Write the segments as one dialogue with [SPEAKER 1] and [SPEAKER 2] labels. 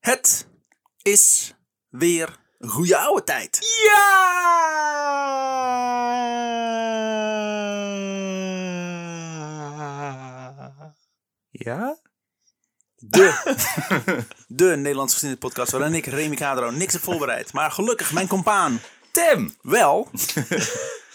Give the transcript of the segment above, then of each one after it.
[SPEAKER 1] Het is weer goeie oude tijd.
[SPEAKER 2] Ja! Ja?
[SPEAKER 1] De, de Nederlandse geschiedenispodcast waarin ik, Remy Kadro, niks heb voorbereid. Maar gelukkig, mijn compaan
[SPEAKER 2] Tim!
[SPEAKER 1] wel.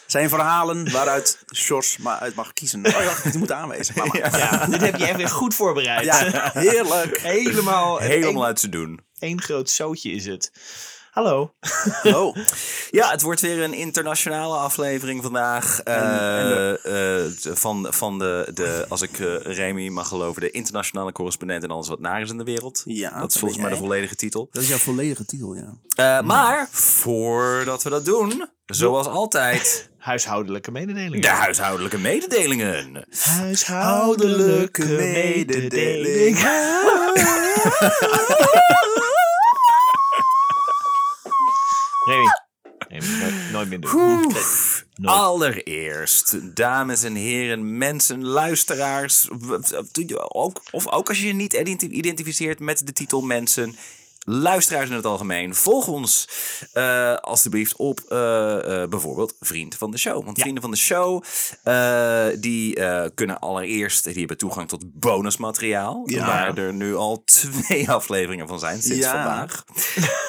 [SPEAKER 1] Zijn verhalen waaruit Sjors maar uit mag kiezen. Oh ja, die moeten aanwezen. Maar, maar-
[SPEAKER 2] Ja, dit heb je echt weer goed voorbereid.
[SPEAKER 1] ja, heerlijk. Oh,
[SPEAKER 2] Helemaal,
[SPEAKER 3] Helemaal uit te doen.
[SPEAKER 2] één groot zootje is het. Hallo.
[SPEAKER 1] Hallo.
[SPEAKER 3] Ja, het wordt weer een internationale aflevering vandaag. eh, eh, van van de, de, als ik eh, Remy mag geloven, de internationale correspondent en alles wat naar is in de wereld.
[SPEAKER 1] Ja,
[SPEAKER 3] dat
[SPEAKER 1] dat
[SPEAKER 3] is
[SPEAKER 1] ben
[SPEAKER 3] volgens mij de
[SPEAKER 1] jij. Mm.
[SPEAKER 3] volledige titel.
[SPEAKER 1] Dat is jouw volledige titel, ja.
[SPEAKER 3] Eh, maar voordat we dat doen, zoals altijd,
[SPEAKER 2] Huishoudelijke mededelingen.
[SPEAKER 3] de huishoudelijke mededelingen.
[SPEAKER 2] Huishoudelijke mededeling. Remy. Remy, nooit- nooit meer doen.
[SPEAKER 3] Oef. Allereerst, dames en heren, mensen, luisteraars, w- w- ook, of ook als je je niet identi- identificeert met de titel mensen, luisteraars in het algemeen, volg ons eh, alsjeblieft op eh, eh, bijvoorbeeld Vriend van de Show. Want Vrienden van de Show, eh, die eh, kunnen allereerst, die hebben toegang tot bonusmateriaal,
[SPEAKER 1] Ja.
[SPEAKER 3] waar er nu al twee afleveringen van zijn sinds
[SPEAKER 1] Ja.
[SPEAKER 3] vandaag.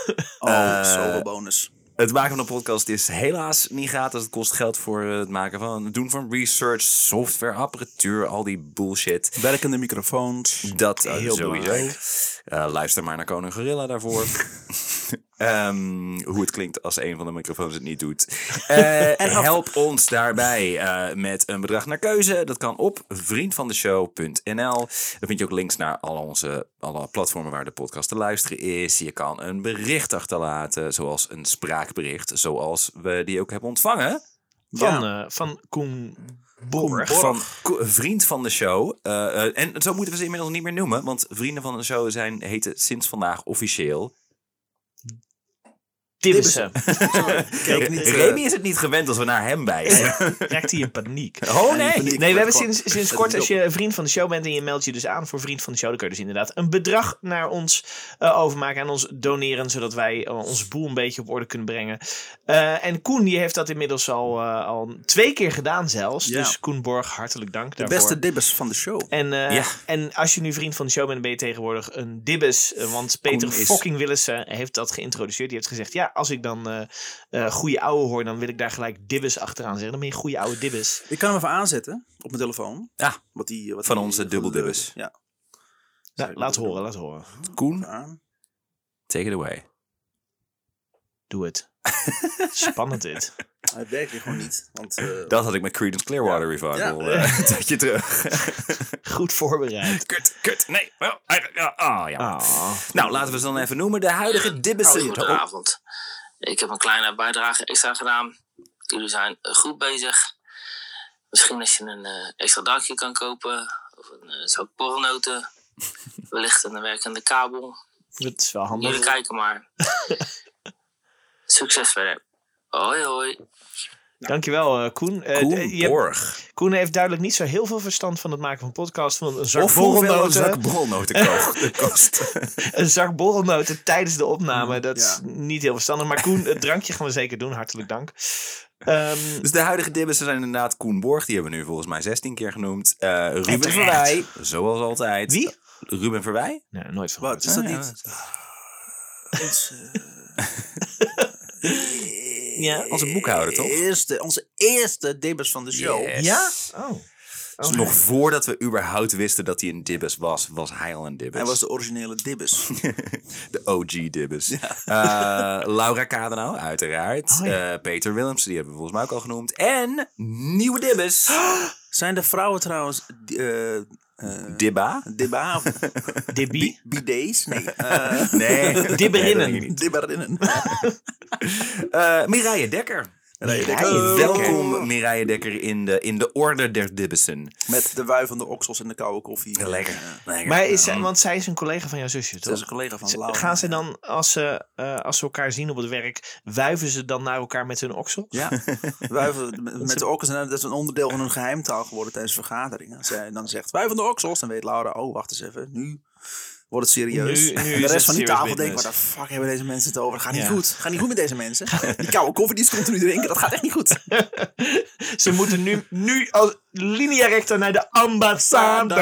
[SPEAKER 3] Eh,
[SPEAKER 1] Oh, solo bonus.
[SPEAKER 3] Het maken van een podcast is helaas niet gratis. Het kost geld voor eh, het maken van, het doen van research, software, apparatuur, al die bullshit.
[SPEAKER 1] Werkende microfoons.
[SPEAKER 3] Dat eh,
[SPEAKER 2] Heel
[SPEAKER 3] sowieso.
[SPEAKER 2] belangrijk.
[SPEAKER 3] Eh, luister maar naar Koning Gorilla daarvoor. Ehm, hoe het klinkt als een van de microfoons het niet doet. Eh, help ons daarbij eh, met een bedrag naar keuze. Dat kan op vriendvandeshow.nl. Dan vind je ook links naar al onze alle platformen waar de podcast te luisteren is. Je kan een bericht achterlaten, zoals een spraakbericht, zoals we die ook hebben ontvangen.
[SPEAKER 2] Van, eh, van Koen Borg.
[SPEAKER 3] Van ko- vriend van de show. Eh, eh, en zo moeten we ze inmiddels niet meer noemen, want vrienden van de show zijn, heten sinds vandaag officieel
[SPEAKER 2] Tibbissen.
[SPEAKER 1] Kijk niet, eh,
[SPEAKER 3] Remy is het niet gewend als we naar hem wijzen.
[SPEAKER 2] Raakt hij in paniek.
[SPEAKER 3] Oh nee.
[SPEAKER 1] paniek.
[SPEAKER 2] Nee, we hebben
[SPEAKER 1] Kwam-
[SPEAKER 2] sinds, sinds kort, als je vriend van de show bent en je meldt je dus aan voor vriend van de show, dan kun je dus inderdaad een bedrag naar ons eh, overmaken, aan ons doneren, zodat wij eh, ons boel een beetje op orde kunnen brengen. Eh, en Koen, die heeft dat inmiddels al, eh, al twee keer gedaan zelfs.
[SPEAKER 1] Ja.
[SPEAKER 2] Dus Koen Borg, hartelijk dank
[SPEAKER 1] De
[SPEAKER 2] daarvoor.
[SPEAKER 1] beste dibbes van de show.
[SPEAKER 2] En, eh,
[SPEAKER 3] Ja.
[SPEAKER 2] en als je nu vriend van de show bent, ben je tegenwoordig een dibbes. Eh, Want
[SPEAKER 3] Koen
[SPEAKER 2] Peter
[SPEAKER 3] is-
[SPEAKER 2] fucking Willissen heeft dat geïntroduceerd. Die heeft gezegd, ja, als ik dan eh eh, goede ouwe hoor, dan wil ik daar gelijk dibbes achteraan zeggen. Dan ben je goede ouwe dibbes.
[SPEAKER 1] Ik kan hem even aanzetten op mijn telefoon.
[SPEAKER 3] Ja,
[SPEAKER 1] Wat die, wat
[SPEAKER 3] Van
[SPEAKER 1] die-
[SPEAKER 3] onze
[SPEAKER 1] van de-
[SPEAKER 3] dubbeldubbes.
[SPEAKER 1] Ja.
[SPEAKER 2] Nou, laat horen, laat horen.
[SPEAKER 3] Koen,
[SPEAKER 1] Aan.
[SPEAKER 3] take it away.
[SPEAKER 2] Doe het. Spannend dit.
[SPEAKER 1] Hij werkt weer gewoon niet. Want, eh,
[SPEAKER 3] Dat had ik met Creedence Clearwater Revival.
[SPEAKER 1] Ja.
[SPEAKER 3] eh, een tijdje terug.
[SPEAKER 2] Goed voorbereid.
[SPEAKER 3] kut, kut, nee. Oh, ja. ah, ja.
[SPEAKER 2] Ah.
[SPEAKER 3] Nou, laten we ze dan even noemen. De huidige
[SPEAKER 4] Nou,
[SPEAKER 3] dibbissen. Oh,
[SPEAKER 4] Goedenavond. Ik heb een kleine bijdrage extra gedaan. Jullie zijn eh, goed bezig. Misschien als je een eh, extra dakje kan kopen. Of een eh, zak borrelnoten. Wellicht een werkende kabel.
[SPEAKER 2] Dat is wel
[SPEAKER 4] Jullie
[SPEAKER 2] handig.
[SPEAKER 4] kijken maar. Succes verder. Hoi hoi.
[SPEAKER 2] Dankjewel, eh, Koen. Eh, d-
[SPEAKER 3] Koen
[SPEAKER 2] je hebt-
[SPEAKER 3] Borg.
[SPEAKER 2] Koen heeft duidelijk niet zo heel veel verstand van het maken van podcasts. Want een zak
[SPEAKER 3] Of hoeveel een
[SPEAKER 2] borrelnoten-
[SPEAKER 3] zak borrelnoten ko- kost.
[SPEAKER 2] een zak borrelnoten tijdens de opname. Dat is
[SPEAKER 1] Ja.
[SPEAKER 2] niet heel verstandig. Maar Koen, het drankje gaan we zeker doen. Hartelijk dank. Ehm,
[SPEAKER 3] Dus de huidige dibbissen zijn inderdaad Koen Borg. Die hebben we nu volgens mij 16 keer genoemd. Eh, Ruben
[SPEAKER 2] terecht.
[SPEAKER 3] Verwij, zoals altijd.
[SPEAKER 2] Wie?
[SPEAKER 3] Ruben Verwij.
[SPEAKER 2] nee, nooit van
[SPEAKER 1] wat
[SPEAKER 2] gehoord.
[SPEAKER 1] is dat
[SPEAKER 3] Ah, ja.
[SPEAKER 1] niet? eh,
[SPEAKER 2] Ja,
[SPEAKER 3] Onze boekhouder, toch?
[SPEAKER 1] Eerste, onze eerste debuts van de show.
[SPEAKER 3] Yes.
[SPEAKER 2] Ja? Oh.
[SPEAKER 3] Dus nog voordat we überhaupt wisten dat hij een dibbes was, was hij al een dibbes.
[SPEAKER 1] Hij was de originele dibbes.
[SPEAKER 3] de OG dibbes. Eh, Laura Kadenau, uiteraard.
[SPEAKER 2] Oh, ja.
[SPEAKER 3] Eh, Peter Willems, die hebben we volgens mij ook al genoemd. En nieuwe dibbes.
[SPEAKER 1] Zijn de vrouwen trouwens eh eh
[SPEAKER 3] Dibba?
[SPEAKER 1] dibba of
[SPEAKER 2] Debbie.
[SPEAKER 1] bidets? Nee. eh
[SPEAKER 3] Nee. nee, dat
[SPEAKER 2] Dibberinnen.
[SPEAKER 3] denk ik niet.
[SPEAKER 1] dibberinnen.
[SPEAKER 3] Eh, Mireille Dekker.
[SPEAKER 1] Mireille
[SPEAKER 2] Dekker. Oh,
[SPEAKER 3] Welkom Mireille Dekker in de, in de orde der dibbessen.
[SPEAKER 1] Met de wui van de oksels en de koude koffie. Eh,
[SPEAKER 3] Lekker. Lekker.
[SPEAKER 2] Maar is, zij- want zij is een collega van jouw zusje,
[SPEAKER 1] Dat is een
[SPEAKER 2] toch?
[SPEAKER 1] collega van
[SPEAKER 2] Z-
[SPEAKER 1] Laura.
[SPEAKER 2] Gaan ze dan, als ze, eh, als ze elkaar zien op het werk, wuiven ze dan naar elkaar met hun oksel?
[SPEAKER 1] Ja, wuiven met- met de oksels. En dat is een onderdeel van hun geheimtaal geworden tijdens vergaderingen. Als zij dan zegt, wij van de oksels, dan weet Laura, oh, wacht eens even. Nu wordt het serieus.
[SPEAKER 2] Nu- nu
[SPEAKER 1] En
[SPEAKER 2] is
[SPEAKER 1] de
[SPEAKER 2] het
[SPEAKER 1] rest van die
[SPEAKER 2] serious
[SPEAKER 1] tafel denkt,
[SPEAKER 2] business.
[SPEAKER 1] waar de fuck hebben deze mensen het over? Gaat niet
[SPEAKER 2] Ja.
[SPEAKER 1] goed. Gaat niet goed met deze mensen. Die koude koffie die ze continu drinken, dat gaat echt niet goed.
[SPEAKER 2] Ze moeten nu, nu als linea recta naar de ambassade.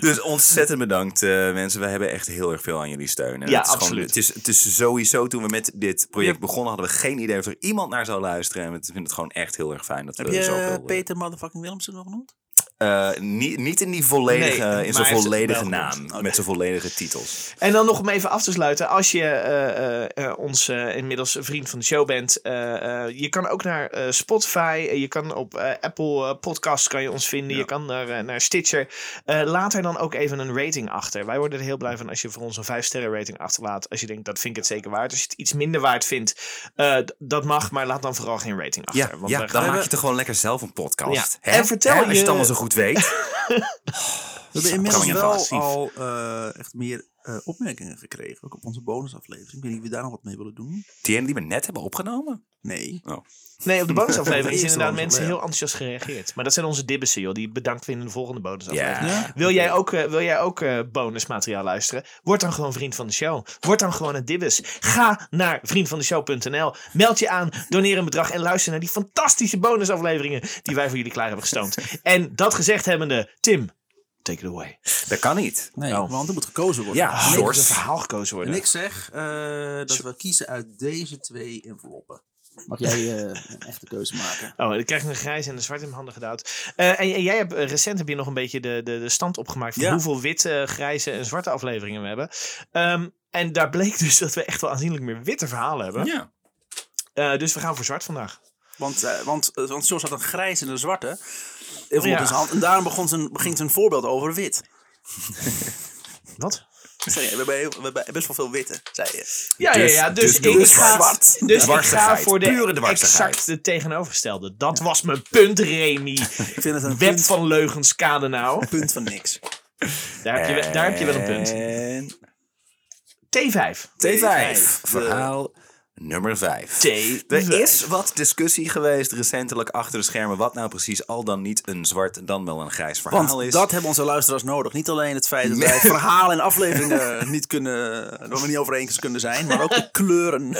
[SPEAKER 3] Dus ontzettend bedankt, eh, mensen. Wij hebben echt heel erg veel aan jullie steun. En
[SPEAKER 2] Ja,
[SPEAKER 3] het is gewoon-
[SPEAKER 2] absoluut.
[SPEAKER 3] het, is, het is sowieso, toen we met dit project begonnen, hadden we geen idee of er iemand naar zou luisteren. En we vinden het gewoon echt heel erg fijn dat we
[SPEAKER 1] Heb je
[SPEAKER 3] zoveel...
[SPEAKER 1] eh, Peter motherfucking Willemsen nog genoemd?
[SPEAKER 3] eh, niet, niet in die volledige,
[SPEAKER 2] Nee,
[SPEAKER 3] in
[SPEAKER 2] maar
[SPEAKER 3] zijn
[SPEAKER 2] hij heeft het
[SPEAKER 3] volledige
[SPEAKER 2] wel
[SPEAKER 3] naam,
[SPEAKER 2] genoemd.
[SPEAKER 3] met zijn volledige titels.
[SPEAKER 2] En dan nog om even af te sluiten. Als je eh, eh, eh, ons eh, inmiddels een vriend van de show bent. eh, eh, je kan ook naar eh, Spotify. eh, je kan op eh, Apple eh, Podcasts kan je ons vinden. Je kan naar, eh, naar Stitcher. Eh, laat er dan ook even een rating achter. Wij worden er heel blij van als je voor ons een 5 sterren rating achterlaat. Als je denkt, dat vind ik het zeker waard. Als je het iets minder waard vindt, eh, d- dat mag. Maar laat dan vooral geen rating achter.
[SPEAKER 3] Ja, ja
[SPEAKER 2] we
[SPEAKER 3] dan
[SPEAKER 2] gaan-
[SPEAKER 3] maak je toch gewoon lekker zelf een podcast.
[SPEAKER 2] Ja.
[SPEAKER 3] Hè?
[SPEAKER 2] En vertel
[SPEAKER 3] Hè, Als je
[SPEAKER 2] je-
[SPEAKER 3] het allemaal zo goed weet.
[SPEAKER 1] We hebben
[SPEAKER 3] kan je
[SPEAKER 1] inmiddels
[SPEAKER 3] passief.
[SPEAKER 1] wel al eh, echt meer eh, opmerkingen gekregen. Ook op onze bonusaflevering. Ik weet niet of we daar nog wat mee willen doen.
[SPEAKER 3] Die ene die we net hebben opgenomen.
[SPEAKER 1] Nee.
[SPEAKER 2] Nee, op de bonusaflevering
[SPEAKER 1] Eerste
[SPEAKER 2] zijn inderdaad
[SPEAKER 1] bonusaflevering,
[SPEAKER 2] mensen
[SPEAKER 1] ja.
[SPEAKER 2] heel enthousiast gereageerd. Maar dat zijn onze dibbissen, joh. Die bedankt we in de volgende bonusaflevering.
[SPEAKER 3] Ja.
[SPEAKER 1] Ja?
[SPEAKER 2] Wil jij ook, eh, wil jij ook eh, bonusmateriaal luisteren? Word dan gewoon vriend van de show. Word dan gewoon een dibbes. Ga naar vriendvandeshow.nl. Meld je aan, doneer een bedrag en luister naar die fantastische bonusafleveringen die wij voor jullie klaar hebben gestoomd. En dat gezegd hebbende, Tim, take it away.
[SPEAKER 3] Dat kan niet.
[SPEAKER 1] Nee,
[SPEAKER 2] Oh.
[SPEAKER 1] want er moet gekozen worden.
[SPEAKER 3] Ja,
[SPEAKER 2] Nee, er moet een
[SPEAKER 3] source.
[SPEAKER 2] verhaal gekozen worden.
[SPEAKER 1] En ik zeg eh, dat we kiezen uit deze twee enveloppen. Mag jij eh, een echte keuze maken?
[SPEAKER 2] Oh, dan krijg ik een grijs en een zwart in mijn handen gedouwd. Eh, en, en jij hebt eh, recent heb je nog een beetje de, de, de stand opgemaakt van
[SPEAKER 1] Ja.
[SPEAKER 2] hoeveel witte, eh, grijze en zwarte afleveringen we hebben. Ehm, en daar bleek dus dat we echt wel aanzienlijk meer witte verhalen hebben.
[SPEAKER 3] Ja.
[SPEAKER 2] Eh, dus we gaan voor zwart vandaag.
[SPEAKER 1] Want, eh want, eh, want George had een grijs en een zwarte envelop
[SPEAKER 2] Ja.
[SPEAKER 1] in zijn hand. En daarom begon zijn, begint zijn voorbeeld over wit.
[SPEAKER 2] Wat?
[SPEAKER 1] Sorry, we hebben, heel- we hebben best wel veel witte, zei je.
[SPEAKER 2] Ja,
[SPEAKER 3] Dus-
[SPEAKER 2] ja, ja. Dus,
[SPEAKER 3] dus
[SPEAKER 2] ik,
[SPEAKER 3] dus
[SPEAKER 2] ga,
[SPEAKER 1] zwart.
[SPEAKER 2] dus ik ga
[SPEAKER 3] Dwarsigheid.
[SPEAKER 2] voor
[SPEAKER 3] Pure
[SPEAKER 2] de
[SPEAKER 3] dwarsigheid.
[SPEAKER 2] exacte tegenovergestelde. Dat was mijn punt, Remy.
[SPEAKER 1] Ik vind het een
[SPEAKER 2] Web
[SPEAKER 1] punt,
[SPEAKER 2] van leugens, kade nou.
[SPEAKER 1] punt van niks.
[SPEAKER 2] Daar heb je, we- daar heb je wel een
[SPEAKER 1] Eh.
[SPEAKER 2] punt.
[SPEAKER 3] En
[SPEAKER 2] T5.
[SPEAKER 3] T5.
[SPEAKER 1] De-
[SPEAKER 3] Verhaal nummer 5.
[SPEAKER 2] T5.
[SPEAKER 3] Er is wat discussie geweest recentelijk achter de schermen. Wat nou precies al dan niet een zwart, dan wel een grijs verhaal
[SPEAKER 1] Want
[SPEAKER 3] is.
[SPEAKER 1] dat hebben onze luisteraars nodig. Niet alleen het feit dat wij het verhaal en afleveringen niet kunnen, dat we niet over eens kunnen zijn, maar ook de kleuren.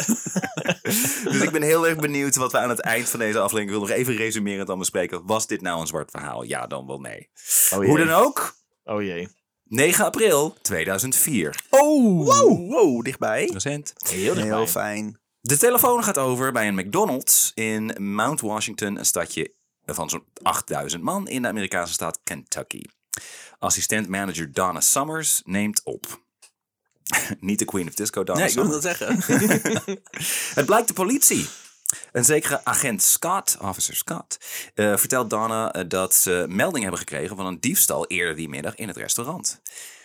[SPEAKER 3] Dus ik ben heel erg benieuwd wat we aan het eind van deze aflevering... Ik wil nog even resumerend dan bespreken. Was dit nou een zwart verhaal? Ja, dan wel nee. Hoe dan ook,
[SPEAKER 2] Oh jee.
[SPEAKER 3] 9 april 2004.
[SPEAKER 1] Oh, wow, wow dichtbij.
[SPEAKER 3] Recent.
[SPEAKER 2] Heel dichtbij.
[SPEAKER 1] Heel fijn.
[SPEAKER 3] De telefoon gaat over bij een McDonald's in Mount Washington, een stadje van zo'n 8000 man in de Amerikaanse staat Kentucky. Assistent-manager Donna Summers neemt op. Niet de Queen of Disco, Donna
[SPEAKER 1] Nee, ik wilde
[SPEAKER 3] Summers.
[SPEAKER 1] dat zeggen.
[SPEAKER 3] Het blijkt de politie. Een zekere agent Scott, officer Scott, eh, vertelt Donna eh, dat ze melding hebben gekregen van een diefstal eerder die middag in het restaurant.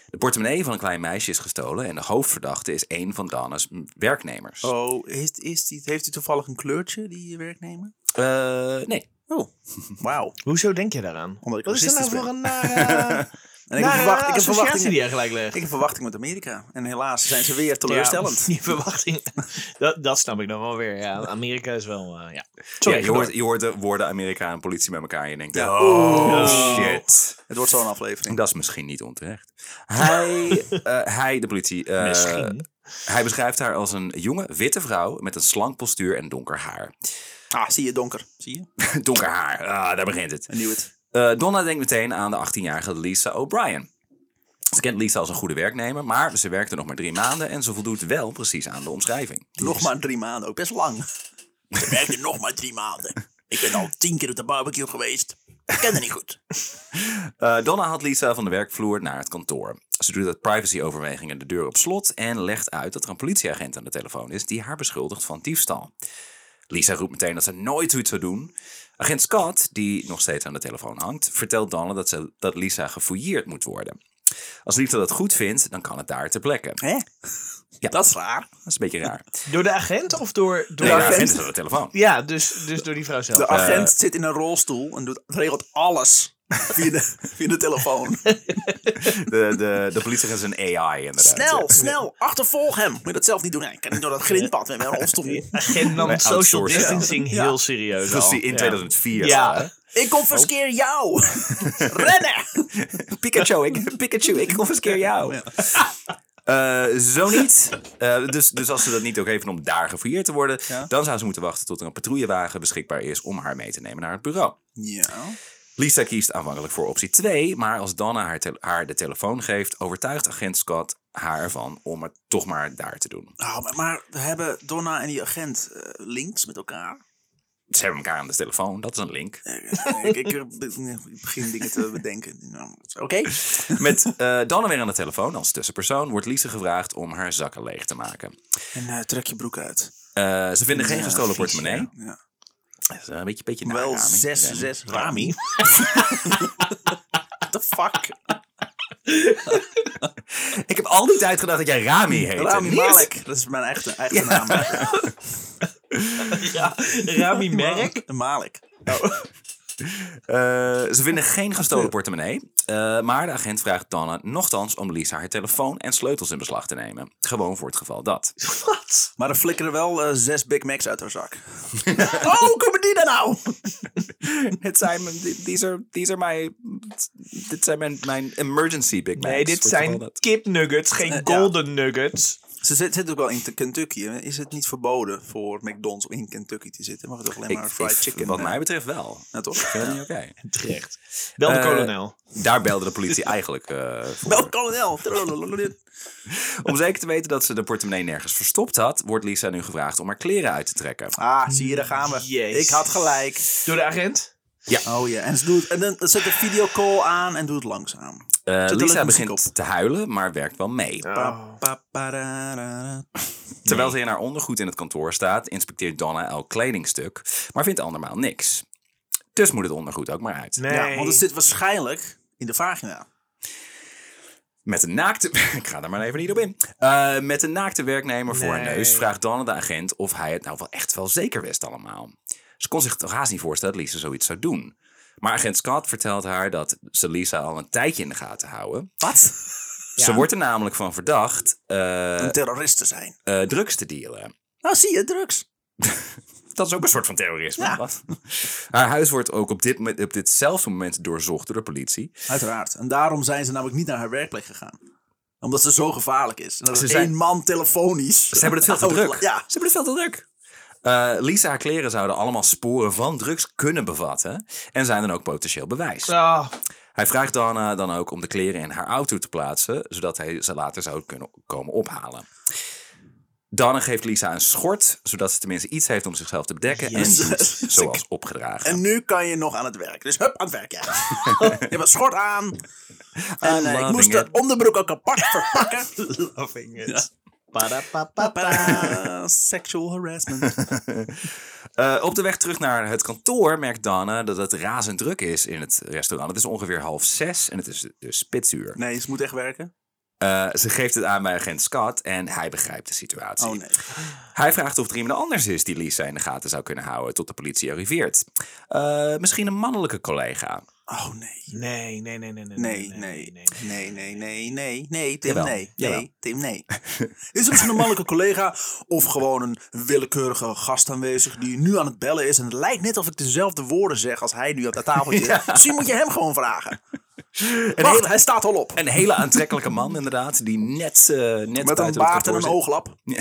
[SPEAKER 3] De portemonnee van een klein meisje is gestolen en de hoofdverdachte is een van Donna's mm, werknemers.
[SPEAKER 1] Oh, is, is die, heeft hij toevallig een kleurtje, die werknemer?
[SPEAKER 3] Eh, nee.
[SPEAKER 1] Oh, wauw.
[SPEAKER 2] Hoezo denk je daaraan?
[SPEAKER 1] Omdat ik
[SPEAKER 2] Wat is dat
[SPEAKER 1] racistisch
[SPEAKER 2] nou voor een nare,
[SPEAKER 1] En ik heb,
[SPEAKER 2] nare
[SPEAKER 1] verwacht, ik, heb
[SPEAKER 2] Nou, eh, associatie die
[SPEAKER 1] verwachtingen,
[SPEAKER 2] jij gelijk legt?
[SPEAKER 1] ik heb verwachtingen met Amerika. En helaas zijn ze weer teleurstellend.
[SPEAKER 2] Ja, die verwachting, dat, dat snap ik dan wel weer. Ja, Amerika is wel, eh, ja. Sorry,
[SPEAKER 3] Ja, je,
[SPEAKER 2] ga
[SPEAKER 3] hoort,
[SPEAKER 2] door.
[SPEAKER 3] je hoort de woorden Amerika en politie bij elkaar en je denkt, oh, shit.
[SPEAKER 1] Het wordt zo'n aflevering.
[SPEAKER 3] Dat is misschien niet onterecht. Hij, eh, hij de politie, eh,
[SPEAKER 2] Misschien.
[SPEAKER 3] hij beschrijft haar als een jonge, witte vrouw met een slank postuur en donker haar.
[SPEAKER 1] Ah, zie je donker. Zie je?
[SPEAKER 3] donker haar, ah, daar begint het.
[SPEAKER 1] I knew it.
[SPEAKER 3] Eh, Donna denkt meteen aan de 18-jarige Lisa O'Brien. Ze kent Lisa als een goede werknemer, maar ze werkte nog maar drie maanden en ze voldoet wel precies aan de omschrijving.
[SPEAKER 1] Nog maar drie maanden, ook best lang. Ze werkte nog maar drie maanden. Ik ben al tien keer op de barbecue geweest. Ik ken het niet goed.
[SPEAKER 3] Eh, Donna had Lisa van de werkvloer naar het kantoor. Ze doet uit privacyoverwegingen de deur op slot en legt uit dat er een politieagent aan de telefoon is die haar beschuldigt van diefstal. Lisa roept meteen dat ze nooit zoiets zou doen. Agent Scott, die nog steeds aan de telefoon hangt, vertelt Donna dat, ze, dat Lisa gefouilleerd moet worden. Als Lisa dat goed vindt, dan kan het daar ter plekke. Dat
[SPEAKER 1] Hè?
[SPEAKER 3] Ja.
[SPEAKER 1] Dat is raar.
[SPEAKER 3] is een beetje raar.
[SPEAKER 2] Door de agent of door... door
[SPEAKER 3] Nee,
[SPEAKER 2] de
[SPEAKER 3] de agent
[SPEAKER 2] agent?
[SPEAKER 3] is aan de telefoon.
[SPEAKER 2] Ja, dus, dus door die vrouw zelf.
[SPEAKER 1] De agent zit in een rolstoel en doet, regelt alles. via, de, via de telefoon.
[SPEAKER 3] De, de, de politie is een AI inderdaad.
[SPEAKER 1] Snel, snel, achtervolg hem. Moet je dat zelf niet doen? Nee, ik kan niet door dat grindpad met mijn rolstoel.
[SPEAKER 2] Agent nam
[SPEAKER 3] Wij
[SPEAKER 2] social
[SPEAKER 3] outsourcen.
[SPEAKER 2] distancing
[SPEAKER 1] Ja.
[SPEAKER 2] heel serieus al.
[SPEAKER 3] Precies, in 2004.
[SPEAKER 2] Ja.
[SPEAKER 3] al,
[SPEAKER 1] Ik confiskeer jou! Rennen!
[SPEAKER 3] hè? Pikachu, ik, Pikachu, ik confiskeer jou. Eh, zo niet. Eh, dus, dus als ze dat niet ook even om daar gefouilleerd te worden,
[SPEAKER 1] Ja.
[SPEAKER 3] dan zou ze moeten wachten tot er een patrouillewagen beschikbaar is om haar mee te nemen naar het bureau.
[SPEAKER 1] Ja.
[SPEAKER 3] Lisa kiest aanvankelijk voor optie 2, maar als Donna haar, te- haar de telefoon geeft, overtuigt agent Scott haar ervan om het toch maar daar te doen.
[SPEAKER 1] Nou, maar, maar hebben Donna en die agent eh, links met elkaar?
[SPEAKER 3] Ze hebben elkaar aan de telefoon, dat is een link.
[SPEAKER 1] Eh, ik, ik, ik begin dingen te bedenken. Nou, Oké.
[SPEAKER 3] Met eh, Donna weer aan de telefoon als tussenpersoon wordt Lisa gevraagd om haar zakken leeg te maken.
[SPEAKER 1] En eh, trek je broek uit.
[SPEAKER 3] Eh, ze vinden geen
[SPEAKER 1] Ja,
[SPEAKER 3] gestolen
[SPEAKER 2] vies,
[SPEAKER 3] portemonnee.
[SPEAKER 1] Ja.
[SPEAKER 3] Dat is een beetje, beetje
[SPEAKER 1] Wel
[SPEAKER 3] naraming.
[SPEAKER 1] 6, 6 Rami. What the fuck?
[SPEAKER 3] Ik heb al die tijd gedacht dat jij Rami heette.
[SPEAKER 1] Rami
[SPEAKER 3] Niet?
[SPEAKER 1] Malek. Dat is mijn echte, echte naam.
[SPEAKER 2] Ja, Rami Merk.
[SPEAKER 1] Malek.
[SPEAKER 3] Eh, ze vinden geen gestolen portemonnee. eh, maar de agent vraagt Donna nochtans om Lisa haar telefoon en sleutels in beslag te nemen. Gewoon voor het geval dat.
[SPEAKER 2] Wat?
[SPEAKER 1] Maar er flikkeren wel eh, zes Big Macs uit haar zak. oh, hoe komen die daar nou?
[SPEAKER 3] Het zijn, mijn- di- these are, these are my, dit zijn mijn, mijn emergency Big Macs.
[SPEAKER 2] Nee, dit
[SPEAKER 3] Voor het geval
[SPEAKER 2] zijn
[SPEAKER 3] dat-
[SPEAKER 2] kipnuggets, geen golden nuggets.
[SPEAKER 1] Ze zit, zit ook wel in te- Kentucky. hè? Is het niet verboden voor McDonald's om in Kentucky te zitten? Mag het toch alleen maar
[SPEAKER 3] Ik-
[SPEAKER 1] fried
[SPEAKER 3] ik-
[SPEAKER 1] chicken?
[SPEAKER 3] Wat
[SPEAKER 1] eh,
[SPEAKER 3] mij betreft wel.
[SPEAKER 1] nou, toch?
[SPEAKER 3] Ik vind het niet oké.
[SPEAKER 2] Terecht. Wel de
[SPEAKER 3] Eh,
[SPEAKER 2] kolonel.
[SPEAKER 3] Daar belde de politie eigenlijk eh, voor.
[SPEAKER 1] Bel kolonel. Trululululul.
[SPEAKER 3] Om zeker te weten dat ze de portemonnee nergens verstopt had, wordt Lisa nu gevraagd om haar kleren uit te trekken.
[SPEAKER 1] Ah, zie je, daar gaan we.
[SPEAKER 2] Jezus.
[SPEAKER 1] Ik had gelijk.
[SPEAKER 2] Door de agent?
[SPEAKER 1] Oh ja, en, ze doet, en dan zet de videocall aan en doe het langzaam.
[SPEAKER 3] Eh,
[SPEAKER 1] er leuk
[SPEAKER 3] Lisa
[SPEAKER 1] muziek
[SPEAKER 3] begint
[SPEAKER 1] op?
[SPEAKER 3] te huilen, maar werkt wel mee. Oh.
[SPEAKER 1] Pa, pa, pa, ra, ra, ra.
[SPEAKER 3] Terwijl ze in haar ondergoed in het kantoor staat, inspecteert Donna elk kledingstuk, maar vindt andermaal niks. Dus moet het ondergoed ook maar uit.
[SPEAKER 2] Nee.
[SPEAKER 1] Ja, want het zit waarschijnlijk in de vagina.
[SPEAKER 3] Met een naakte. Ik ga daar maar even niet op in. Eh, met een naakte werknemer voor haar
[SPEAKER 2] Nee.
[SPEAKER 3] neus vraagt Donna de agent of hij het nou wel echt wel zeker wist allemaal. Ze kon zich toch haast niet voorstellen dat Lisa zoiets zou doen. Maar agent Scott vertelt haar dat ze Lisa al een tijdje in de gaten houden.
[SPEAKER 1] Wat?
[SPEAKER 3] Ze wordt er namelijk van verdacht eh,
[SPEAKER 1] Een terrorist te zijn.
[SPEAKER 3] eh, drugs te dealen.
[SPEAKER 1] Nou, zie je, drugs.
[SPEAKER 3] Dat is ook een soort van terrorisme.
[SPEAKER 1] Ja.
[SPEAKER 3] Wat? Haar huis wordt ook op, dit, moment- op ditzelfde moment doorzocht door de politie.
[SPEAKER 1] Uiteraard. En daarom zijn ze namelijk niet naar haar werkplek gegaan. Omdat ze zo gevaarlijk is. En dat
[SPEAKER 3] Ze
[SPEAKER 1] is
[SPEAKER 3] zijn-
[SPEAKER 1] één man telefonisch. Oh,
[SPEAKER 3] Ze hebben het veel te druk.
[SPEAKER 1] Ja.
[SPEAKER 3] Ze hebben het veel te druk. Oh, Eh, Lisa haar kleren zouden allemaal sporen van drugs kunnen bevatten. En zijn dan ook potentieel bewijs.
[SPEAKER 2] Ah,
[SPEAKER 3] Hij vraagt Dana dan ook om de kleren in haar auto te plaatsen. Zodat hij ze later zou kunnen komen ophalen. Dana geeft Lisa een schort. Zodat ze tenminste iets heeft om zichzelf te bedekken.
[SPEAKER 1] Jezus.
[SPEAKER 3] En doet zoals opgedragen.
[SPEAKER 1] En nu kan je nog aan het werk. Dus hup, aan het werk, ja. je hebt een schort aan. En eh, ik
[SPEAKER 3] loving
[SPEAKER 1] moest
[SPEAKER 3] it.
[SPEAKER 1] dat onderbroek ook apart verpakken.
[SPEAKER 2] loving it.
[SPEAKER 1] Papa, sexual harassment.
[SPEAKER 3] Eh, op de weg terug naar het kantoor merkt Dana dat het razend druk is in het restaurant. Het is ongeveer half zes en het is dus spitsuur.
[SPEAKER 1] Nee, ze moet echt werken.
[SPEAKER 3] Eh, ze geeft het aan bij agent Scott en hij begrijpt de situatie.
[SPEAKER 1] Oh nee.
[SPEAKER 3] Hij vraagt of er iemand anders is die Lisa in de gaten zou kunnen houden tot de politie arriveert. Eh, misschien een mannelijke collega.
[SPEAKER 1] Oh nee.
[SPEAKER 2] Nee, nee, nee, nee, nee.
[SPEAKER 1] Nee, nee, nee, nee, nee, nee, nee, Tim,
[SPEAKER 3] Jawel,
[SPEAKER 1] nee,
[SPEAKER 3] jawel.
[SPEAKER 1] nee, Tim, nee. Is er misschien een mannelijke collega of gewoon een willekeurige gast aanwezig die nu aan het bellen is en het lijkt net of ik dezelfde woorden zeg als hij nu op dat tafeltje. Misschien moet je hem gewoon vragen. Wacht, hij staat al op.
[SPEAKER 3] Een hele aantrekkelijke man inderdaad, die net, eh, net
[SPEAKER 1] Met een
[SPEAKER 3] buiten het
[SPEAKER 1] baard en
[SPEAKER 3] kantoor
[SPEAKER 1] een
[SPEAKER 3] zit.
[SPEAKER 1] ooglap.
[SPEAKER 3] Eh,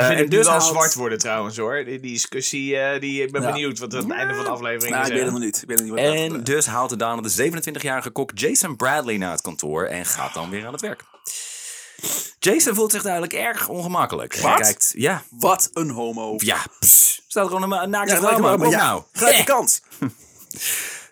[SPEAKER 2] Ik vind
[SPEAKER 3] en
[SPEAKER 2] het dus
[SPEAKER 3] dus
[SPEAKER 2] wel
[SPEAKER 3] haalt-
[SPEAKER 2] zwart worden trouwens hoor. Die die discussie, eh, die, ik ben
[SPEAKER 1] Ja.
[SPEAKER 2] benieuwd wat we aan het einde van de aflevering
[SPEAKER 1] Nou,
[SPEAKER 2] is.
[SPEAKER 1] ik weet het nog niet. Ik weet het niet wat het
[SPEAKER 3] En dus haalt de Daan de 27-jarige kok Jason Bradley naar het kantoor en gaat dan weer aan het werk. Jason voelt zich duidelijk erg ongemakkelijk. Hij
[SPEAKER 1] Wat?
[SPEAKER 3] kijkt, ja,
[SPEAKER 1] Wat een homo.
[SPEAKER 3] ja, pss, staat gewoon een ma- een naakte
[SPEAKER 1] Ja,
[SPEAKER 3] vrouw.
[SPEAKER 1] gelijk
[SPEAKER 3] man.
[SPEAKER 1] maar,
[SPEAKER 3] Kom
[SPEAKER 1] ja.
[SPEAKER 3] nou.
[SPEAKER 1] Grijp de kans.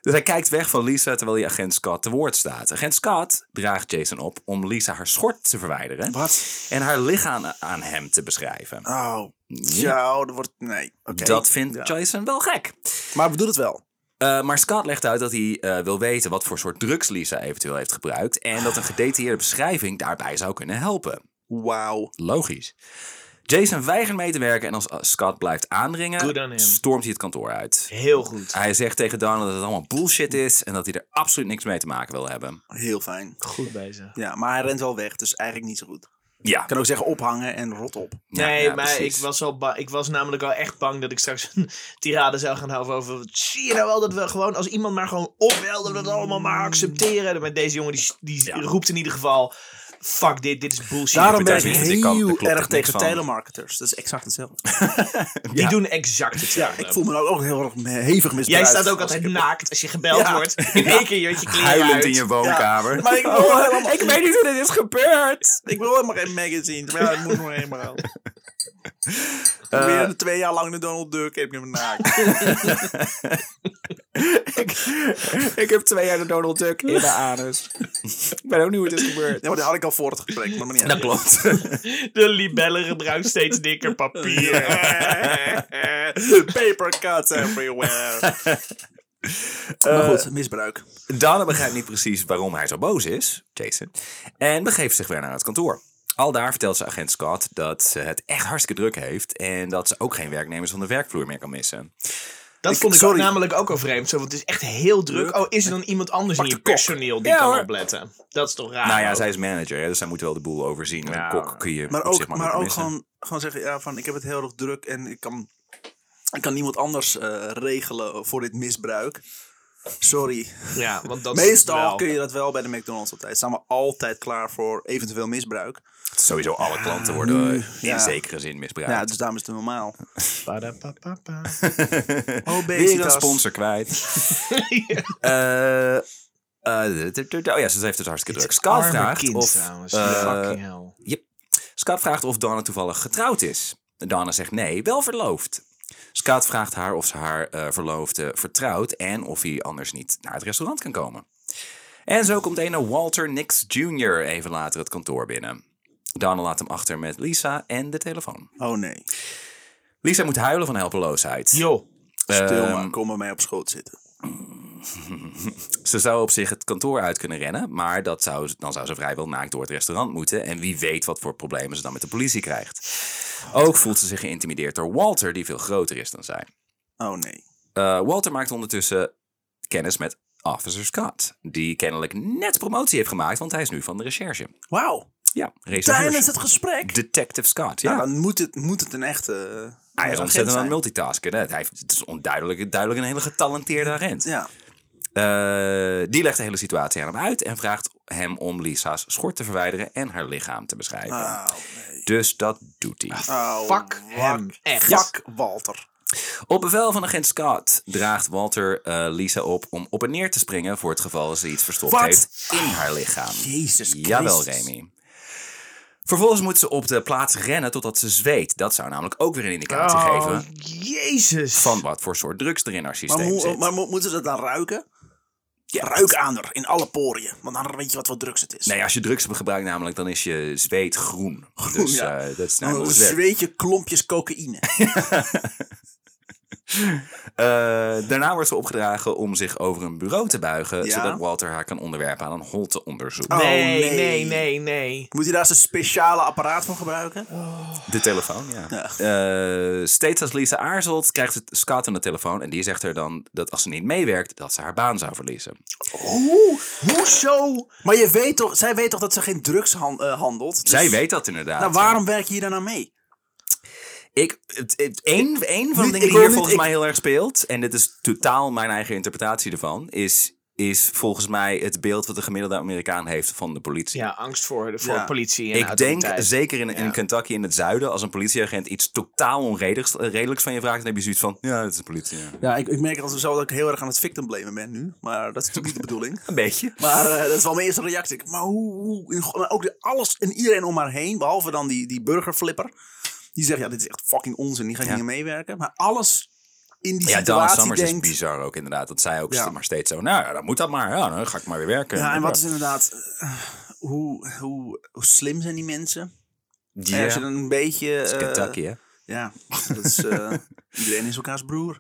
[SPEAKER 3] Dus hij kijkt weg van Lisa terwijl hij agent Scott te woord staat. Agent Scott draagt Jason op om Lisa haar schort te verwijderen.
[SPEAKER 1] Wat?
[SPEAKER 3] En haar lichaam aan hem te beschrijven.
[SPEAKER 1] Oh, ja, er wordt... Nee, oké.
[SPEAKER 3] Dat vindt
[SPEAKER 1] Ja.
[SPEAKER 3] Jason wel gek.
[SPEAKER 1] Maar we doen het wel.
[SPEAKER 3] Eh, maar Scott legt uit dat hij eh, wil weten wat voor soort drugs Lisa eventueel heeft gebruikt. En dat een gedetailleerde beschrijving daarbij zou kunnen helpen.
[SPEAKER 1] Wauw.
[SPEAKER 3] Logisch. Jason weigert mee te werken en als eh, Scott blijft
[SPEAKER 2] Good
[SPEAKER 3] aandringen,
[SPEAKER 2] on him.
[SPEAKER 3] stormt hij het Ah. kantoor uit.
[SPEAKER 2] Heel goed.
[SPEAKER 3] Hij zegt tegen Donald dat het allemaal bullshit is en dat hij er absoluut niks mee te maken wil hebben.
[SPEAKER 1] Heel fijn.
[SPEAKER 2] Goed bezig.
[SPEAKER 1] Ja, maar hij rent wel weg, dus eigenlijk niet zo goed.
[SPEAKER 3] Ja.
[SPEAKER 1] Ik kan ook zeggen ophangen en rot op.
[SPEAKER 3] Ja,
[SPEAKER 2] nee,
[SPEAKER 3] ja,
[SPEAKER 2] maar
[SPEAKER 3] precies.
[SPEAKER 2] ik was, wel ba- ik was namelijk al echt bang dat ik straks een tirade zou gaan houden over... Zie je nou wel dat we gewoon, als iemand maar gewoon opbelt, dat we dat allemaal maar accepteren. Maar deze jongen die, die
[SPEAKER 3] Ja.
[SPEAKER 2] roept in ieder geval, fuck dit, dit is bullshit.
[SPEAKER 1] Daarom ben ik
[SPEAKER 3] advertisement, ik kan- daar
[SPEAKER 1] heel
[SPEAKER 3] klopt echt
[SPEAKER 1] erg
[SPEAKER 3] niks
[SPEAKER 1] tegen
[SPEAKER 3] van.
[SPEAKER 1] telemarketers. Dat is exact hetzelfde.
[SPEAKER 2] die doen exact
[SPEAKER 1] Ja,
[SPEAKER 2] hetzelfde.
[SPEAKER 1] ik voel me nou ook heel erg me- hevig misbruikt.
[SPEAKER 2] Jij staat ook
[SPEAKER 1] als
[SPEAKER 2] altijd
[SPEAKER 1] ik-
[SPEAKER 2] naakt als je gebeld
[SPEAKER 1] Ja.
[SPEAKER 2] wordt. In één keer je kleren
[SPEAKER 3] Huilend
[SPEAKER 2] uit.
[SPEAKER 3] in je woonkamer. Oh,
[SPEAKER 1] Maar ik wil helemaal... Ik,
[SPEAKER 3] weet niet hoe dit is gebeurd.
[SPEAKER 1] ik wil helemaal geen magazine. Maar ja, dat moet nog helemaal. Ik ben weer twee jaar lang de Donald Duck. Ik heb me naakt.
[SPEAKER 3] ik, ik heb twee jaar de Donald Duck in mijn anus. ik weet ook niet hoe het is gebeurd.
[SPEAKER 1] Ja, maar dat had ik al voor het gesprek. Maar, maar niet uit.
[SPEAKER 3] Dat klopt.
[SPEAKER 2] De libellen gebruikt steeds dikker papier.
[SPEAKER 1] Paper cuts everywhere. maar goed, misbruik.
[SPEAKER 3] Dana begrijpt niet precies waarom hij zo boos is, Jason, en begeeft zich weer naar het kantoor. Al daar vertelt ze agent Scott dat ze het echt hartstikke druk heeft en dat ze ook geen werknemers van de werkvloer meer kan missen.
[SPEAKER 2] Dat
[SPEAKER 1] Ik-
[SPEAKER 2] vond ik
[SPEAKER 1] sorry.
[SPEAKER 2] namelijk ook al vreemd. Zo, want het is echt heel druk. Oh, is er dan iemand anders in je personeel die
[SPEAKER 3] Ja,
[SPEAKER 2] kan
[SPEAKER 3] hoor.
[SPEAKER 2] opletten? Dat is toch raar?
[SPEAKER 3] nou ja,
[SPEAKER 2] Ah, ook?
[SPEAKER 3] zij is manager, hè, dus zij moet wel de boel overzien. En
[SPEAKER 2] Ja.
[SPEAKER 3] een kok kun je
[SPEAKER 1] Maar
[SPEAKER 3] op zich
[SPEAKER 1] ook, maar
[SPEAKER 3] makkelijk
[SPEAKER 1] ook
[SPEAKER 3] missen.
[SPEAKER 1] gewoon, gewoon zeggen, ja, van ik heb het heel erg druk en ik kan, ik kan niemand anders eh, regelen voor dit misbruik. Sorry.
[SPEAKER 2] Ja, want dat
[SPEAKER 1] Meestal
[SPEAKER 2] is wel-
[SPEAKER 1] kun je dat wel bij de McDonald's altijd. Staan we altijd klaar voor eventueel misbruik.
[SPEAKER 3] Sowieso alle klanten worden eh, in
[SPEAKER 1] Ah, Ja.
[SPEAKER 3] zekere zin misbruikt.
[SPEAKER 1] Ja, dus daarom is het normaal.
[SPEAKER 2] Padapapapa.
[SPEAKER 3] Weer een
[SPEAKER 1] Obesitas.
[SPEAKER 3] sponsor kwijt.
[SPEAKER 2] Ja.
[SPEAKER 3] Eh, eh, d- d- d- oh ja, ze heeft het hartstikke druk. Scott
[SPEAKER 2] Arme
[SPEAKER 3] vraagt
[SPEAKER 2] kind
[SPEAKER 3] of...
[SPEAKER 2] trouwens.
[SPEAKER 3] eh,
[SPEAKER 2] Fucking hell.
[SPEAKER 3] Yep. Scott vraagt of Donna toevallig getrouwd is. Donna zegt nee, wel verloofd. Scott vraagt haar of ze haar eh, verloofde vertrouwt en of hij anders niet naar het restaurant kan komen. En zo komt ene Walter Nix Jr. even later het kantoor binnen. Donna laat hem achter met Lisa en de telefoon.
[SPEAKER 1] Oh nee.
[SPEAKER 3] Lisa moet huilen van helpeloosheid. Ehm,
[SPEAKER 2] Joh.
[SPEAKER 1] Stil maar, kom bij mij op schoot zitten.
[SPEAKER 3] Ze zou op zich het kantoor uit kunnen rennen, maar dat zou, dan zou ze vrijwel naakt door het restaurant moeten. En wie weet wat voor problemen ze dan met de politie krijgt. Ook voelt ze zich geïntimideerd door Walter, die veel groter is dan zij.
[SPEAKER 1] Oh nee.
[SPEAKER 3] Eh, Walter maakt ondertussen kennis met Officer Scott, die kennelijk net promotie heeft gemaakt, want hij is nu van de recherche.
[SPEAKER 1] Wauw.
[SPEAKER 3] Ja,
[SPEAKER 1] Tijdens
[SPEAKER 3] recherche.
[SPEAKER 1] het gesprek.
[SPEAKER 3] Detective Scott, ja.
[SPEAKER 1] Ja, dan moet het, moet het een echte... eh,
[SPEAKER 3] hij is
[SPEAKER 1] agent
[SPEAKER 3] ontzettend aan
[SPEAKER 1] zijn.
[SPEAKER 3] het multitasken. hè. Hij heeft- het is onduidelijk duidelijk een hele getalenteerde agent.
[SPEAKER 1] Ja.
[SPEAKER 3] Eh, die legt de hele situatie aan hem uit en vraagt hem om Lisa's schort te verwijderen en haar lichaam te beschrijven.
[SPEAKER 1] Oh nee.
[SPEAKER 3] Dus dat doet hij.
[SPEAKER 1] Oh,
[SPEAKER 2] Fuck hem. Echt.
[SPEAKER 1] Fuck Walter.
[SPEAKER 3] Op bevel van agent Scott draagt Walter eh, Lisa op om op en neer te springen voor het geval ze iets verstopt
[SPEAKER 1] Wat?
[SPEAKER 3] heeft in haar lichaam.
[SPEAKER 1] Jezus
[SPEAKER 3] Jawel,
[SPEAKER 1] Christus.
[SPEAKER 3] Remy. Vervolgens moet ze op de plaats rennen totdat ze zweet. Dat zou namelijk ook weer een indicatie
[SPEAKER 2] Oh,
[SPEAKER 3] geven
[SPEAKER 2] jezus.
[SPEAKER 3] van wat voor soort drugs er in haar systeem
[SPEAKER 1] Maar, hoe-
[SPEAKER 3] zit.
[SPEAKER 1] maar mo- moeten ze dat dan ruiken? Ruik aan er, in alle poriën. Want dan weet je wat voor drugs het is.
[SPEAKER 3] Nee, als je drugs gebruikt namelijk, dan is je zweet groen. dus
[SPEAKER 1] ja.
[SPEAKER 3] eh, dat is nou
[SPEAKER 1] Dan
[SPEAKER 3] hoe het werkt.
[SPEAKER 1] zweet je klompjes cocaïne.
[SPEAKER 3] Eh, daarna wordt ze opgedragen om zich over een bureau te buigen,
[SPEAKER 1] Ja.
[SPEAKER 3] zodat Walter haar kan onderwerpen aan een holteonderzoek.
[SPEAKER 1] Oh,
[SPEAKER 2] nee,
[SPEAKER 1] nee.
[SPEAKER 2] nee, nee, nee.
[SPEAKER 1] Moet je daar zo'n speciale apparaat voor gebruiken?
[SPEAKER 3] De telefoon, ja.
[SPEAKER 1] Ja.
[SPEAKER 3] Eh, steeds als Lisa aarzelt, krijgt het Scott aan de telefoon en die zegt haar dan dat als ze niet meewerkt, dat ze haar baan zou verliezen.
[SPEAKER 1] Dus- Hoe?
[SPEAKER 2] Hoezo?
[SPEAKER 1] Maar je weet toch, zij weet toch dat ze geen drugs han- eh, handelt? Dus-
[SPEAKER 3] Zij weet dat inderdaad.
[SPEAKER 1] Nou, waarom werk je hier dan aan mee?
[SPEAKER 3] Ik, het, het- één, één van de
[SPEAKER 1] Nu-
[SPEAKER 3] dingen
[SPEAKER 1] ik wil
[SPEAKER 3] die hier
[SPEAKER 1] niet-
[SPEAKER 3] volgens
[SPEAKER 1] ik-
[SPEAKER 3] mij heel erg speelt, en dit is totaal mijn eigen interpretatie ervan, is, is volgens mij het beeld wat de gemiddelde Amerikaan heeft van de politie.
[SPEAKER 2] Ja, angst voor, voor
[SPEAKER 1] Ja.
[SPEAKER 2] politie en
[SPEAKER 3] Ik denk,
[SPEAKER 2] autoriteit.
[SPEAKER 3] zeker in, in
[SPEAKER 2] Ja.
[SPEAKER 3] Kentucky in het zuiden, als een politieagent iets totaal onredelijks eh, redelijks van je vraagt, dan heb je zoiets van, ja, dat is de politie. ja.
[SPEAKER 1] Ja, ik, ik merk dat, zo dat ik heel erg aan het victim blamen ben nu. Maar dat is natuurlijk niet de bedoeling.
[SPEAKER 3] Een beetje.
[SPEAKER 1] Maar eh, dat is wel mijn eerste reactie. Maar hoe, hoe- maar ook de, alles en iedereen om haar heen, behalve dan die, die burgerflipper. Die zegt, ja, dit is echt fucking onzin, die gaat
[SPEAKER 3] Ja.
[SPEAKER 1] niet meer meewerken. Maar alles in die
[SPEAKER 3] Ja, Donna
[SPEAKER 1] situatie
[SPEAKER 3] Summers
[SPEAKER 1] denkt...
[SPEAKER 3] is bizar ook inderdaad. Dat zij ook
[SPEAKER 1] Ja.
[SPEAKER 3] st- maar steeds zo, nou ja, dan moet dat maar. Ja, dan ga ik maar weer werken.
[SPEAKER 1] ja, en wat is inderdaad... eh, hoe, hoe, hoe slim zijn die mensen?
[SPEAKER 3] Ja,
[SPEAKER 1] En Als je dan een beetje...
[SPEAKER 3] dat eh, is
[SPEAKER 1] eh,
[SPEAKER 3] Kentucky, hè?
[SPEAKER 1] Ja, dat is, eh, iedereen is elkaars broer.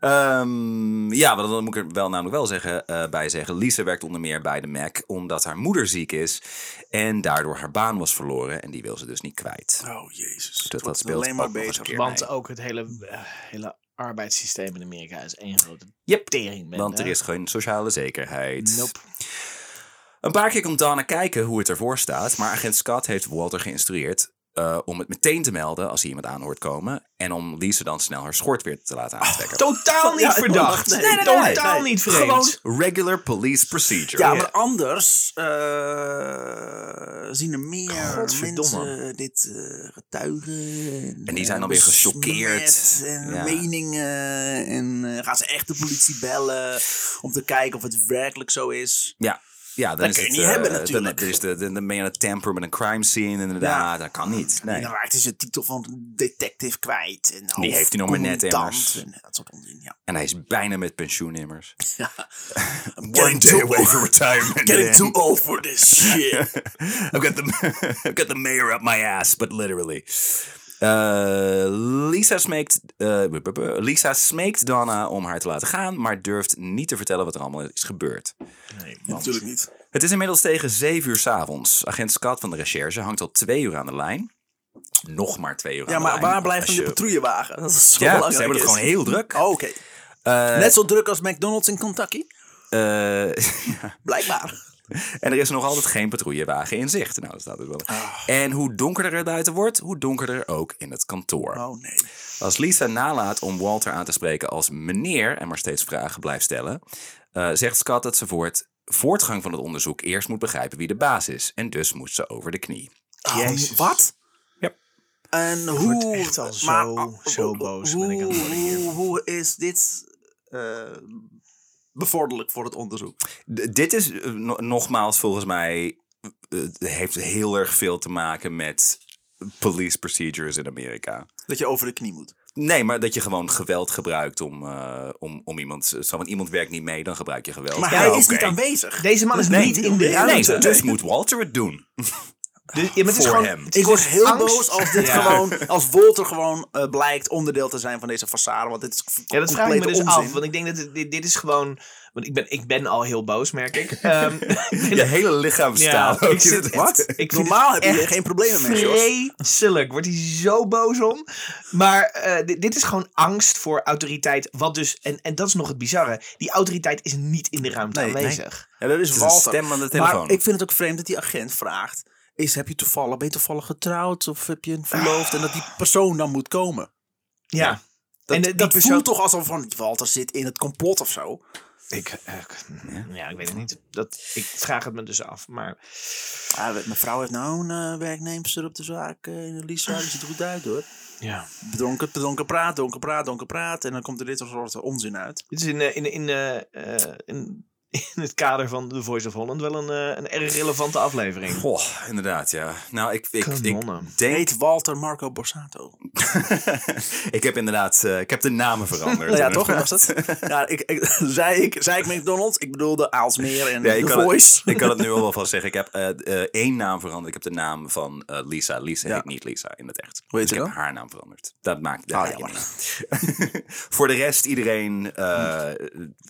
[SPEAKER 3] Ehm, ja, want dan moet ik er wel namelijk wel zeggen, eh, bij zeggen. Lisa werkt onder meer bij de Mac omdat haar moeder ziek is. En daardoor haar baan was verloren. En die wil ze dus niet kwijt.
[SPEAKER 1] Oh, jezus. Het
[SPEAKER 3] dat
[SPEAKER 1] wordt
[SPEAKER 3] speelt
[SPEAKER 1] alleen maar
[SPEAKER 3] ook nog eens een
[SPEAKER 1] beter.
[SPEAKER 3] keer.
[SPEAKER 2] Want
[SPEAKER 3] mee.
[SPEAKER 2] ook het hele, eh, hele arbeidssysteem in Amerika is één grote
[SPEAKER 3] Yep.
[SPEAKER 2] tering. eh,
[SPEAKER 3] Want er is geen sociale zekerheid.
[SPEAKER 2] Nope.
[SPEAKER 3] Een paar keer komt Dana kijken hoe het ervoor staat. Maar agent Scott heeft Walter geïnstrueerd eh, om het meteen te melden als hij iemand aanhoort komen. En om Lisa dan snel haar schort weer te laten aantrekken.
[SPEAKER 1] Oh,
[SPEAKER 2] Totaal niet
[SPEAKER 1] Ja,
[SPEAKER 2] verdacht.
[SPEAKER 1] nee, nee, nee, nee,
[SPEAKER 2] Totaal
[SPEAKER 1] nee.
[SPEAKER 2] niet vreemd.
[SPEAKER 3] Gewoon regular police procedure.
[SPEAKER 1] Ja, maar anders eh, zien er meer
[SPEAKER 2] Godverdomme.
[SPEAKER 1] mensen dit eh, getuigen.
[SPEAKER 3] En die zijn dan
[SPEAKER 1] eh,
[SPEAKER 3] weer gechoqueerd.
[SPEAKER 1] besmet En
[SPEAKER 3] Ja.
[SPEAKER 1] meningen. En eh, gaan ze echt de politie bellen om te kijken of het werkelijk zo is.
[SPEAKER 3] Ja. Ja, dan
[SPEAKER 1] Dat
[SPEAKER 3] is
[SPEAKER 1] kun je
[SPEAKER 3] het,
[SPEAKER 1] niet
[SPEAKER 3] eh,
[SPEAKER 1] hebben
[SPEAKER 3] dan-
[SPEAKER 1] natuurlijk.
[SPEAKER 3] Dan, is de, dan, dan ben je aan het tamper met een crime scene inderdaad. Dat kan niet.
[SPEAKER 1] En
[SPEAKER 3] Nee.
[SPEAKER 1] dan raakt hij zijn titel van detective kwijt. En
[SPEAKER 3] Die heeft hij nog maar net,
[SPEAKER 1] hoofdcommandant
[SPEAKER 3] immers.
[SPEAKER 1] En dat soort onzin, ja.
[SPEAKER 3] En hij is bijna met pensioen immers.
[SPEAKER 1] I'm getting too old-
[SPEAKER 3] retirement. eh.
[SPEAKER 1] Getting too old for this shit.
[SPEAKER 3] I've got the I've got the mayor up my ass, but literally. Eh, Lisa, smeekt, eh, bu- bu- bu- Lisa smeekt Donna om haar te laten gaan, maar durft niet te vertellen wat er allemaal is gebeurd.
[SPEAKER 1] Natuurlijk niet.
[SPEAKER 3] Het is inmiddels tegen 7 uur 's avonds. Agent Scott van de recherche hangt al twee uur aan de lijn. Nog maar twee
[SPEAKER 1] Ja,
[SPEAKER 3] uur aan de
[SPEAKER 1] maar
[SPEAKER 3] lijn.
[SPEAKER 1] waar blijft dan
[SPEAKER 3] Als
[SPEAKER 1] de
[SPEAKER 3] je-
[SPEAKER 1] patrouillewagen? Dat is zo
[SPEAKER 3] Ja,
[SPEAKER 1] belangrijk.
[SPEAKER 3] ze hebben het
[SPEAKER 1] is.
[SPEAKER 3] gewoon heel druk.
[SPEAKER 1] Oh, Oké.
[SPEAKER 3] Eh,
[SPEAKER 1] Net zo druk als McDonald's in Kentucky?
[SPEAKER 3] eh,
[SPEAKER 1] Blijkbaar.
[SPEAKER 3] En er is nog altijd geen patrouillewagen in zicht. Nou, dat staat dus wel.
[SPEAKER 1] Ah.
[SPEAKER 3] En hoe donkerder het buiten wordt, hoe donkerder ook in het kantoor.
[SPEAKER 1] Oh nee.
[SPEAKER 3] Als Lisa nalaat om Walter aan te spreken als meneer en maar steeds vragen blijft stellen, eh, zegt Scott dat ze voor het voortgang van het onderzoek eerst moet begrijpen wie de baas is. En dus moet ze over de knie.
[SPEAKER 2] Ah,
[SPEAKER 1] Jezus. wat?
[SPEAKER 3] Ja.
[SPEAKER 1] En hoe...
[SPEAKER 2] word echt al zo- zo boos ben ik aan het worden hier.
[SPEAKER 1] Hoe, hoe is dit eh, bevorderlijk voor het onderzoek?
[SPEAKER 3] D- dit is eh, no- nogmaals volgens mij eh, heeft heel erg veel te maken met police procedures in Amerika.
[SPEAKER 1] Dat je over de knie moet.
[SPEAKER 3] Nee, maar dat je gewoon geweld gebruikt om, eh, om, om iemand. Zo, want iemand werkt niet mee, dan gebruik je geweld.
[SPEAKER 1] Maar
[SPEAKER 3] Ja,
[SPEAKER 1] hij
[SPEAKER 3] oké.
[SPEAKER 1] is niet aanwezig.
[SPEAKER 2] Deze man is
[SPEAKER 3] Nee,
[SPEAKER 2] niet in de
[SPEAKER 1] nee,
[SPEAKER 3] Nee,
[SPEAKER 2] ruimte.
[SPEAKER 3] dus moet Walter het doen.
[SPEAKER 2] Dus- ja, maar het is
[SPEAKER 3] voor
[SPEAKER 2] gewoon,
[SPEAKER 3] hem.
[SPEAKER 2] het is
[SPEAKER 1] Ik word
[SPEAKER 2] dus
[SPEAKER 1] heel
[SPEAKER 2] angst.
[SPEAKER 1] boos als dit
[SPEAKER 2] Ja.
[SPEAKER 1] gewoon, als Walter gewoon eh, blijkt onderdeel te zijn van deze façade. Want dit is
[SPEAKER 2] Ja, dat vraag ik me dus
[SPEAKER 1] complete
[SPEAKER 2] af.
[SPEAKER 1] onzin.
[SPEAKER 2] Want ik denk dat dit- dit, dit is gewoon... Want ik ben, ik ben al heel boos, merk ik. Ehm,
[SPEAKER 3] Je hele lichaam staat.
[SPEAKER 2] ik zit-
[SPEAKER 3] wat?
[SPEAKER 2] ik vind
[SPEAKER 1] Normaal
[SPEAKER 2] het
[SPEAKER 1] heb je hier
[SPEAKER 2] echt
[SPEAKER 1] geen problemen mee, Jos.
[SPEAKER 2] Vreselijk. Wordt hij zo boos om. Maar eh, dit, dit is gewoon angst voor autoriteit. Wat dus, en, en dat is nog het bizarre. Die autoriteit is niet in de ruimte
[SPEAKER 1] Nee, nee.
[SPEAKER 2] aanwezig.
[SPEAKER 1] Ja, dat is,
[SPEAKER 3] Het is een
[SPEAKER 1] Walter.
[SPEAKER 3] stem aan de telefoon.
[SPEAKER 1] Maar ik vind het ook vreemd dat die agent vraagt: is, heb je toevallig, ben je toevallig getrouwd of heb je een verloofd? En dat die persoon dan moet komen.
[SPEAKER 2] Ja.
[SPEAKER 1] Dat,
[SPEAKER 2] en eh,
[SPEAKER 1] dat
[SPEAKER 2] die persoon...
[SPEAKER 1] voelt toch alsof van Walter zit in het complot of zo.
[SPEAKER 2] Ik, eh, ik- ja, ik weet het niet. Dat, ik vraag het me dus af. Maar
[SPEAKER 1] Ja, we- mevrouw heeft nou een eh, werknemster op de zaak. eh, in Lisa, die ziet er goed uit hoor.
[SPEAKER 2] ja.
[SPEAKER 1] Donker, donker praat, donker praat, donker praat. En dan komt er dit soort onzin uit.
[SPEAKER 2] Dit is in, eh, in, in, eh, eh, in, in het kader van The Voice of Holland wel een, eh, een erg relevante aflevering.
[SPEAKER 3] Goh, inderdaad, ja. Nou, ik, ik, ik
[SPEAKER 2] Kanonnen.
[SPEAKER 3] denk.
[SPEAKER 1] Heet Walter Marco Borsato.
[SPEAKER 3] ik heb inderdaad. eh, ik heb de namen veranderd.
[SPEAKER 1] Ja, toch? Was dat? Ja, ik, ik, zei, ik, zei ik McDonald's? Ik bedoelde Aalsmeer en
[SPEAKER 3] Ja, ik
[SPEAKER 1] The
[SPEAKER 3] kan het-
[SPEAKER 1] Voice.
[SPEAKER 3] Ik kan het nu al wel van zeggen. Ik heb eh, eh, één naam veranderd. Ik heb de naam van eh, Lisa. Lisa
[SPEAKER 1] Ja.
[SPEAKER 3] heet niet Lisa in het echt.
[SPEAKER 1] Hoe heet
[SPEAKER 3] dus
[SPEAKER 1] ze
[SPEAKER 3] ik heb
[SPEAKER 1] dan?
[SPEAKER 3] haar naam veranderd. Dat maakt dat
[SPEAKER 1] Ah,
[SPEAKER 3] maakt niet uit. Voor de rest, iedereen... eh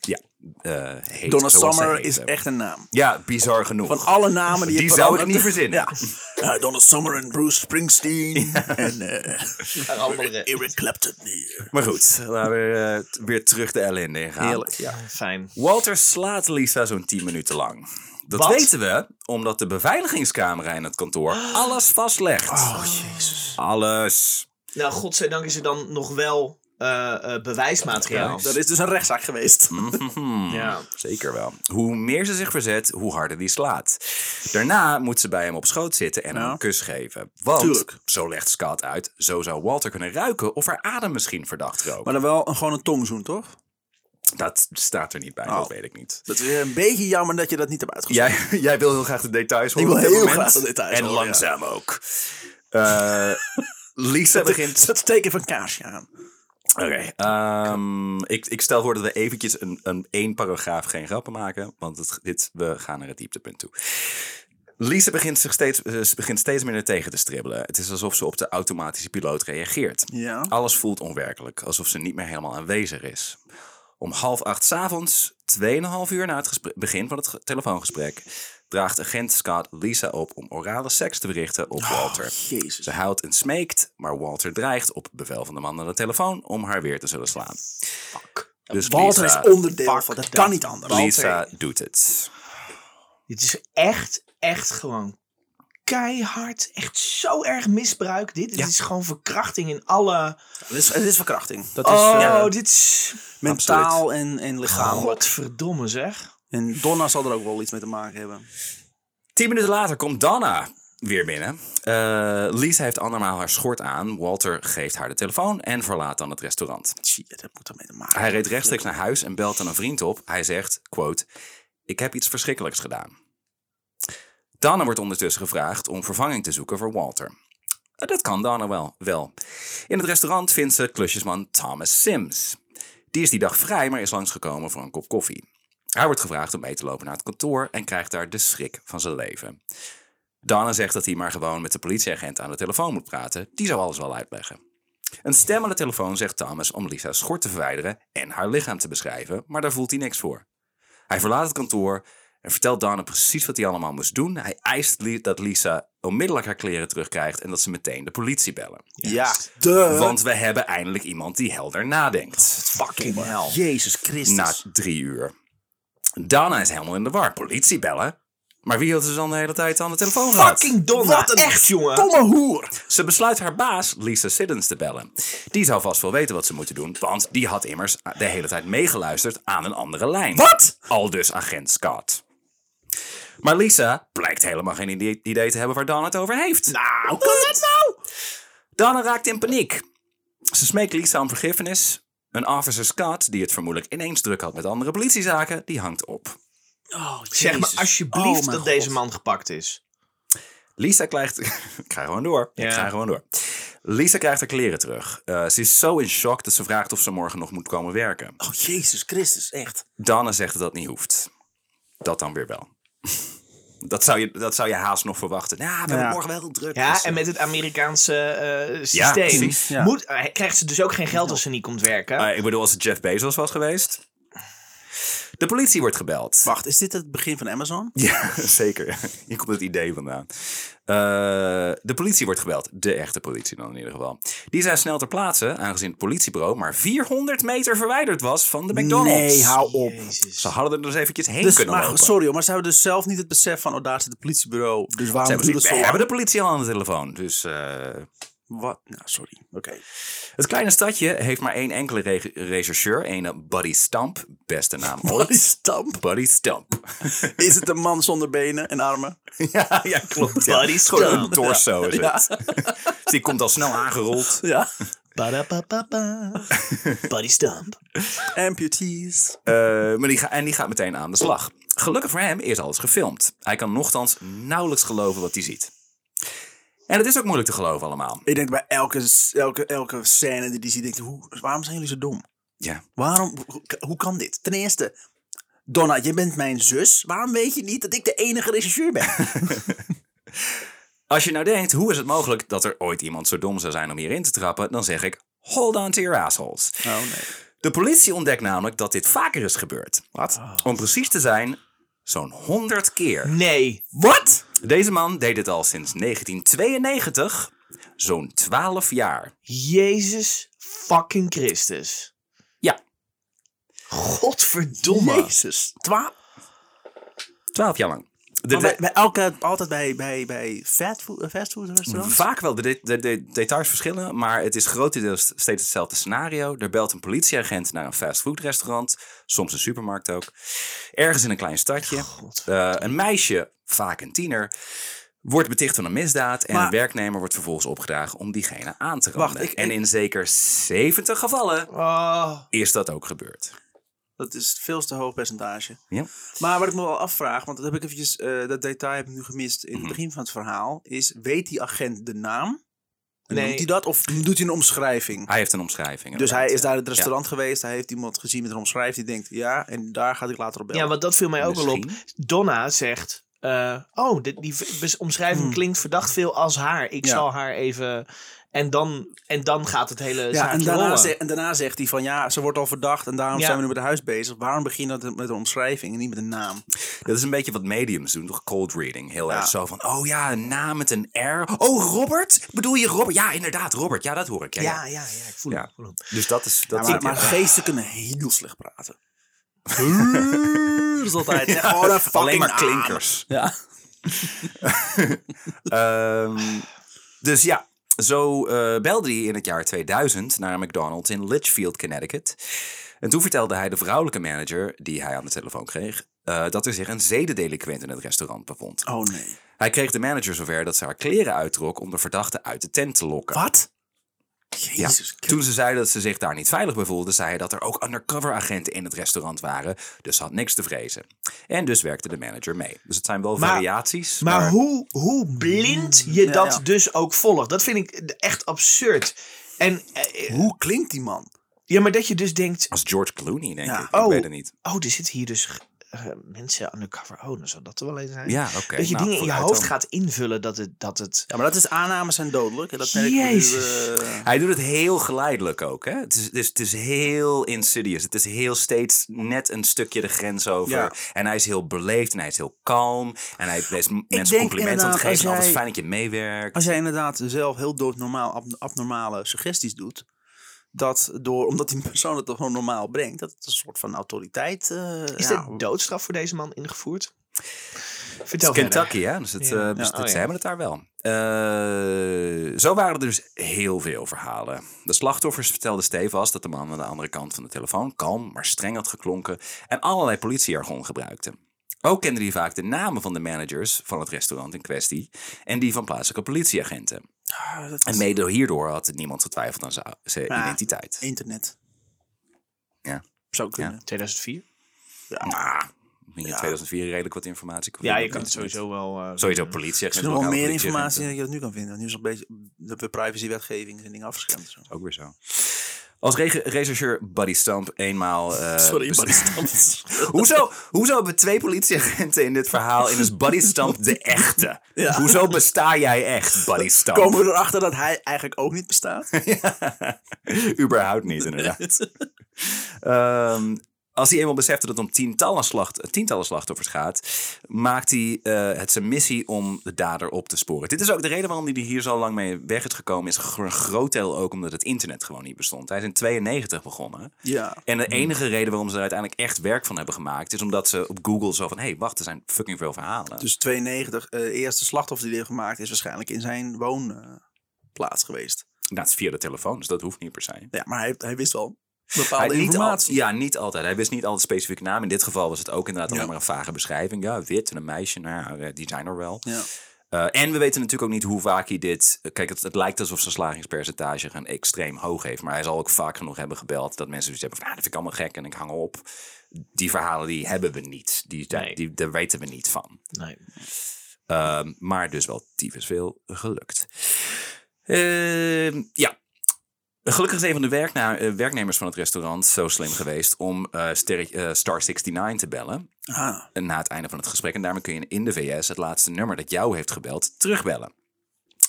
[SPEAKER 3] ja, eh heet
[SPEAKER 1] Donna
[SPEAKER 3] zoals ze
[SPEAKER 1] Summer
[SPEAKER 3] heet
[SPEAKER 1] is
[SPEAKER 3] hebben.
[SPEAKER 1] echt een naam.
[SPEAKER 3] Ja, bizar genoeg.
[SPEAKER 1] Van alle namen die,
[SPEAKER 3] Die
[SPEAKER 1] je
[SPEAKER 3] zou ik
[SPEAKER 1] verandert-
[SPEAKER 3] niet verzinnen.
[SPEAKER 1] Ja. Eh, Donna Summer en Bruce Springsteen. En eh, Eric Clapton. die-
[SPEAKER 3] Maar goed, laten we eh, t- weer terug de ellende in gaan.
[SPEAKER 1] Heerlijk.
[SPEAKER 2] Ja, fijn.
[SPEAKER 3] Walter slaat Lisa zo'n 10 minuten lang. Dat
[SPEAKER 2] Wat?
[SPEAKER 3] weten we omdat de beveiligingscamera in het kantoor alles vastlegt.
[SPEAKER 1] Oh, jezus.
[SPEAKER 3] Alles.
[SPEAKER 2] Nou, godzijdank is er dan nog wel eh, eh, bewijsmateriaal.
[SPEAKER 1] Dat is dus een rechtszaak geweest.
[SPEAKER 3] Mhm.
[SPEAKER 2] Ja.
[SPEAKER 3] Zeker wel. Hoe meer ze zich verzet, hoe harder die slaat. Daarna moet ze bij hem op schoot zitten en hem
[SPEAKER 1] Ja.
[SPEAKER 3] een kus geven. Want,
[SPEAKER 1] Tuurlijk.
[SPEAKER 3] zo legt Scott uit, zo zou Walter kunnen ruiken of haar adem misschien verdacht rook.
[SPEAKER 1] Maar dan wel een, gewoon een tongzoen, toch?
[SPEAKER 3] dat staat er niet bij,
[SPEAKER 1] Oh.
[SPEAKER 3] dat weet ik niet.
[SPEAKER 1] Dat is weer een beetje jammer dat je dat niet hebt uitgezocht.
[SPEAKER 3] Jij, jij wil heel graag de details horen.
[SPEAKER 1] wil
[SPEAKER 3] op dit
[SPEAKER 1] heel
[SPEAKER 3] moment.
[SPEAKER 1] graag de details
[SPEAKER 3] En
[SPEAKER 1] horen, ja.
[SPEAKER 3] langzaam ook. Eh, Lisa begint.
[SPEAKER 1] Zet het teken van kaarsje aan.
[SPEAKER 3] Oké. ehm, ik, ik stel voor dat we eventjes een, een één paragraaf geen grappen maken. Want het, dit, we gaan naar het dieptepunt toe. Lisa begint, zich steeds, eh, ze begint steeds minder tegen te stribbelen. Het is alsof ze op de automatische piloot reageert.
[SPEAKER 1] Ja.
[SPEAKER 3] Alles voelt onwerkelijk, alsof ze niet meer helemaal aanwezig is. Om half acht 's avonds, 2,5 uur na het gespre- begin van het ge- telefoongesprek, draagt agent Scott Lisa op om orale seks te verrichten
[SPEAKER 1] Oh.
[SPEAKER 3] op Walter.
[SPEAKER 1] Jezus.
[SPEAKER 3] Ze huilt en smeekt, maar Walter dreigt op bevel van de man aan de telefoon om haar weer te zullen slaan. Dus
[SPEAKER 1] Walter
[SPEAKER 3] Lisa,
[SPEAKER 1] is onderdeel
[SPEAKER 2] Fuck
[SPEAKER 1] van, dat
[SPEAKER 2] dat.
[SPEAKER 1] kan niet anders.
[SPEAKER 3] Lisa doet het.
[SPEAKER 2] Dit is echt, echt gewoon keihard. Echt zo erg misbruik. Dit, dit
[SPEAKER 3] Ja.
[SPEAKER 2] is gewoon verkrachting in alle...
[SPEAKER 1] Het is, het is verkrachting. Dat is
[SPEAKER 2] Oh,
[SPEAKER 1] eh,
[SPEAKER 2] dit is...
[SPEAKER 1] mentaal en, en
[SPEAKER 3] Oh.
[SPEAKER 1] lichamelijk.
[SPEAKER 2] Godverdomme zeg.
[SPEAKER 1] En Donna zal er ook wel iets mee te maken hebben.
[SPEAKER 3] Tien minuten later komt Donna weer binnen. Eh, Lisa heeft andermaal haar schort aan. Walter geeft haar de telefoon en verlaat dan het restaurant.
[SPEAKER 1] Zie je, dat moet er mee te maken
[SPEAKER 3] Hij reed rechtstreeks naar huis en belt aan een vriend op. Hij zegt, quote, ik heb iets verschrikkelijks gedaan. Dana wordt ondertussen gevraagd om vervanging te zoeken voor Walter. Eh, Dat kan Dana wel, wel. In het restaurant vindt ze klusjesman Thomas Sims. Die is die dag vrij, maar is langsgekomen voor een kop koffie. Hij wordt gevraagd om mee te lopen naar het kantoor en krijgt daar de schrik van zijn leven. Dana zegt dat hij maar gewoon met de politieagent aan de telefoon moet praten. Die zou alles wel uitleggen. Een stem aan de telefoon zegt Thomas om Lisa's schort te verwijderen en haar lichaam te beschrijven, maar daar voelt hij niks voor. Hij verlaat het kantoor en vertelt Dana precies wat hij allemaal moest doen. Hij eist li- dat Lisa onmiddellijk haar kleren terugkrijgt en dat ze meteen de politie bellen.
[SPEAKER 1] Ja, Oh, de...
[SPEAKER 3] Want we hebben eindelijk iemand die helder nadenkt.
[SPEAKER 1] fucking hell. Jezus Christus.
[SPEAKER 3] Na drie uur. Dana is helemaal in de war. Politie bellen? Maar wie hield ze dan de hele tijd aan de telefoon gehad?
[SPEAKER 2] Fucking Donna.
[SPEAKER 1] Wat een
[SPEAKER 2] echt jongen.
[SPEAKER 1] Domme hoer.
[SPEAKER 3] Ze besluit haar baas, Lisa Siddons, te bellen. Die zou vast wel weten wat ze moeten doen, want die had immers de hele tijd meegeluisterd aan een andere lijn.
[SPEAKER 1] Wat?
[SPEAKER 3] Al dus agent Scott. Maar Lisa blijkt helemaal geen idee idee te hebben waar Dan het over heeft. Nou, hoe kan dat nou? Dana raakt in paniek. Ze smeekt Lisa om vergiffenis. Een officer Scott, die het vermoedelijk ineens druk had met andere politiezaken, die hangt op.
[SPEAKER 1] Oh,
[SPEAKER 2] Zeg maar
[SPEAKER 1] Jezus. Oh,
[SPEAKER 2] alsjeblieft
[SPEAKER 1] mijn
[SPEAKER 2] dat
[SPEAKER 1] God.
[SPEAKER 2] deze man gepakt is.
[SPEAKER 3] Lisa krijgt. ik ga gewoon door. Ik
[SPEAKER 2] Ja.
[SPEAKER 3] ga gewoon door. Lisa krijgt haar kleren terug. Eh, ze is zo in shock dat ze vraagt of ze morgen nog moet komen werken.
[SPEAKER 1] Oh, Jezus Christus, echt.
[SPEAKER 3] Dana zegt dat dat niet hoeft. Dat dan weer wel. dat, zou je, dat zou je haast nog verwachten. Nou, we hebben
[SPEAKER 1] Ja.
[SPEAKER 3] morgen wel heel druk.
[SPEAKER 2] Ja,
[SPEAKER 3] Dus,
[SPEAKER 2] en
[SPEAKER 3] eh,
[SPEAKER 2] met het Amerikaanse eh, systeem
[SPEAKER 3] precies,
[SPEAKER 1] ja.
[SPEAKER 2] Moet, eh, krijgt ze dus ook geen geld als ze niet komt werken.
[SPEAKER 3] eh, ik bedoel, als het Jeff Bezos was geweest. De politie wordt gebeld.
[SPEAKER 1] Wacht, is dit het begin van Amazon?
[SPEAKER 3] Ja, zeker. Hier komt het idee vandaan. Eh, de politie wordt gebeld. De echte politie dan in ieder geval. Die zijn snel ter plaatse, aangezien het politiebureau maar 400 meter verwijderd was van de McDonald's.
[SPEAKER 1] Nee, hou op.
[SPEAKER 2] Jezus.
[SPEAKER 3] Ze hadden er dus eventjes heen
[SPEAKER 1] Dus,
[SPEAKER 3] kunnen
[SPEAKER 1] maar,
[SPEAKER 3] lopen.
[SPEAKER 1] sorry, hoor, maar ze hebben dus zelf niet het besef van, oh, daar zit het politiebureau. Dus
[SPEAKER 3] Ze
[SPEAKER 1] waarom
[SPEAKER 3] hebben
[SPEAKER 1] duurt
[SPEAKER 3] gezien,
[SPEAKER 1] het
[SPEAKER 3] we
[SPEAKER 1] zo lang?
[SPEAKER 3] hebben de politie al aan de telefoon. Dus eh,
[SPEAKER 1] Wat? Nou, sorry. Oké.
[SPEAKER 3] het kleine stadje heeft maar één enkele re- rechercheur. Een Buddy Stamp. Beste naam ooit.
[SPEAKER 1] Wat is stamp?
[SPEAKER 3] Buddy Stamp.
[SPEAKER 1] Is het een man zonder benen en armen?
[SPEAKER 3] ja, ja, klopt. Ja.
[SPEAKER 2] Buddy
[SPEAKER 3] Gewoon
[SPEAKER 2] Stamp.
[SPEAKER 3] een torso is
[SPEAKER 1] Ja.
[SPEAKER 3] het. Dus die komt al snel aangerold.
[SPEAKER 1] Ja.
[SPEAKER 2] Badapapapa. Buddy Stamp.
[SPEAKER 1] Amputees.
[SPEAKER 3] Eh, maar die ga, en die gaat meteen aan de slag. Gelukkig voor hem is alles gefilmd. Hij kan nochtans nauwelijks geloven wat hij ziet. En het is ook moeilijk te geloven allemaal.
[SPEAKER 1] Ik denk bij elke, elke, elke scène die die ziet, denk ik, hoe, waarom zijn jullie zo dom?
[SPEAKER 3] Ja.
[SPEAKER 1] Waarom, hoe, hoe kan dit? Ten eerste, Donna, je bent mijn zus. Waarom weet je niet dat ik de enige regisseur ben?
[SPEAKER 3] Als je nou denkt, hoe is het mogelijk dat er ooit iemand zo dom zou zijn om hierin te trappen? Dan zeg ik, hold on to your assholes.
[SPEAKER 1] Oh nee.
[SPEAKER 3] De politie ontdekt namelijk dat dit vaker is gebeurd. Wat? Om precies te zijn, zo'n 100 keer.
[SPEAKER 2] Nee.
[SPEAKER 3] Wat? Deze man deed dit al sinds 1992, zo'n 12 jaar.
[SPEAKER 2] Jezus fucking Christus.
[SPEAKER 3] Ja,
[SPEAKER 2] Godverdomme.
[SPEAKER 1] Jezus. Twa
[SPEAKER 3] 12 jaar lang. De-
[SPEAKER 1] Maar bij, bij elke, altijd bij, bij, bij fastfood, fastfood restaurants?
[SPEAKER 3] Vaak wel. De, de, de- de details verschillen, maar het is grotendeels steeds hetzelfde scenario. Er belt een politieagent naar een fastfoodrestaurant, soms een supermarkt ook. Ergens in een klein stadje. Eh, een meisje, vaak een tiener, wordt beticht van een misdaad en
[SPEAKER 1] Maar-
[SPEAKER 3] een werknemer wordt vervolgens opgedragen om diegene aan te randen.
[SPEAKER 1] Wacht, ik-
[SPEAKER 3] en in zeker 70 gevallen
[SPEAKER 2] Oh.
[SPEAKER 3] is dat ook gebeurd.
[SPEAKER 1] Dat is veel te hoog percentage.
[SPEAKER 3] Ja.
[SPEAKER 1] Maar wat ik me wel afvraag, want dat heb ik eventjes, eh, dat detail heb ik nu gemist in
[SPEAKER 3] Mhm.
[SPEAKER 1] het begin van het verhaal, is weet die agent de naam? En
[SPEAKER 2] Nee.
[SPEAKER 1] Noemt hij dat of doet hij een omschrijving?
[SPEAKER 3] Hij heeft een omschrijving.
[SPEAKER 1] Dus hij
[SPEAKER 3] inderdaad,
[SPEAKER 1] is
[SPEAKER 3] ja.
[SPEAKER 1] daar in het restaurant geweest, hij heeft iemand gezien met een omschrijving, die denkt ja, en daar ga ik later op bellen.
[SPEAKER 2] Ja, want dat viel mij ook al op.
[SPEAKER 3] eh, Misschien.
[SPEAKER 2] Donna zegt... eh, eh, oh, dit, die v- bes- omschrijving klinkt verdacht veel als haar. Ik
[SPEAKER 1] Hmm. Ja.
[SPEAKER 2] zal haar even... En dan, en dan gaat het hele
[SPEAKER 1] Ja, en
[SPEAKER 2] zaakje
[SPEAKER 1] daarna,
[SPEAKER 2] rollen.
[SPEAKER 1] ze- en daarna zegt hij van ja, ze wordt al verdacht en daarom
[SPEAKER 2] Ja.
[SPEAKER 1] zijn we nu met het huis bezig. Waarom begin je dat met een omschrijving en niet met een naam?
[SPEAKER 3] Dat is een beetje wat mediums doen, toch? Cold reading. Heel
[SPEAKER 1] Ja.
[SPEAKER 3] erg zo van, oh ja, een naam met een R. Oh, Robert? Bedoel je Robert? Ja, inderdaad, Robert. Ja, dat hoor ik. Ja, ja.
[SPEAKER 2] Ja, ja, ja, ik voel
[SPEAKER 3] Ja.
[SPEAKER 2] hem, ik voel hem.
[SPEAKER 3] Dus dat is... Dat
[SPEAKER 1] Ja,
[SPEAKER 3] zit
[SPEAKER 1] maar,
[SPEAKER 3] hier.
[SPEAKER 1] maar geesten kunnen heel slecht praten. Dat is altijd echt gewoon een fucking
[SPEAKER 3] Alleen maar
[SPEAKER 1] naam.
[SPEAKER 3] klinkers.
[SPEAKER 1] Ja.
[SPEAKER 3] Ehm, dus ja, zo eh, belde hij in het jaar 2000 naar een McDonald's in Litchfield, Connecticut. En toen vertelde hij de vrouwelijke manager, die hij aan de telefoon kreeg, eh, dat er zich een zedendelinquent in het restaurant bevond.
[SPEAKER 1] Oh nee.
[SPEAKER 3] Hij kreeg de manager zover dat ze haar kleren uittrok om de verdachte uit de tent te lokken.
[SPEAKER 1] Wat?
[SPEAKER 3] Ja.
[SPEAKER 1] Jezus.
[SPEAKER 3] Toen ze zei dat ze zich daar niet veilig bij voelde, zei hij dat er ook undercover agenten in het restaurant waren. Dus ze had niks te vrezen. En dus werkte de manager mee. Dus het zijn wel
[SPEAKER 2] Maar-
[SPEAKER 3] variaties.
[SPEAKER 2] Maar, hoe, hoe blind je
[SPEAKER 1] Hmm. Ja,
[SPEAKER 2] dat
[SPEAKER 1] ja.
[SPEAKER 2] dus ook volgt. Dat vind ik echt absurd. En eh, eh,
[SPEAKER 1] Hoe klinkt die man?
[SPEAKER 2] ja, maar dat je dus denkt...
[SPEAKER 3] Als George Clooney, denk
[SPEAKER 1] Ja.
[SPEAKER 3] ik.
[SPEAKER 2] Oh.
[SPEAKER 3] Ik weet het niet.
[SPEAKER 2] Oh, er zitten hier dus eh, mensen undercover. Oh, dan zou dat er wel eens zijn.
[SPEAKER 3] Ja, oké.
[SPEAKER 2] dat je
[SPEAKER 3] nou,
[SPEAKER 2] dingen in je
[SPEAKER 3] vooruit
[SPEAKER 2] hoofd
[SPEAKER 3] dan.
[SPEAKER 2] gaat invullen dat het... Dat het
[SPEAKER 1] Ja, maar dat is aannames zijn dodelijk. En dat merk ik nu,
[SPEAKER 2] Jezus.
[SPEAKER 1] eh,
[SPEAKER 3] Hij doet het heel geleidelijk ook. Hè? Het, is, het, is, het is heel insidious. Het is heel steeds net een stukje de grens over.
[SPEAKER 1] Ja.
[SPEAKER 3] En hij is heel beleefd en hij is heel kalm. En hij is mensen
[SPEAKER 1] denk
[SPEAKER 3] complimenten aan
[SPEAKER 1] inderdaad,
[SPEAKER 3] het
[SPEAKER 1] als
[SPEAKER 3] geven. en Altijd
[SPEAKER 1] jij-
[SPEAKER 3] fijn dat je meewerkt.
[SPEAKER 1] als jij inderdaad zelf heel doodnormaal ab- abnormale suggesties doet. Dat door, omdat die persoon het toch gewoon normaal brengt. Dat het een soort van autoriteit. eh,
[SPEAKER 2] is
[SPEAKER 1] ja,
[SPEAKER 2] er doodstraf voor deze man ingevoerd? Vertel
[SPEAKER 3] Het is
[SPEAKER 2] verder.
[SPEAKER 3] Kentucky, hè? Dus, het,
[SPEAKER 2] Ja.
[SPEAKER 3] eh, dus
[SPEAKER 2] Ja, oh
[SPEAKER 3] dat-
[SPEAKER 2] ja.
[SPEAKER 3] ze hebben het daar wel. Eh, zo waren er dus heel veel verhalen. De slachtoffers vertelden stevast dat de man aan de andere kant van de telefoon kalm, maar streng had geklonken en allerlei politiejargon gebruikte. Ook kende hij vaak de namen van de managers van het restaurant in kwestie en die van plaatselijke politieagenten.
[SPEAKER 1] ah, dat
[SPEAKER 3] En
[SPEAKER 1] is
[SPEAKER 3] mede hierdoor had niemand getwijfeld aan zijn, zijn
[SPEAKER 2] Ah.
[SPEAKER 1] Ja.
[SPEAKER 3] identiteit.
[SPEAKER 1] internet.
[SPEAKER 3] Ja.
[SPEAKER 1] Zou kunnen.
[SPEAKER 2] 2004?
[SPEAKER 3] Ah, in 2004 redelijk wat informatie.
[SPEAKER 2] Ja, je
[SPEAKER 3] vinden.
[SPEAKER 2] kan het sowieso wel... eh,
[SPEAKER 3] Sowieso politieagenten.
[SPEAKER 1] Er is nog wel
[SPEAKER 3] lokale
[SPEAKER 1] meer informatie
[SPEAKER 3] politieagenten.
[SPEAKER 1] dan dat je dat nu kan vinden. Nu is het een beetje de- de privacywetgeving en dingen afgeschermd. en Zo.
[SPEAKER 3] Ook weer zo. Als rege- rechercheur Buddy Stamp eenmaal... eh, bes- Hoezo, hoezo hebben twee politieagenten in dit verhaal en is Buddy Stamp de echte?
[SPEAKER 1] Ja.
[SPEAKER 3] Hoezo besta jij echt, Buddy Stamp?
[SPEAKER 1] Komen we erachter dat hij eigenlijk ook niet bestaat?
[SPEAKER 3] Überhaupt niet, inderdaad. Ehm, als hij eenmaal beseft dat het om tientallen, slacht, tientallen slachtoffers gaat, maakt hij eh, het zijn missie om de dader op te sporen. Dit is ook de reden waarom hij er hier zo lang mee weg is gekomen. Is voor een groot deel ook omdat het internet gewoon niet bestond. Hij is in 92 begonnen.
[SPEAKER 1] ja.
[SPEAKER 3] En de enige reden waarom ze er uiteindelijk echt werk van hebben gemaakt, is omdat ze op Google zo van: hé, hey, wacht, er zijn fucking veel verhalen.
[SPEAKER 1] Dus 92, eh eerste slachtoffer die hij heeft gemaakt, is waarschijnlijk in zijn woonplaats geweest.
[SPEAKER 3] dat Nou, is via de telefoon, dus dat hoeft niet per se.
[SPEAKER 1] Ja, maar hij, hij wist wel
[SPEAKER 3] Hij
[SPEAKER 1] bepaalde
[SPEAKER 3] niet
[SPEAKER 1] informatie.
[SPEAKER 3] al- ja, niet altijd. Hij wist niet altijd specifieke naam. In dit geval was het ook inderdaad
[SPEAKER 1] Ja.
[SPEAKER 3] alleen maar een vage beschrijving. Ja, wit en een meisje, nou ja, die zijn er wel.
[SPEAKER 1] Ja.
[SPEAKER 3] Eh, en we weten natuurlijk ook niet hoe vaak hij dit... Kijk, het, het lijkt alsof zijn slagingspercentage gaan extreem hoog heeft. Maar hij zal ook vaak genoeg hebben gebeld dat mensen zoiets hebben van... Ah, dat vind ik allemaal gek en ik hang op. Die verhalen die hebben we niet. Die, die,
[SPEAKER 2] Nee.
[SPEAKER 3] die- daar weten we niet van.
[SPEAKER 2] Nee.
[SPEAKER 3] Ehm, maar dus wel tyfus veel gelukt. Ehm, ja. Gelukkig is een van de werkna- eh, werknemers van het restaurant zo slim geweest om eh, sterre- eh, Star 69 te bellen.
[SPEAKER 1] Ah,
[SPEAKER 3] En na het einde van het gesprek. En daarmee kun je in de VS het laatste nummer dat jou heeft gebeld terugbellen.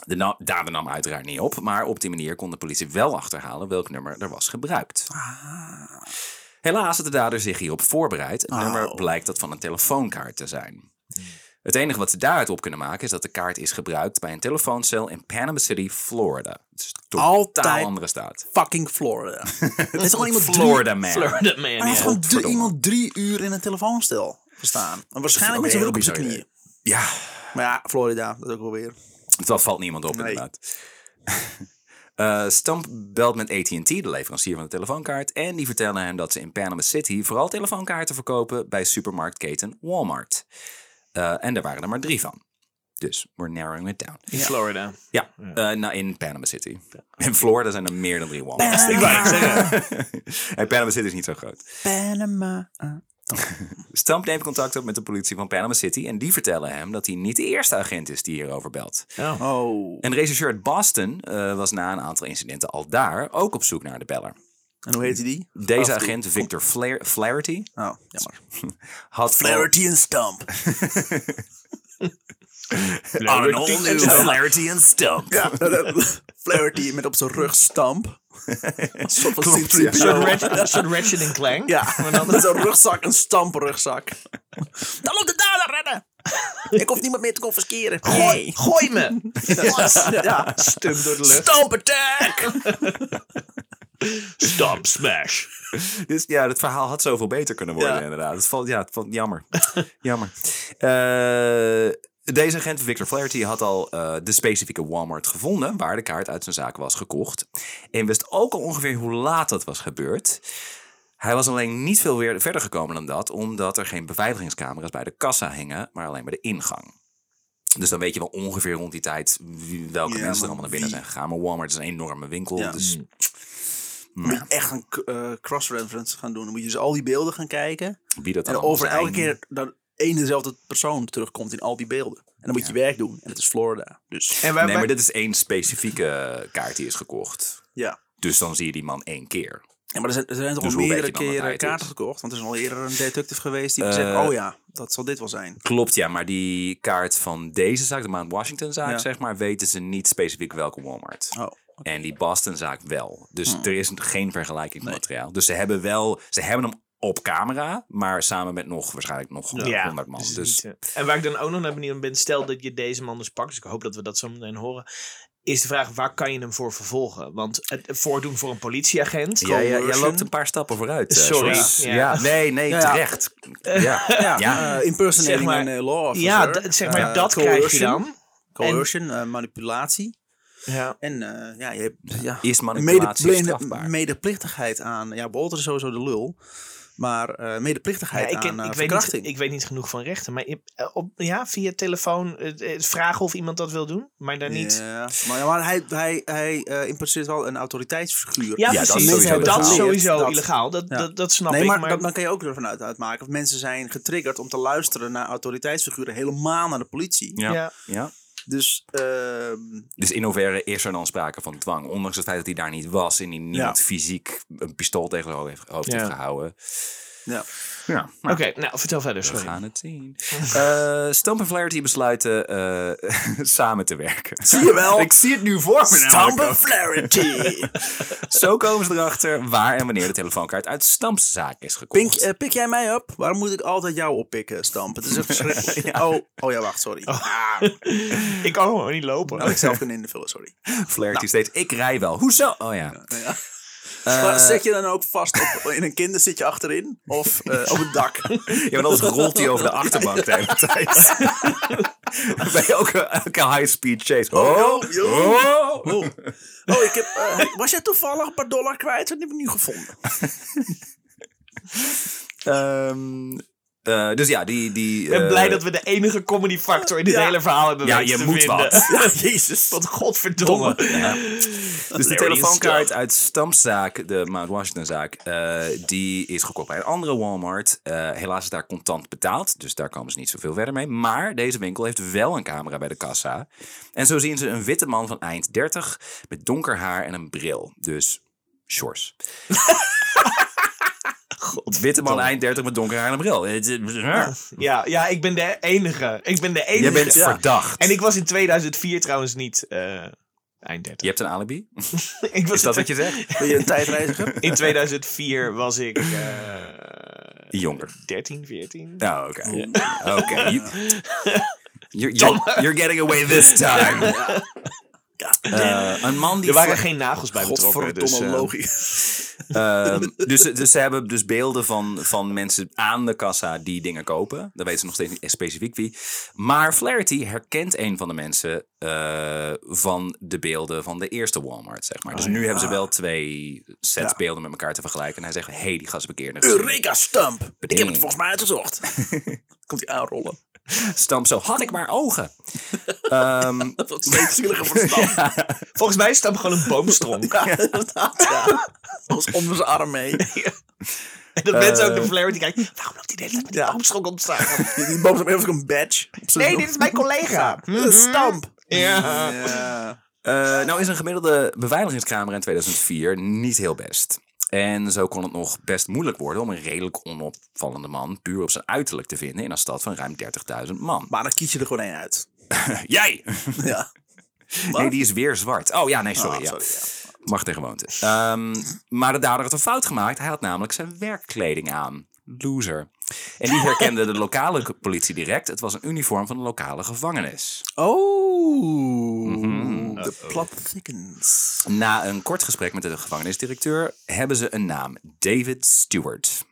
[SPEAKER 3] De na- dader nam uiteraard niet op, maar op die manier kon de politie wel achterhalen welk nummer er was gebruikt. Helaas had de dader zich hierop voorbereid. Het
[SPEAKER 1] Ah. Oh.
[SPEAKER 3] nummer blijkt dat van een telefoonkaart te zijn. Het enige wat ze daaruit op kunnen maken is dat de kaart is gebruikt bij een telefooncel in Panama City, Florida. Dus totaal
[SPEAKER 1] Altijd.
[SPEAKER 3] andere staat.
[SPEAKER 1] fucking Florida. Het is gewoon iemand drie-
[SPEAKER 3] Florida man.
[SPEAKER 2] Florida man,
[SPEAKER 1] Hij heeft
[SPEAKER 2] ja.
[SPEAKER 1] gewoon drie,
[SPEAKER 3] Godverdomme.
[SPEAKER 1] iemand drie uur in een telefoonstel gestaan. En waarschijnlijk met
[SPEAKER 3] ook
[SPEAKER 1] zijn
[SPEAKER 3] een
[SPEAKER 1] hulp op
[SPEAKER 3] heel
[SPEAKER 1] zijn knieën.
[SPEAKER 3] bizar Ja,
[SPEAKER 1] Maar ja, Florida, dat ook wel weer.
[SPEAKER 3] Dus Dat valt niemand op,
[SPEAKER 1] Nee.
[SPEAKER 3] inderdaad. Eh Stamp belt met AT&T, de leverancier van de telefoonkaart... en die vertellen hem dat ze in Panama City... vooral telefoonkaarten verkopen bij supermarktketen Walmart. Eh, en daar waren er maar drie van. Dus we're narrowing it down.
[SPEAKER 2] In Florida.
[SPEAKER 3] Ja, eh, nou, in Panama City. In Florida zijn er meer dan drie Walmarts.
[SPEAKER 1] Ik wou het
[SPEAKER 3] en Panama City is niet zo groot.
[SPEAKER 1] Panama. eh.
[SPEAKER 3] Stamp neemt contact op met de politie van Panama City... en die vertellen hem dat hij niet de eerste agent is die hierover belt.
[SPEAKER 2] Ja.
[SPEAKER 1] Oh.
[SPEAKER 3] En de rechercheur uit Boston eh, was na een aantal incidenten al daar ook op zoek naar de beller.
[SPEAKER 1] En hoe heette die?
[SPEAKER 3] Deze agent, Victor Flair- Flaherty,
[SPEAKER 1] Oh, jammer.
[SPEAKER 3] had...
[SPEAKER 1] Clarity en Stamp.
[SPEAKER 3] Arnold en Flaherty en Stump.
[SPEAKER 1] Ja, Flaherty met op zijn rug stamp. Een soort van
[SPEAKER 3] Klopt,
[SPEAKER 1] C-3PO.
[SPEAKER 2] Een soort Ratchet- een soort Ratchet en Clank.
[SPEAKER 1] Ja, met zo'n rugzak, een stamprugzak. Dan loopt de dader rennen! Ik hoef niemand meer te confisceren.
[SPEAKER 2] Gooi,
[SPEAKER 1] Gooi!
[SPEAKER 2] gooi me!
[SPEAKER 1] Ja.
[SPEAKER 2] Stum door de lucht.
[SPEAKER 1] Stamp attack!
[SPEAKER 2] Stamp, smash.
[SPEAKER 3] Dus ja, het verhaal had zoveel beter kunnen worden,
[SPEAKER 1] Ja.
[SPEAKER 3] inderdaad. Het valt, ja, het valt jammer. jammer. Eh, deze agent, Victor Flaherty, had al eh, de specifieke Walmart gevonden... waar de kaart uit zijn zaak was gekocht. En wist ook al ongeveer hoe laat dat was gebeurd. Hij was alleen niet veel weer verder gekomen dan dat... omdat er geen beveiligingscamera's bij de kassa hingen... maar alleen bij de ingang. Dus dan weet je wel ongeveer rond die tijd... wie- welke
[SPEAKER 1] Ja,
[SPEAKER 3] mensen
[SPEAKER 1] maar
[SPEAKER 3] er allemaal naar binnen
[SPEAKER 1] wie?
[SPEAKER 3] zijn gegaan. Maar Walmart is een enorme winkel,
[SPEAKER 1] Ja.
[SPEAKER 3] dus... nou,
[SPEAKER 1] Echt een k- eh, cross-reference gaan doen. Dan moet je dus al die beelden gaan kijken.
[SPEAKER 3] Wie dat dan
[SPEAKER 1] En
[SPEAKER 3] allemaal
[SPEAKER 1] over
[SPEAKER 3] zijn.
[SPEAKER 1] elke keer dat één dezelfde persoon terugkomt in al die beelden. En dan moet je werk doen. En het is Florida. Dus
[SPEAKER 2] En waar,
[SPEAKER 3] nee, maar dit is één specifieke kaart die is gekocht.
[SPEAKER 1] ja.
[SPEAKER 3] Dus dan zie je die man één keer.
[SPEAKER 1] Ja, maar er zijn, er zijn toch
[SPEAKER 3] Dus
[SPEAKER 1] al
[SPEAKER 3] hoe weet
[SPEAKER 1] meerdere
[SPEAKER 3] je dan dat hij
[SPEAKER 1] keren
[SPEAKER 3] het is?
[SPEAKER 1] kaarten gekocht. Want er is al eerder een detective geweest die
[SPEAKER 3] Eh,
[SPEAKER 1] zegt... Oh ja, dat zal dit wel zijn.
[SPEAKER 3] Klopt, ja, maar die kaart van deze zaak, de Mount Washington-zaak,
[SPEAKER 1] Ja.
[SPEAKER 3] zeg maar, weten ze niet specifiek welke Walmart.
[SPEAKER 1] Oh. Hmm.
[SPEAKER 3] En die Boston-zaak wel. Dus er is geen vergelijking van materiaal. Dus ze hebben wel, ze hebben hem op camera, maar samen met nog waarschijnlijk nog
[SPEAKER 2] Ja,
[SPEAKER 3] 100 man.
[SPEAKER 2] dus
[SPEAKER 3] Dus,
[SPEAKER 2] het is niet, eh, en waar ik dan ook nog naar benieuwd ben, stel dat je deze man dus pakt, dus ik hoop dat we dat zo meteen horen, is de vraag waar kan je hem voor vervolgen? Want het voordoen voor een politieagent,
[SPEAKER 3] ja, ja, jij
[SPEAKER 1] coercion.
[SPEAKER 3] loopt een paar stappen vooruit. eh,
[SPEAKER 2] eh, Sorry.
[SPEAKER 3] Sjors.
[SPEAKER 2] Ja.
[SPEAKER 3] Ja. nee, nee,
[SPEAKER 1] Ja, ja.
[SPEAKER 3] terecht. Ja.
[SPEAKER 1] Ja,
[SPEAKER 3] Ja.
[SPEAKER 1] eh, impersonating
[SPEAKER 2] Zeg maar-
[SPEAKER 1] een eh, law officer.
[SPEAKER 2] ja, d- zeg maar
[SPEAKER 1] Eh,
[SPEAKER 2] dat krijg je
[SPEAKER 1] coercion.
[SPEAKER 2] dan.
[SPEAKER 1] Coercion, eh, manipulatie.
[SPEAKER 2] Ja.
[SPEAKER 1] En eh, ja, je hebt ja,
[SPEAKER 3] Is manipulatie
[SPEAKER 1] mede,
[SPEAKER 3] strafbaar?
[SPEAKER 1] medeplichtigheid aan... Ja, Bolter is sowieso de lul. Maar eh, medeplichtigheid
[SPEAKER 2] ik,
[SPEAKER 1] aan
[SPEAKER 2] ken-
[SPEAKER 1] eh,
[SPEAKER 2] ik, weet niet,
[SPEAKER 1] verkrachting.
[SPEAKER 2] ik weet niet genoeg van rechten, maar je- eh, op, ja, via telefoon eh, eh, vragen of iemand dat wil doen, maar daar niet.
[SPEAKER 1] Ja, maar, maar hij, hij, hij eh impliceert wel een autoriteitsfiguur.
[SPEAKER 2] Ja,
[SPEAKER 3] Ja, dat is
[SPEAKER 2] precies.
[SPEAKER 3] sowieso
[SPEAKER 2] dat is
[SPEAKER 3] illegaal.
[SPEAKER 2] sowieso
[SPEAKER 1] Dat-
[SPEAKER 2] illegaal. Dat,
[SPEAKER 1] ja.
[SPEAKER 2] dat, dat snap
[SPEAKER 1] nee,
[SPEAKER 2] ik.
[SPEAKER 1] maar,
[SPEAKER 2] Maar,
[SPEAKER 1] Dat, dan kan je ook ervan uit, uitmaken. Of mensen zijn getriggerd om te luisteren naar autoriteitsfiguren helemaal naar de politie.
[SPEAKER 3] Ja.
[SPEAKER 2] ja.
[SPEAKER 3] ja.
[SPEAKER 1] Dus ehm,
[SPEAKER 3] Dus in hoeverre is er dan sprake van dwang? Ondanks het feit dat hij daar niet was en hij niemand
[SPEAKER 1] Ja.
[SPEAKER 3] fysiek een pistool tegen zijn hoofd heeft, hoofd
[SPEAKER 2] Ja.
[SPEAKER 3] heeft gehouden.
[SPEAKER 1] ja.
[SPEAKER 3] Ja,
[SPEAKER 2] Oké, nou vertel verder.
[SPEAKER 3] we
[SPEAKER 2] Sorry.
[SPEAKER 3] gaan het zien. Eh Stamp en Flaherty besluiten eh, samen te werken.
[SPEAKER 1] Zie je wel?
[SPEAKER 3] Ik zie het nu voor me namelijk
[SPEAKER 1] Stampen
[SPEAKER 3] ook.
[SPEAKER 1] Flaherty.
[SPEAKER 3] Zo komen ze erachter waar en wanneer de telefoonkaart uit Stamps zaak is
[SPEAKER 1] Pink,
[SPEAKER 3] gekocht.
[SPEAKER 1] eh, pik jij mij op? Waarom moet ik altijd jou oppikken, Stamp? Het is echt verschrikkelijk. oh, oh ja, wacht, sorry. Ah,
[SPEAKER 2] Ik kan gewoon niet lopen.
[SPEAKER 1] had ik zelf kunnen invullen, sorry. Nou
[SPEAKER 3] Flaherty steeds, ik rij wel. Hoezo? Oh ja.
[SPEAKER 1] Ja. Maar zet je dan ook vast op, in een kinder zit je achterin? Of eh, op het dak?
[SPEAKER 3] Ja, want anders rolt hij over de achterbank de hele tijd. Bij elke, elke high-speed chase. Oh,
[SPEAKER 1] joh.
[SPEAKER 3] oh.
[SPEAKER 1] Oh, ik heb, eh, was jij toevallig een paar dollar kwijt? Dat heb ik nu gevonden.
[SPEAKER 3] Ehm, eh, dus ja, die... die eh,
[SPEAKER 2] Ik ben blij dat we de enige comedy factor in dit
[SPEAKER 1] ja.
[SPEAKER 2] hele verhaal hebben
[SPEAKER 3] Ja,
[SPEAKER 2] weten
[SPEAKER 3] je
[SPEAKER 2] te
[SPEAKER 3] moet
[SPEAKER 2] vinden.
[SPEAKER 3] wat.
[SPEAKER 1] Ja, jezus.
[SPEAKER 2] Wat godverdomme.
[SPEAKER 3] Dus de telefoonkaart uit Stampzaak, de Mount Washington-zaak, eh, die is gekocht bij een andere Walmart. Eh, helaas is daar contant betaald, dus daar komen ze niet zoveel verder mee. Maar deze winkel heeft wel een camera bij de kassa. En zo zien ze een witte man van eind 30 met donker haar en een bril. Dus shorts. Witte man eind 30 met donker haar en een bril. Het is-
[SPEAKER 2] Ja, ja, ik ben de enige. Ik ben de enige.
[SPEAKER 3] Jij bent
[SPEAKER 2] Ja.
[SPEAKER 3] verdacht.
[SPEAKER 2] En ik was in 2004 trouwens niet eh, eind 30.
[SPEAKER 3] Je hebt een alibi?
[SPEAKER 2] Ik was in
[SPEAKER 3] Is dat wat je zegt?
[SPEAKER 1] Ben je een tijdreiziger?
[SPEAKER 2] In 2004 was ik eh,
[SPEAKER 3] Jonger.
[SPEAKER 2] 13, 14.
[SPEAKER 3] Nou, oké. Oké. you- You're, you're, you're getting away this time. Eh, een man die.
[SPEAKER 2] Er waren
[SPEAKER 3] vla-
[SPEAKER 2] geen nagels bij betrokken.
[SPEAKER 1] Godverdomme
[SPEAKER 2] Dus, eh,
[SPEAKER 1] logisch.
[SPEAKER 3] eh, dus, dus ze hebben dus beelden van, van mensen aan de kassa die dingen kopen. Dan weten ze nog steeds niet specifiek wie. Maar Flaherty herkent een van de mensen eh, van de beelden van de eerste Walmart, zeg maar. Dus
[SPEAKER 2] Oh,
[SPEAKER 3] nu hebben ze wel twee sets beelden met elkaar te vergelijken. En hij zegt, hé, hey, die gast heb ik eerder gezien.
[SPEAKER 1] Eureka Stamp. Ik heb het
[SPEAKER 3] Beding.
[SPEAKER 1] volgens mij uitgezocht. Komt hij aanrollen.
[SPEAKER 3] Stamp zo, had ik maar ogen. Ehm,
[SPEAKER 1] Dat wordt steeds zieliger voor Stamp.
[SPEAKER 2] Volgens mij staat gewoon een boomstronk.
[SPEAKER 1] Ja, inderdaad. Ja. Ons onder zijn arm mee.
[SPEAKER 2] En dat mensen
[SPEAKER 3] Eh.
[SPEAKER 2] ook de flair die kijken. Waarom loopt die de hele tijd met die
[SPEAKER 1] Ja.
[SPEAKER 2] boomstronk ontstaan?
[SPEAKER 1] Die, die boven hem even een badge. op zijn-
[SPEAKER 2] Nee, dit is mijn collega. Mhm.
[SPEAKER 1] Een Stamp.
[SPEAKER 2] Ja.
[SPEAKER 1] Ja.
[SPEAKER 3] Eh, nou is een gemiddelde beveiligingscamera in 2004 niet heel best. En zo kon het nog best moeilijk worden om een redelijk onopvallende man puur op zijn uiterlijk te vinden in een stad van ruim 30.000 man.
[SPEAKER 1] Maar dan kies je er gewoon één uit.
[SPEAKER 3] Jij!
[SPEAKER 1] Ja.
[SPEAKER 3] Nee, die is weer zwart. Oh ja, nee, sorry.
[SPEAKER 1] Ah,
[SPEAKER 3] ja.
[SPEAKER 1] sorry, ja.
[SPEAKER 3] Mag en gewoonte. Ehm, maar de dader had een fout gemaakt. Hij had namelijk zijn werkkleding aan. Loser. En die herkende de lokale politie direct. Het was een uniform van de lokale gevangenis.
[SPEAKER 1] Oh, the plot thickens.
[SPEAKER 3] Na een kort gesprek met de gevangenisdirecteur hebben ze een naam: David Stewart.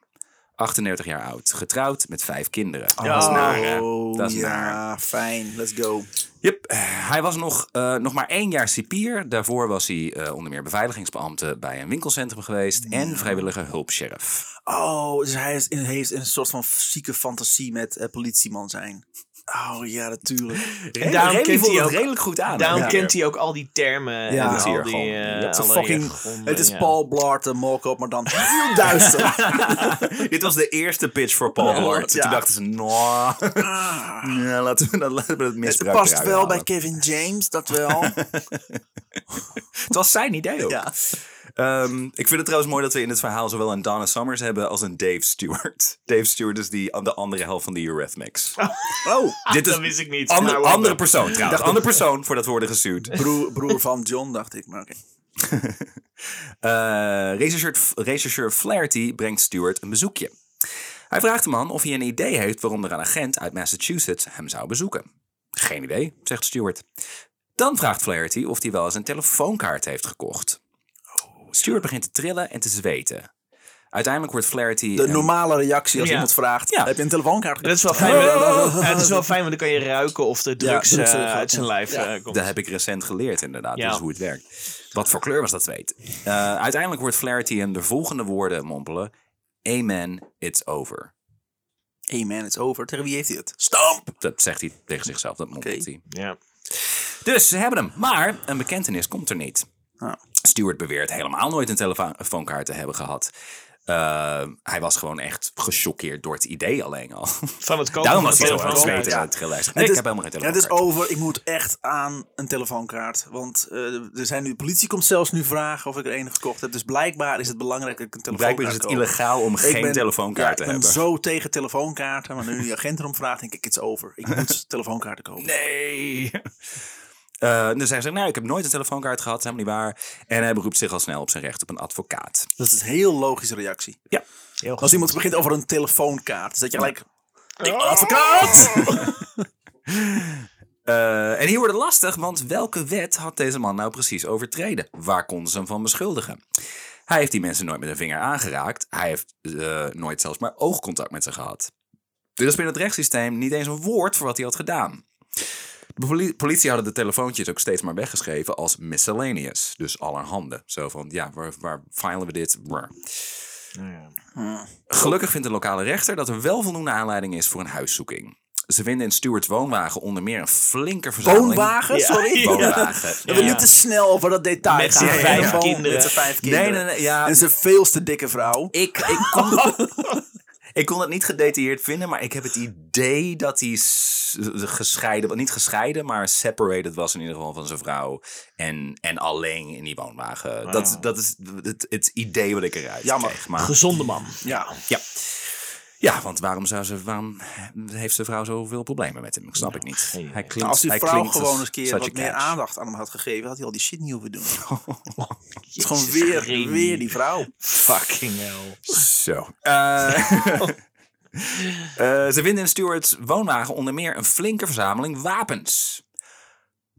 [SPEAKER 3] 38 jaar oud, getrouwd met vijf kinderen.
[SPEAKER 2] dat is naar,
[SPEAKER 1] Oh,
[SPEAKER 3] Dat is
[SPEAKER 1] ja,
[SPEAKER 3] naar.
[SPEAKER 1] fijn. Let's go.
[SPEAKER 3] Yep. Hij was nog, eh, nog maar één jaar cipier. Daarvoor was hij eh, onder meer beveiligingsbeambte bij een winkelcentrum geweest en vrijwillige hulpsheriff.
[SPEAKER 1] Oh, dus hij is- heeft een soort van zieke fantasie met eh, politieman zijn. Oh ja, natuurlijk.
[SPEAKER 3] En
[SPEAKER 2] daarom kent hij ook-
[SPEAKER 3] redelijk goed aan.
[SPEAKER 2] Daarom
[SPEAKER 3] Ja.
[SPEAKER 2] kent hij ook al die termen.
[SPEAKER 1] Ja,
[SPEAKER 2] en
[SPEAKER 1] dat
[SPEAKER 3] zie je
[SPEAKER 2] al die,
[SPEAKER 3] gewoon.
[SPEAKER 2] eh,
[SPEAKER 3] Ja,
[SPEAKER 1] Het is,
[SPEAKER 2] alle
[SPEAKER 1] een fucking,
[SPEAKER 2] regelgronden,
[SPEAKER 1] het is
[SPEAKER 2] ja.
[SPEAKER 1] Paul Blart en Molkop, maar dan heel duister.
[SPEAKER 3] Dit was de eerste pitch voor Paul
[SPEAKER 1] Ja.
[SPEAKER 3] Blart.
[SPEAKER 1] Ja.
[SPEAKER 3] Toen dachten ze, nou,
[SPEAKER 2] Ah.
[SPEAKER 3] ja, laten, we, dat- laten we het
[SPEAKER 1] Het
[SPEAKER 3] misbruik
[SPEAKER 1] past
[SPEAKER 3] eruit
[SPEAKER 1] wel
[SPEAKER 3] halen.
[SPEAKER 1] bij Kevin James, dat wel.
[SPEAKER 3] Het was zijn idee ook.
[SPEAKER 1] ja.
[SPEAKER 3] Ehm, ik vind het trouwens mooi dat we in het verhaal zowel een Donna Summers hebben als een Dave Stewart. Dave Stewart is die, de andere helft van de Eurythmics.
[SPEAKER 1] Oh,
[SPEAKER 3] Dit
[SPEAKER 2] Ah, dat wist ik niet. Nou,
[SPEAKER 3] Ander-
[SPEAKER 2] Maar whatever.
[SPEAKER 3] andere persoon trouwens. Andere persoon voordat we worden gesuwd.
[SPEAKER 1] broer, broer van John, dacht ik. Maar oké.
[SPEAKER 3] Eh rechercheur, rechercheur Flaherty brengt Stewart een bezoekje. Hij vraagt de man of hij een idee heeft waarom er een agent uit Massachusetts hem zou bezoeken. Geen idee, zegt Stewart. Dan vraagt Flaherty of hij wel eens een telefoonkaart heeft gekocht. Stewart begint te trillen en te zweten. Uiteindelijk wordt Flaherty...
[SPEAKER 1] De
[SPEAKER 3] een-
[SPEAKER 1] normale reactie als
[SPEAKER 2] Ja.
[SPEAKER 1] iemand vraagt,
[SPEAKER 3] Ja.
[SPEAKER 1] heb je een telefoonkaart
[SPEAKER 2] Dat is wel fijn. Ja, het is wel fijn, want dan kan je ruiken of de drugs
[SPEAKER 1] drugs
[SPEAKER 2] eh,
[SPEAKER 1] eruit
[SPEAKER 2] uit zijn
[SPEAKER 1] komt.
[SPEAKER 2] lijf
[SPEAKER 1] Ja.
[SPEAKER 2] eh, komt.
[SPEAKER 3] Dat heb ik recent geleerd, inderdaad.
[SPEAKER 2] Ja.
[SPEAKER 3] Dat is hoe het werkt. Wat voor kleur was dat zweet? Eh, uiteindelijk wordt Flaherty hem de volgende woorden mompelen. Amen, it's over.
[SPEAKER 1] Hey man, it's over. Tegen wie heeft hij het? Stamp!
[SPEAKER 3] Dat zegt hij tegen zichzelf, dat mompelt
[SPEAKER 1] Oké.
[SPEAKER 3] hij.
[SPEAKER 2] Ja.
[SPEAKER 3] Dus ze hebben hem. Maar een bekentenis komt er niet.
[SPEAKER 1] Ah.
[SPEAKER 3] Stewart beweert helemaal nooit een telefoonkaart te hebben gehad. Eh, hij was gewoon echt gechoqueerd door het idee alleen al.
[SPEAKER 2] Van het kopen
[SPEAKER 3] Daarom
[SPEAKER 2] van
[SPEAKER 3] was
[SPEAKER 2] de
[SPEAKER 3] hij zo aan het
[SPEAKER 2] telefoon.
[SPEAKER 3] zweten en aan het trillen. Hij zegt, Nee, ik
[SPEAKER 1] is-
[SPEAKER 3] heb helemaal geen
[SPEAKER 1] Het is
[SPEAKER 3] telefoonkaart.
[SPEAKER 1] over. Ik moet echt aan een telefoonkaart. Want eh, er zijn nu, de politie komt zelfs nu vragen of ik er een gekocht heb. Dus blijkbaar is het belangrijk dat ik een telefoonkaart
[SPEAKER 3] Blijkbaar is het
[SPEAKER 1] koop.
[SPEAKER 3] illegaal om
[SPEAKER 1] Ik
[SPEAKER 3] geen
[SPEAKER 1] ben- ja,
[SPEAKER 3] telefoonkaart te
[SPEAKER 1] Ik ben
[SPEAKER 3] hebben.
[SPEAKER 1] zo tegen telefoonkaarten. Maar nu die agent erom vraagt, denk ik, it's over. Ik moet telefoonkaarten kopen.
[SPEAKER 3] Nee. Eh, dus hij zegt, nou, ik heb nooit een telefoonkaart gehad, helemaal niet waar. En hij beroept zich al snel op zijn recht op een advocaat.
[SPEAKER 1] Dat is een heel logische reactie.
[SPEAKER 3] Ja.
[SPEAKER 2] Heel goed.
[SPEAKER 1] Als iemand begint over een telefoonkaart, is dat je gelijk...
[SPEAKER 3] Advocaat! Eh, en hier wordt het lastig, want welke wet had deze man nou precies overtreden? Waar konden ze hem van beschuldigen? Hij heeft die mensen nooit met een vinger aangeraakt. Hij heeft eh, nooit zelfs maar oogcontact met ze gehad. Dus binnen het rechtssysteem niet eens een woord voor wat hij had gedaan. De poli- politie hadden de telefoontjes ook steeds maar weggeschreven als miscellaneous. Dus allerhande. Zo van, ja, waar, waar filen we dit? Brr.
[SPEAKER 2] Ja.
[SPEAKER 3] Gelukkig vindt de lokale rechter dat er wel voldoende aanleiding is voor een huiszoeking. Ze vinden in Stewart's woonwagen onder meer een flinke verzameling...
[SPEAKER 1] Woonwagen?
[SPEAKER 2] Ja.
[SPEAKER 1] Sorry?
[SPEAKER 2] Ja.
[SPEAKER 3] Woonwagen.
[SPEAKER 1] We willen
[SPEAKER 2] Ja.
[SPEAKER 1] niet te snel over dat detail
[SPEAKER 2] Met
[SPEAKER 1] gaan.
[SPEAKER 2] zijn vijf
[SPEAKER 1] Telefoon-
[SPEAKER 2] kinderen.
[SPEAKER 1] Met zijn vijf kinderen. Dus-
[SPEAKER 3] Nee, nee, nee. Ja,
[SPEAKER 1] En zijn veelste dikke vrouw.
[SPEAKER 3] ik, ik, kon, ik kon het niet gedetailleerd vinden, maar ik heb het idee dat hij s- gescheiden... Niet gescheiden, maar separated was in ieder geval van zijn vrouw. En, en alleen in die woonwagen. Dat, dat is het, het idee wat ik eruit
[SPEAKER 1] Jammer.
[SPEAKER 3] kreeg. Maar
[SPEAKER 2] Gezonde man.
[SPEAKER 1] Ja.
[SPEAKER 3] Ja. Ja, want waarom, zou ze, waarom heeft zijn vrouw zoveel problemen met hem? Ik snap ik niet.
[SPEAKER 2] geen idee.
[SPEAKER 3] Hij klinkt,
[SPEAKER 1] Nou, als die
[SPEAKER 3] hij
[SPEAKER 1] vrouw
[SPEAKER 3] klinkt
[SPEAKER 1] gewoon
[SPEAKER 3] als
[SPEAKER 1] eens een keer
[SPEAKER 3] such a
[SPEAKER 1] wat meer
[SPEAKER 3] catch.
[SPEAKER 1] aandacht aan hem had gegeven, had hij al die shit niet hoeven doen. Het is gewoon weer,
[SPEAKER 2] Green.
[SPEAKER 1] weer die vrouw.
[SPEAKER 2] Fucking hell.
[SPEAKER 3] Zo. Eh, eh, ze vinden in Stewart's woonwagen onder meer een flinke verzameling wapens.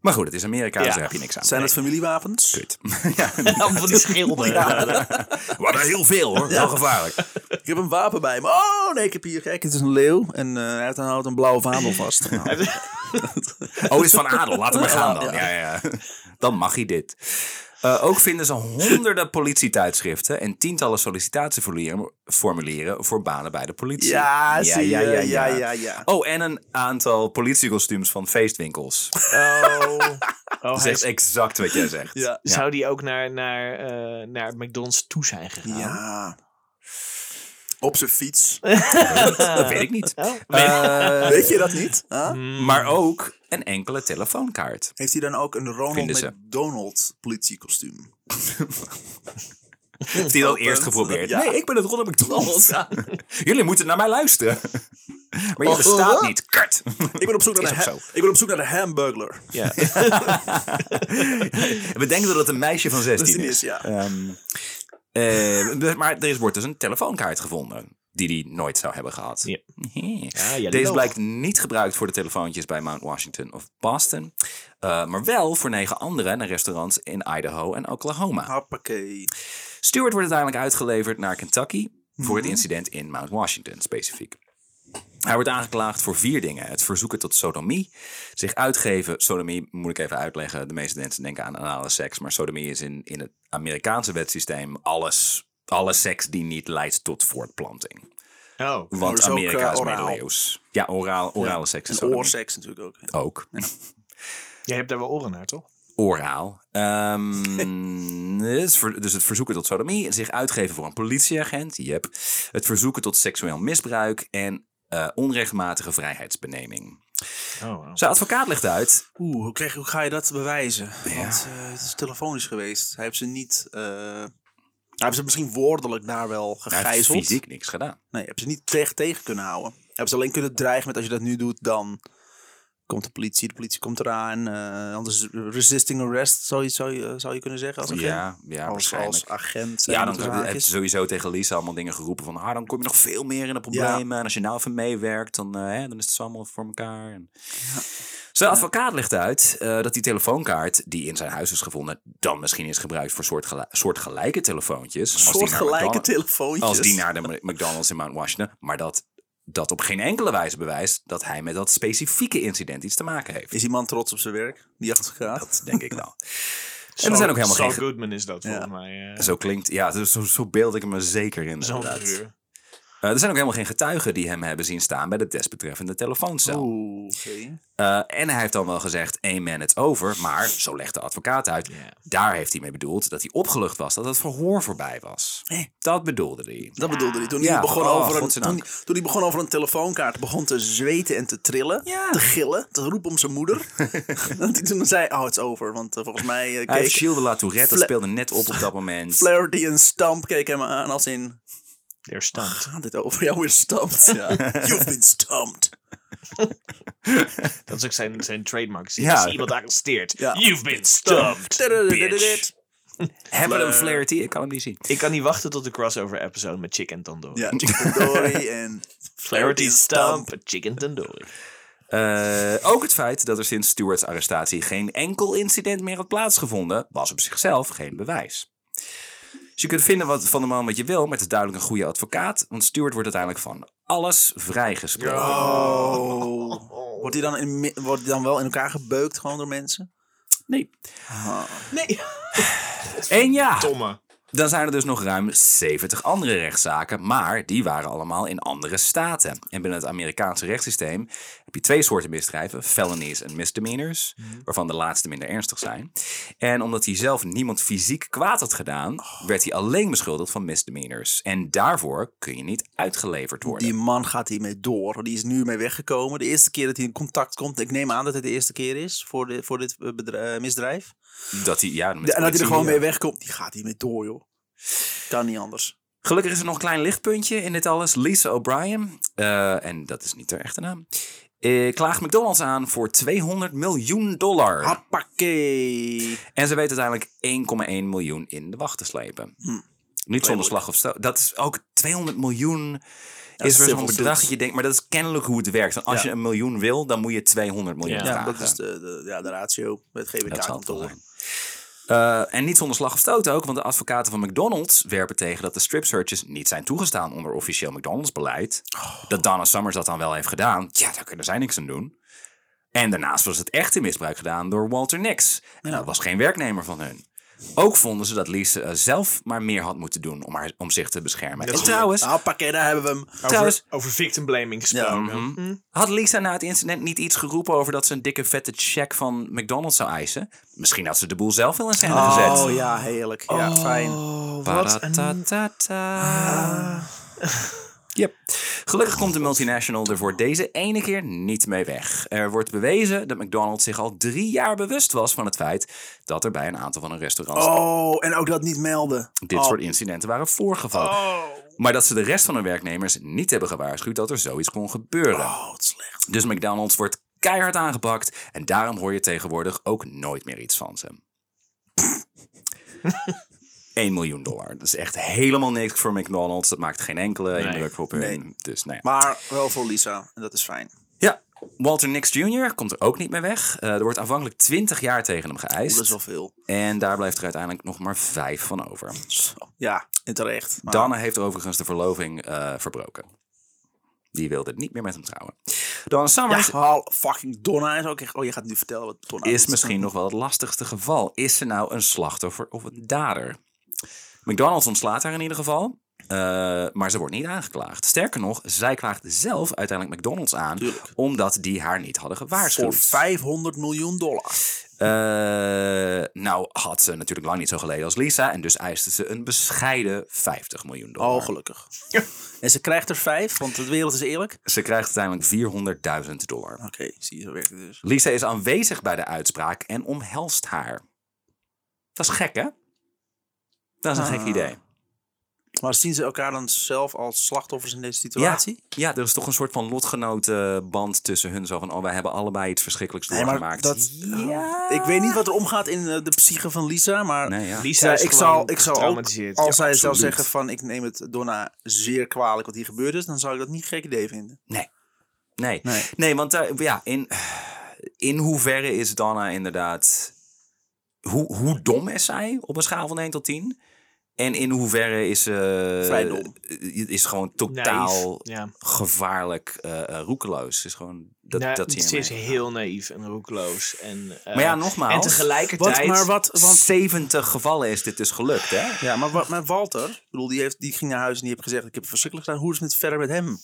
[SPEAKER 3] Maar goed, het is Amerika, dus
[SPEAKER 2] Ja.
[SPEAKER 3] daar heb je niks aan.
[SPEAKER 1] Zijn het familiewapens?
[SPEAKER 3] Kut. ja,
[SPEAKER 2] Dan van die schilder.
[SPEAKER 3] wat er heel veel hoor. Wel gevaarlijk.
[SPEAKER 1] Ik heb een wapen bij me. Oh nee, ik heb hier, kijk, het is een leeuw. En eh, hij heeft- hij houdt een blauwe vaandel vast. Nou,
[SPEAKER 3] Oh, is van adel. Laat hem maar gaan dan. Ja, ja. Dan mag hij dit. Eh, ook vinden ze honderden politietijdschriften en tientallen sollicitatieformulieren formulieren voor banen bij de politie.
[SPEAKER 1] Ja, zie je. Ja, ja, ja.
[SPEAKER 3] Oh, en een aantal politiekostuums van feestwinkels.
[SPEAKER 2] Oh. Oh,
[SPEAKER 3] Dat
[SPEAKER 2] hij
[SPEAKER 3] is echt exact wat jij zegt.
[SPEAKER 1] ja.
[SPEAKER 2] Zou die ook naar, naar, eh, naar McDonald's toe zijn gegaan?
[SPEAKER 1] ja. Op zijn fiets.
[SPEAKER 3] Dat weet ik niet.
[SPEAKER 2] Oh,
[SPEAKER 3] Eh,
[SPEAKER 1] Weet je dat niet? Huh?
[SPEAKER 3] maar ook een enkele telefoonkaart.
[SPEAKER 1] Heeft hij dan ook een Ronald
[SPEAKER 3] Vinden ze.
[SPEAKER 1] McDonald politiekostuum?
[SPEAKER 3] Heeft hij dat eerst geprobeerd? Nee, ik ben het Ronald McDonald. Jullie moeten naar mij luisteren. Maar je
[SPEAKER 1] Oh,
[SPEAKER 3] bestaat
[SPEAKER 1] wat?
[SPEAKER 3] niet. Kut.
[SPEAKER 1] Ik ben op zoek naar,
[SPEAKER 3] Hm. Is
[SPEAKER 1] de,
[SPEAKER 3] ook
[SPEAKER 1] ha-
[SPEAKER 3] zo.
[SPEAKER 1] ik ben op zoek naar de hamburglar.
[SPEAKER 2] Ja.
[SPEAKER 3] We denken dat het een meisje van 16
[SPEAKER 1] 16
[SPEAKER 3] is.
[SPEAKER 1] is, ja.
[SPEAKER 3] Ehm, eh, maar er is, wordt dus een telefoonkaart gevonden. Die hij nooit zou hebben gehad.
[SPEAKER 2] Ja.
[SPEAKER 3] Deze
[SPEAKER 2] ja,
[SPEAKER 3] Deze
[SPEAKER 2] loog.
[SPEAKER 3] blijkt niet gebruikt voor de telefoontjes bij Mount Washington of Boston. eh, maar wel voor negen andere naar restaurants in Idaho en Oklahoma.
[SPEAKER 1] Hoppakee.
[SPEAKER 3] Stewart wordt uiteindelijk uitgeleverd naar Kentucky voor
[SPEAKER 1] Mhm.
[SPEAKER 3] het incident in Mount Washington specifiek. Hij wordt aangeklaagd voor vier dingen. Het verzoeken tot sodomie, zich uitgeven. Sodomie moet ik even uitleggen. De meeste mensen denken aan anale seks, maar sodomie is in, in het Amerikaanse wetsysteem alles, alle seks die niet leidt tot voortplanting.
[SPEAKER 2] Oh.
[SPEAKER 3] Want
[SPEAKER 1] dus ook,
[SPEAKER 3] Amerika
[SPEAKER 1] eh,
[SPEAKER 3] is
[SPEAKER 1] oraal.
[SPEAKER 3] middeleeuws. Ja, oraal, orale seks is
[SPEAKER 1] En
[SPEAKER 3] sodomie.
[SPEAKER 1] oorseks natuurlijk ook.
[SPEAKER 3] Ook.
[SPEAKER 2] Jij hebt daar wel oren naar, toch? Oh,
[SPEAKER 3] oraal. Ehm, dus, ver- dus het verzoeken tot sodomie, zich uitgeven voor een politieagent, yep. het verzoeken tot seksueel misbruik en eh, onrechtmatige vrijheidsbeneming.
[SPEAKER 2] Oh, wow.
[SPEAKER 3] Zijn advocaat legt uit,
[SPEAKER 1] Oeh, hoe, krijg, hoe ga je dat bewijzen? Want eh, het is telefonisch geweest. Hij heeft ze niet... eh, hij heeft ze misschien woordelijk daar wel
[SPEAKER 3] hij heeft
[SPEAKER 1] gegijzeld.
[SPEAKER 3] fysiek niks gedaan.
[SPEAKER 1] Nee, hebben ze niet tegen, tegen kunnen houden. Hebben ze alleen kunnen dreigen met als je dat nu doet, dan komt de politie, de politie komt eraan. eh, anders resisting arrest, zou je, zou je, eh, zou je kunnen zeggen als agent.
[SPEAKER 3] Ja, ja
[SPEAKER 1] als,
[SPEAKER 3] waarschijnlijk.
[SPEAKER 1] als agent.
[SPEAKER 3] ja,
[SPEAKER 1] eh, met
[SPEAKER 3] dan heb je
[SPEAKER 1] haakjes.
[SPEAKER 3] sowieso tegen Lisa allemaal dingen geroepen van, ah, dan kom je nog veel meer in de problemen. En als je nou even meewerkt, dan, eh, hè, dan is het allemaal voor elkaar. En... Zijn advocaat legt uit eh, dat die telefoonkaart die in zijn huis is gevonden, dan misschien is gebruikt voor soortgela- soortgelijke telefoontjes. Als die naar
[SPEAKER 1] soortgelijke
[SPEAKER 3] McDonald's-
[SPEAKER 1] telefoontjes.
[SPEAKER 3] Als die naar de Mc- McDonald's in Mount Washington, maar dat dat op geen enkele wijze bewijst dat hij met dat specifieke incident iets te maken heeft.
[SPEAKER 1] Is die man trots op zijn werk, die advocaat?
[SPEAKER 3] Dat denk ik wel.
[SPEAKER 2] En
[SPEAKER 3] er zijn ook helemaal geen ge-
[SPEAKER 2] Goodman is dat, volgens mij. eh,
[SPEAKER 3] Zo klinkt, ja, dus zo, zo beeld ik hem me zeker in.
[SPEAKER 2] Zo'n
[SPEAKER 3] inderdaad.
[SPEAKER 2] figuur.
[SPEAKER 3] Eh, er zijn ook helemaal geen getuigen die hem hebben zien staan bij de desbetreffende telefooncel.
[SPEAKER 1] Oeh, oké.
[SPEAKER 3] Eh, en hij heeft dan wel gezegd, één man it's over. Maar, zo legt de advocaat uit,
[SPEAKER 2] Ja.
[SPEAKER 3] daar heeft hij mee bedoeld dat hij opgelucht was dat het verhoor voorbij was.
[SPEAKER 1] Eh.
[SPEAKER 3] Dat bedoelde hij.
[SPEAKER 1] Dat bedoelde hij. Toen,
[SPEAKER 3] Ja,
[SPEAKER 1] hij begon
[SPEAKER 3] oh,
[SPEAKER 1] over een,
[SPEAKER 3] godzijdank.
[SPEAKER 1] toen, toen hij begon over een telefoonkaart, begon te zweten en te trillen,
[SPEAKER 3] Ja.
[SPEAKER 1] te gillen, te roepen om zijn moeder. Want hij toen zei, oh, het is over. Want eh, volgens mij eh,
[SPEAKER 3] Hij
[SPEAKER 1] keek-
[SPEAKER 3] heeft Gilles de La Tourette, dat
[SPEAKER 1] Fla-
[SPEAKER 3] speelde net op op dat moment.
[SPEAKER 1] Flaherty en Stamp keken hem aan als in...
[SPEAKER 2] Der stand.
[SPEAKER 1] Gaat dit over jou weer stamped? Ja. You've been stamped.
[SPEAKER 2] Dat is ook zijn, zijn trademark. Als
[SPEAKER 3] Ja.
[SPEAKER 2] je iemand arresteert.
[SPEAKER 1] Ja.
[SPEAKER 2] You've been stumped, bitch.
[SPEAKER 3] Hebben we hem Flaherty? Ik kan hem niet zien.
[SPEAKER 2] Ik kan niet wachten tot de crossover episode met Chicken Tandoori.
[SPEAKER 1] Ja, chicken dory en...
[SPEAKER 2] Clarity Stump, Chicken Tandoori.
[SPEAKER 3] Eh, ook het feit dat er sinds Stewart's arrestatie geen enkel incident meer had plaatsgevonden, was op zichzelf geen bewijs. Dus je kunt vinden wat, van de man wat je wil, maar het is duidelijk een goede advocaat, want Stewart wordt uiteindelijk van alles vrijgesproken.
[SPEAKER 1] Oh. Wordt hij dan, in, mi- wordt die dan wel in elkaar gebeukt gewoon door mensen?
[SPEAKER 3] Nee.
[SPEAKER 2] Nee.
[SPEAKER 3] Ah. En ja,
[SPEAKER 2] Tomme.
[SPEAKER 3] dan zijn er dus nog ruim 70 andere rechtszaken, maar die waren allemaal in andere staten. En binnen het Amerikaanse rechtssysteem heb je twee soorten misdrijven, felonies en misdemeanors, waarvan de laatste minder ernstig zijn. En omdat hij zelf niemand fysiek kwaad had gedaan, werd hij alleen beschuldigd van misdemeanors. En daarvoor kun je niet uitgeleverd worden.
[SPEAKER 1] Die man gaat hiermee door. Die is nu mee weggekomen. De eerste keer dat hij in contact komt. Ik neem aan dat het de eerste keer is voor, de, voor dit eh, bedra- eh, misdrijf.
[SPEAKER 3] Dat hij, ja, met
[SPEAKER 1] en dat hij er
[SPEAKER 3] politie,
[SPEAKER 1] gewoon
[SPEAKER 3] ja.
[SPEAKER 1] mee wegkomt. Die gaat hiermee door, joh. Kan niet anders.
[SPEAKER 3] Gelukkig is er nog een klein lichtpuntje in dit alles. Lisa O'Brien, eh, en dat is niet haar echte naam, eh, klaagt McDonald's aan voor 200 miljoen dollar.
[SPEAKER 1] Hoppakee.
[SPEAKER 3] En ze weet uiteindelijk 1,1 miljoen in de wacht te slepen. Niet zonder slag of stoot. Dat is ook 200 miljoen. is weer
[SPEAKER 1] civil
[SPEAKER 3] zo'n bedrag
[SPEAKER 1] suits.
[SPEAKER 3] dat je denkt, maar dat is kennelijk hoe het werkt. Want als
[SPEAKER 1] Ja.
[SPEAKER 3] je een miljoen wil, dan moet je 200 miljoen
[SPEAKER 2] Ja,
[SPEAKER 1] Ja,
[SPEAKER 3] vragen.
[SPEAKER 1] dat is de, de, ja, de ratio met het
[SPEAKER 3] Dat zal het wel
[SPEAKER 1] GWK-kantoor.
[SPEAKER 3] zijn. Eh, en niet zonder slag of stoot ook, want de advocaten van McDonald's werpen tegen dat de strip searches niet zijn toegestaan onder officieel McDonald's beleid. Dat Donna Summers dat dan wel heeft gedaan, ja, daar kunnen zij niks aan doen. En daarnaast was het echte misbruik gedaan door Walter Nix. En dat was geen werknemer van hun. Ook vonden ze dat Lise eh, zelf maar meer had moeten doen om, haar, om zich te beschermen. En
[SPEAKER 2] is-
[SPEAKER 3] trouwens,
[SPEAKER 1] Dus, eh, Hoppakee, daar hebben we hem.
[SPEAKER 3] Trouwens-
[SPEAKER 2] Over, over victim blaming gesproken.
[SPEAKER 3] mhm. had Lisa na het incident niet iets geroepen over dat ze een dikke vette check van McDonald's zou eisen? Misschien had ze de boel zelf wel in scène gezet.
[SPEAKER 1] Oh ja, heerlijk. Ja, fijn.
[SPEAKER 2] Oh,
[SPEAKER 3] Paratatata. Ah. Yep. Gelukkig komt de multinational er voor deze ene keer niet mee weg. Er wordt bewezen dat McDonald's zich al drie jaar bewust was van het feit dat er bij een aantal van hun restaurants
[SPEAKER 1] Oh, en ook dat niet melden.
[SPEAKER 3] dit
[SPEAKER 1] Oh.
[SPEAKER 3] soort incidenten waren voorgevallen.
[SPEAKER 2] Oh.
[SPEAKER 3] Maar dat ze de rest van hun werknemers niet hebben gewaarschuwd dat er zoiets kon gebeuren.
[SPEAKER 1] Oh, wat slecht.
[SPEAKER 3] Dus McDonald's wordt keihard aangepakt en daarom hoor je tegenwoordig ook nooit meer iets van ze. 1 miljoen dollar. Dat is echt helemaal niks voor McDonald's. Dat maakt geen enkele
[SPEAKER 2] Nee.
[SPEAKER 3] indruk op hun.
[SPEAKER 1] Nee.
[SPEAKER 3] Dus nou ja.
[SPEAKER 1] Maar wel voor Lisa. En dat is fijn.
[SPEAKER 3] Ja, Walter Nix Jr. komt er ook niet meer weg. Eh, er wordt aanvankelijk 20 jaar tegen hem
[SPEAKER 1] Oeh,
[SPEAKER 3] geëist.
[SPEAKER 1] Dat is wel veel.
[SPEAKER 3] En daar blijft er uiteindelijk nog maar 5 van over.
[SPEAKER 1] Ja, en terecht. Maar
[SPEAKER 3] Dana heeft overigens de verloving eh, verbroken. Die wilde niet meer met hem trouwen. Dan
[SPEAKER 1] Ja,
[SPEAKER 3] Summers
[SPEAKER 1] haal fucking Donna is ook echt... Oh, je gaat nu vertellen wat Donna
[SPEAKER 3] is misschien nog wel het lastigste geval. Is ze nou een slachtoffer of een dader? McDonald's ontslaat haar in ieder geval. eh, maar ze wordt niet aangeklaagd. Sterker nog, zij klaagt zelf uiteindelijk McDonald's aan.
[SPEAKER 1] Tuurlijk.
[SPEAKER 3] Omdat die haar niet hadden
[SPEAKER 1] Voor
[SPEAKER 3] gewaarschuwd.
[SPEAKER 1] 500 miljoen dollar.
[SPEAKER 3] Eh, nou had ze natuurlijk lang niet zo geleden als Lisa. En dus eiste ze een bescheiden 50 miljoen dollar.
[SPEAKER 1] Oh, gelukkig. En ze krijgt er vijf, want de wereld is eerlijk. Oké,
[SPEAKER 3] Ze krijgt uiteindelijk 400.000 dollar.
[SPEAKER 1] zie je, zo werkt het dus.
[SPEAKER 3] Lisa is aanwezig bij de uitspraak en omhelst haar. Dat is gek, hè? Dat is een gek
[SPEAKER 1] Ah.
[SPEAKER 3] idee.
[SPEAKER 1] Maar zien ze elkaar dan zelf als slachtoffers in deze situatie?
[SPEAKER 3] Ja, er is toch een soort van lotgenotenband tussen hun. Zo van, oh, wij hebben allebei iets verschrikkelijks
[SPEAKER 1] Nee, maar
[SPEAKER 3] doorgemaakt.
[SPEAKER 1] dat-
[SPEAKER 3] Ja.
[SPEAKER 1] Ik weet niet wat er omgaat in eh, de psyche van Lisa, maar...
[SPEAKER 3] Nee, ja.
[SPEAKER 2] Lisa
[SPEAKER 1] Ja,
[SPEAKER 2] is
[SPEAKER 1] ik
[SPEAKER 2] gewoon
[SPEAKER 1] zou, ik zou ook, als
[SPEAKER 2] getraumatiseerd. Ja,
[SPEAKER 1] zij zou
[SPEAKER 3] absoluut.
[SPEAKER 1] zeggen van ik neem het Donna zeer kwalijk wat hier gebeurd is, dan zou ik dat niet een gek idee vinden.
[SPEAKER 3] Nee.
[SPEAKER 1] Nee.
[SPEAKER 3] Nee, want daar- ja, in, in hoeverre is Donna inderdaad... Hoe, hoe dom is zij op een schaal van 1 tot 10? En in hoeverre is ze...
[SPEAKER 1] Vrij dom.
[SPEAKER 3] Is gewoon
[SPEAKER 2] Naïef.
[SPEAKER 3] totaal
[SPEAKER 2] Ja.
[SPEAKER 3] gevaarlijk eh, eh, roekeloos. Is gewoon, dat,
[SPEAKER 2] Nou,
[SPEAKER 3] dat zie je
[SPEAKER 2] ze is
[SPEAKER 3] maar.
[SPEAKER 2] heel naïef en roekeloos. En, eh,
[SPEAKER 3] Maar ja, nogmaals.
[SPEAKER 2] En tegelijkertijd...
[SPEAKER 1] Wat- maar wat- want-
[SPEAKER 3] 70 gevallen is dit dus gelukt, hè?
[SPEAKER 1] Ja, maar, wa- maar Walter, ik bedoel, die, heeft, die ging naar huis en die heeft gezegd ik heb het verschrikkelijk gedaan. Hoe is het met- verder met hem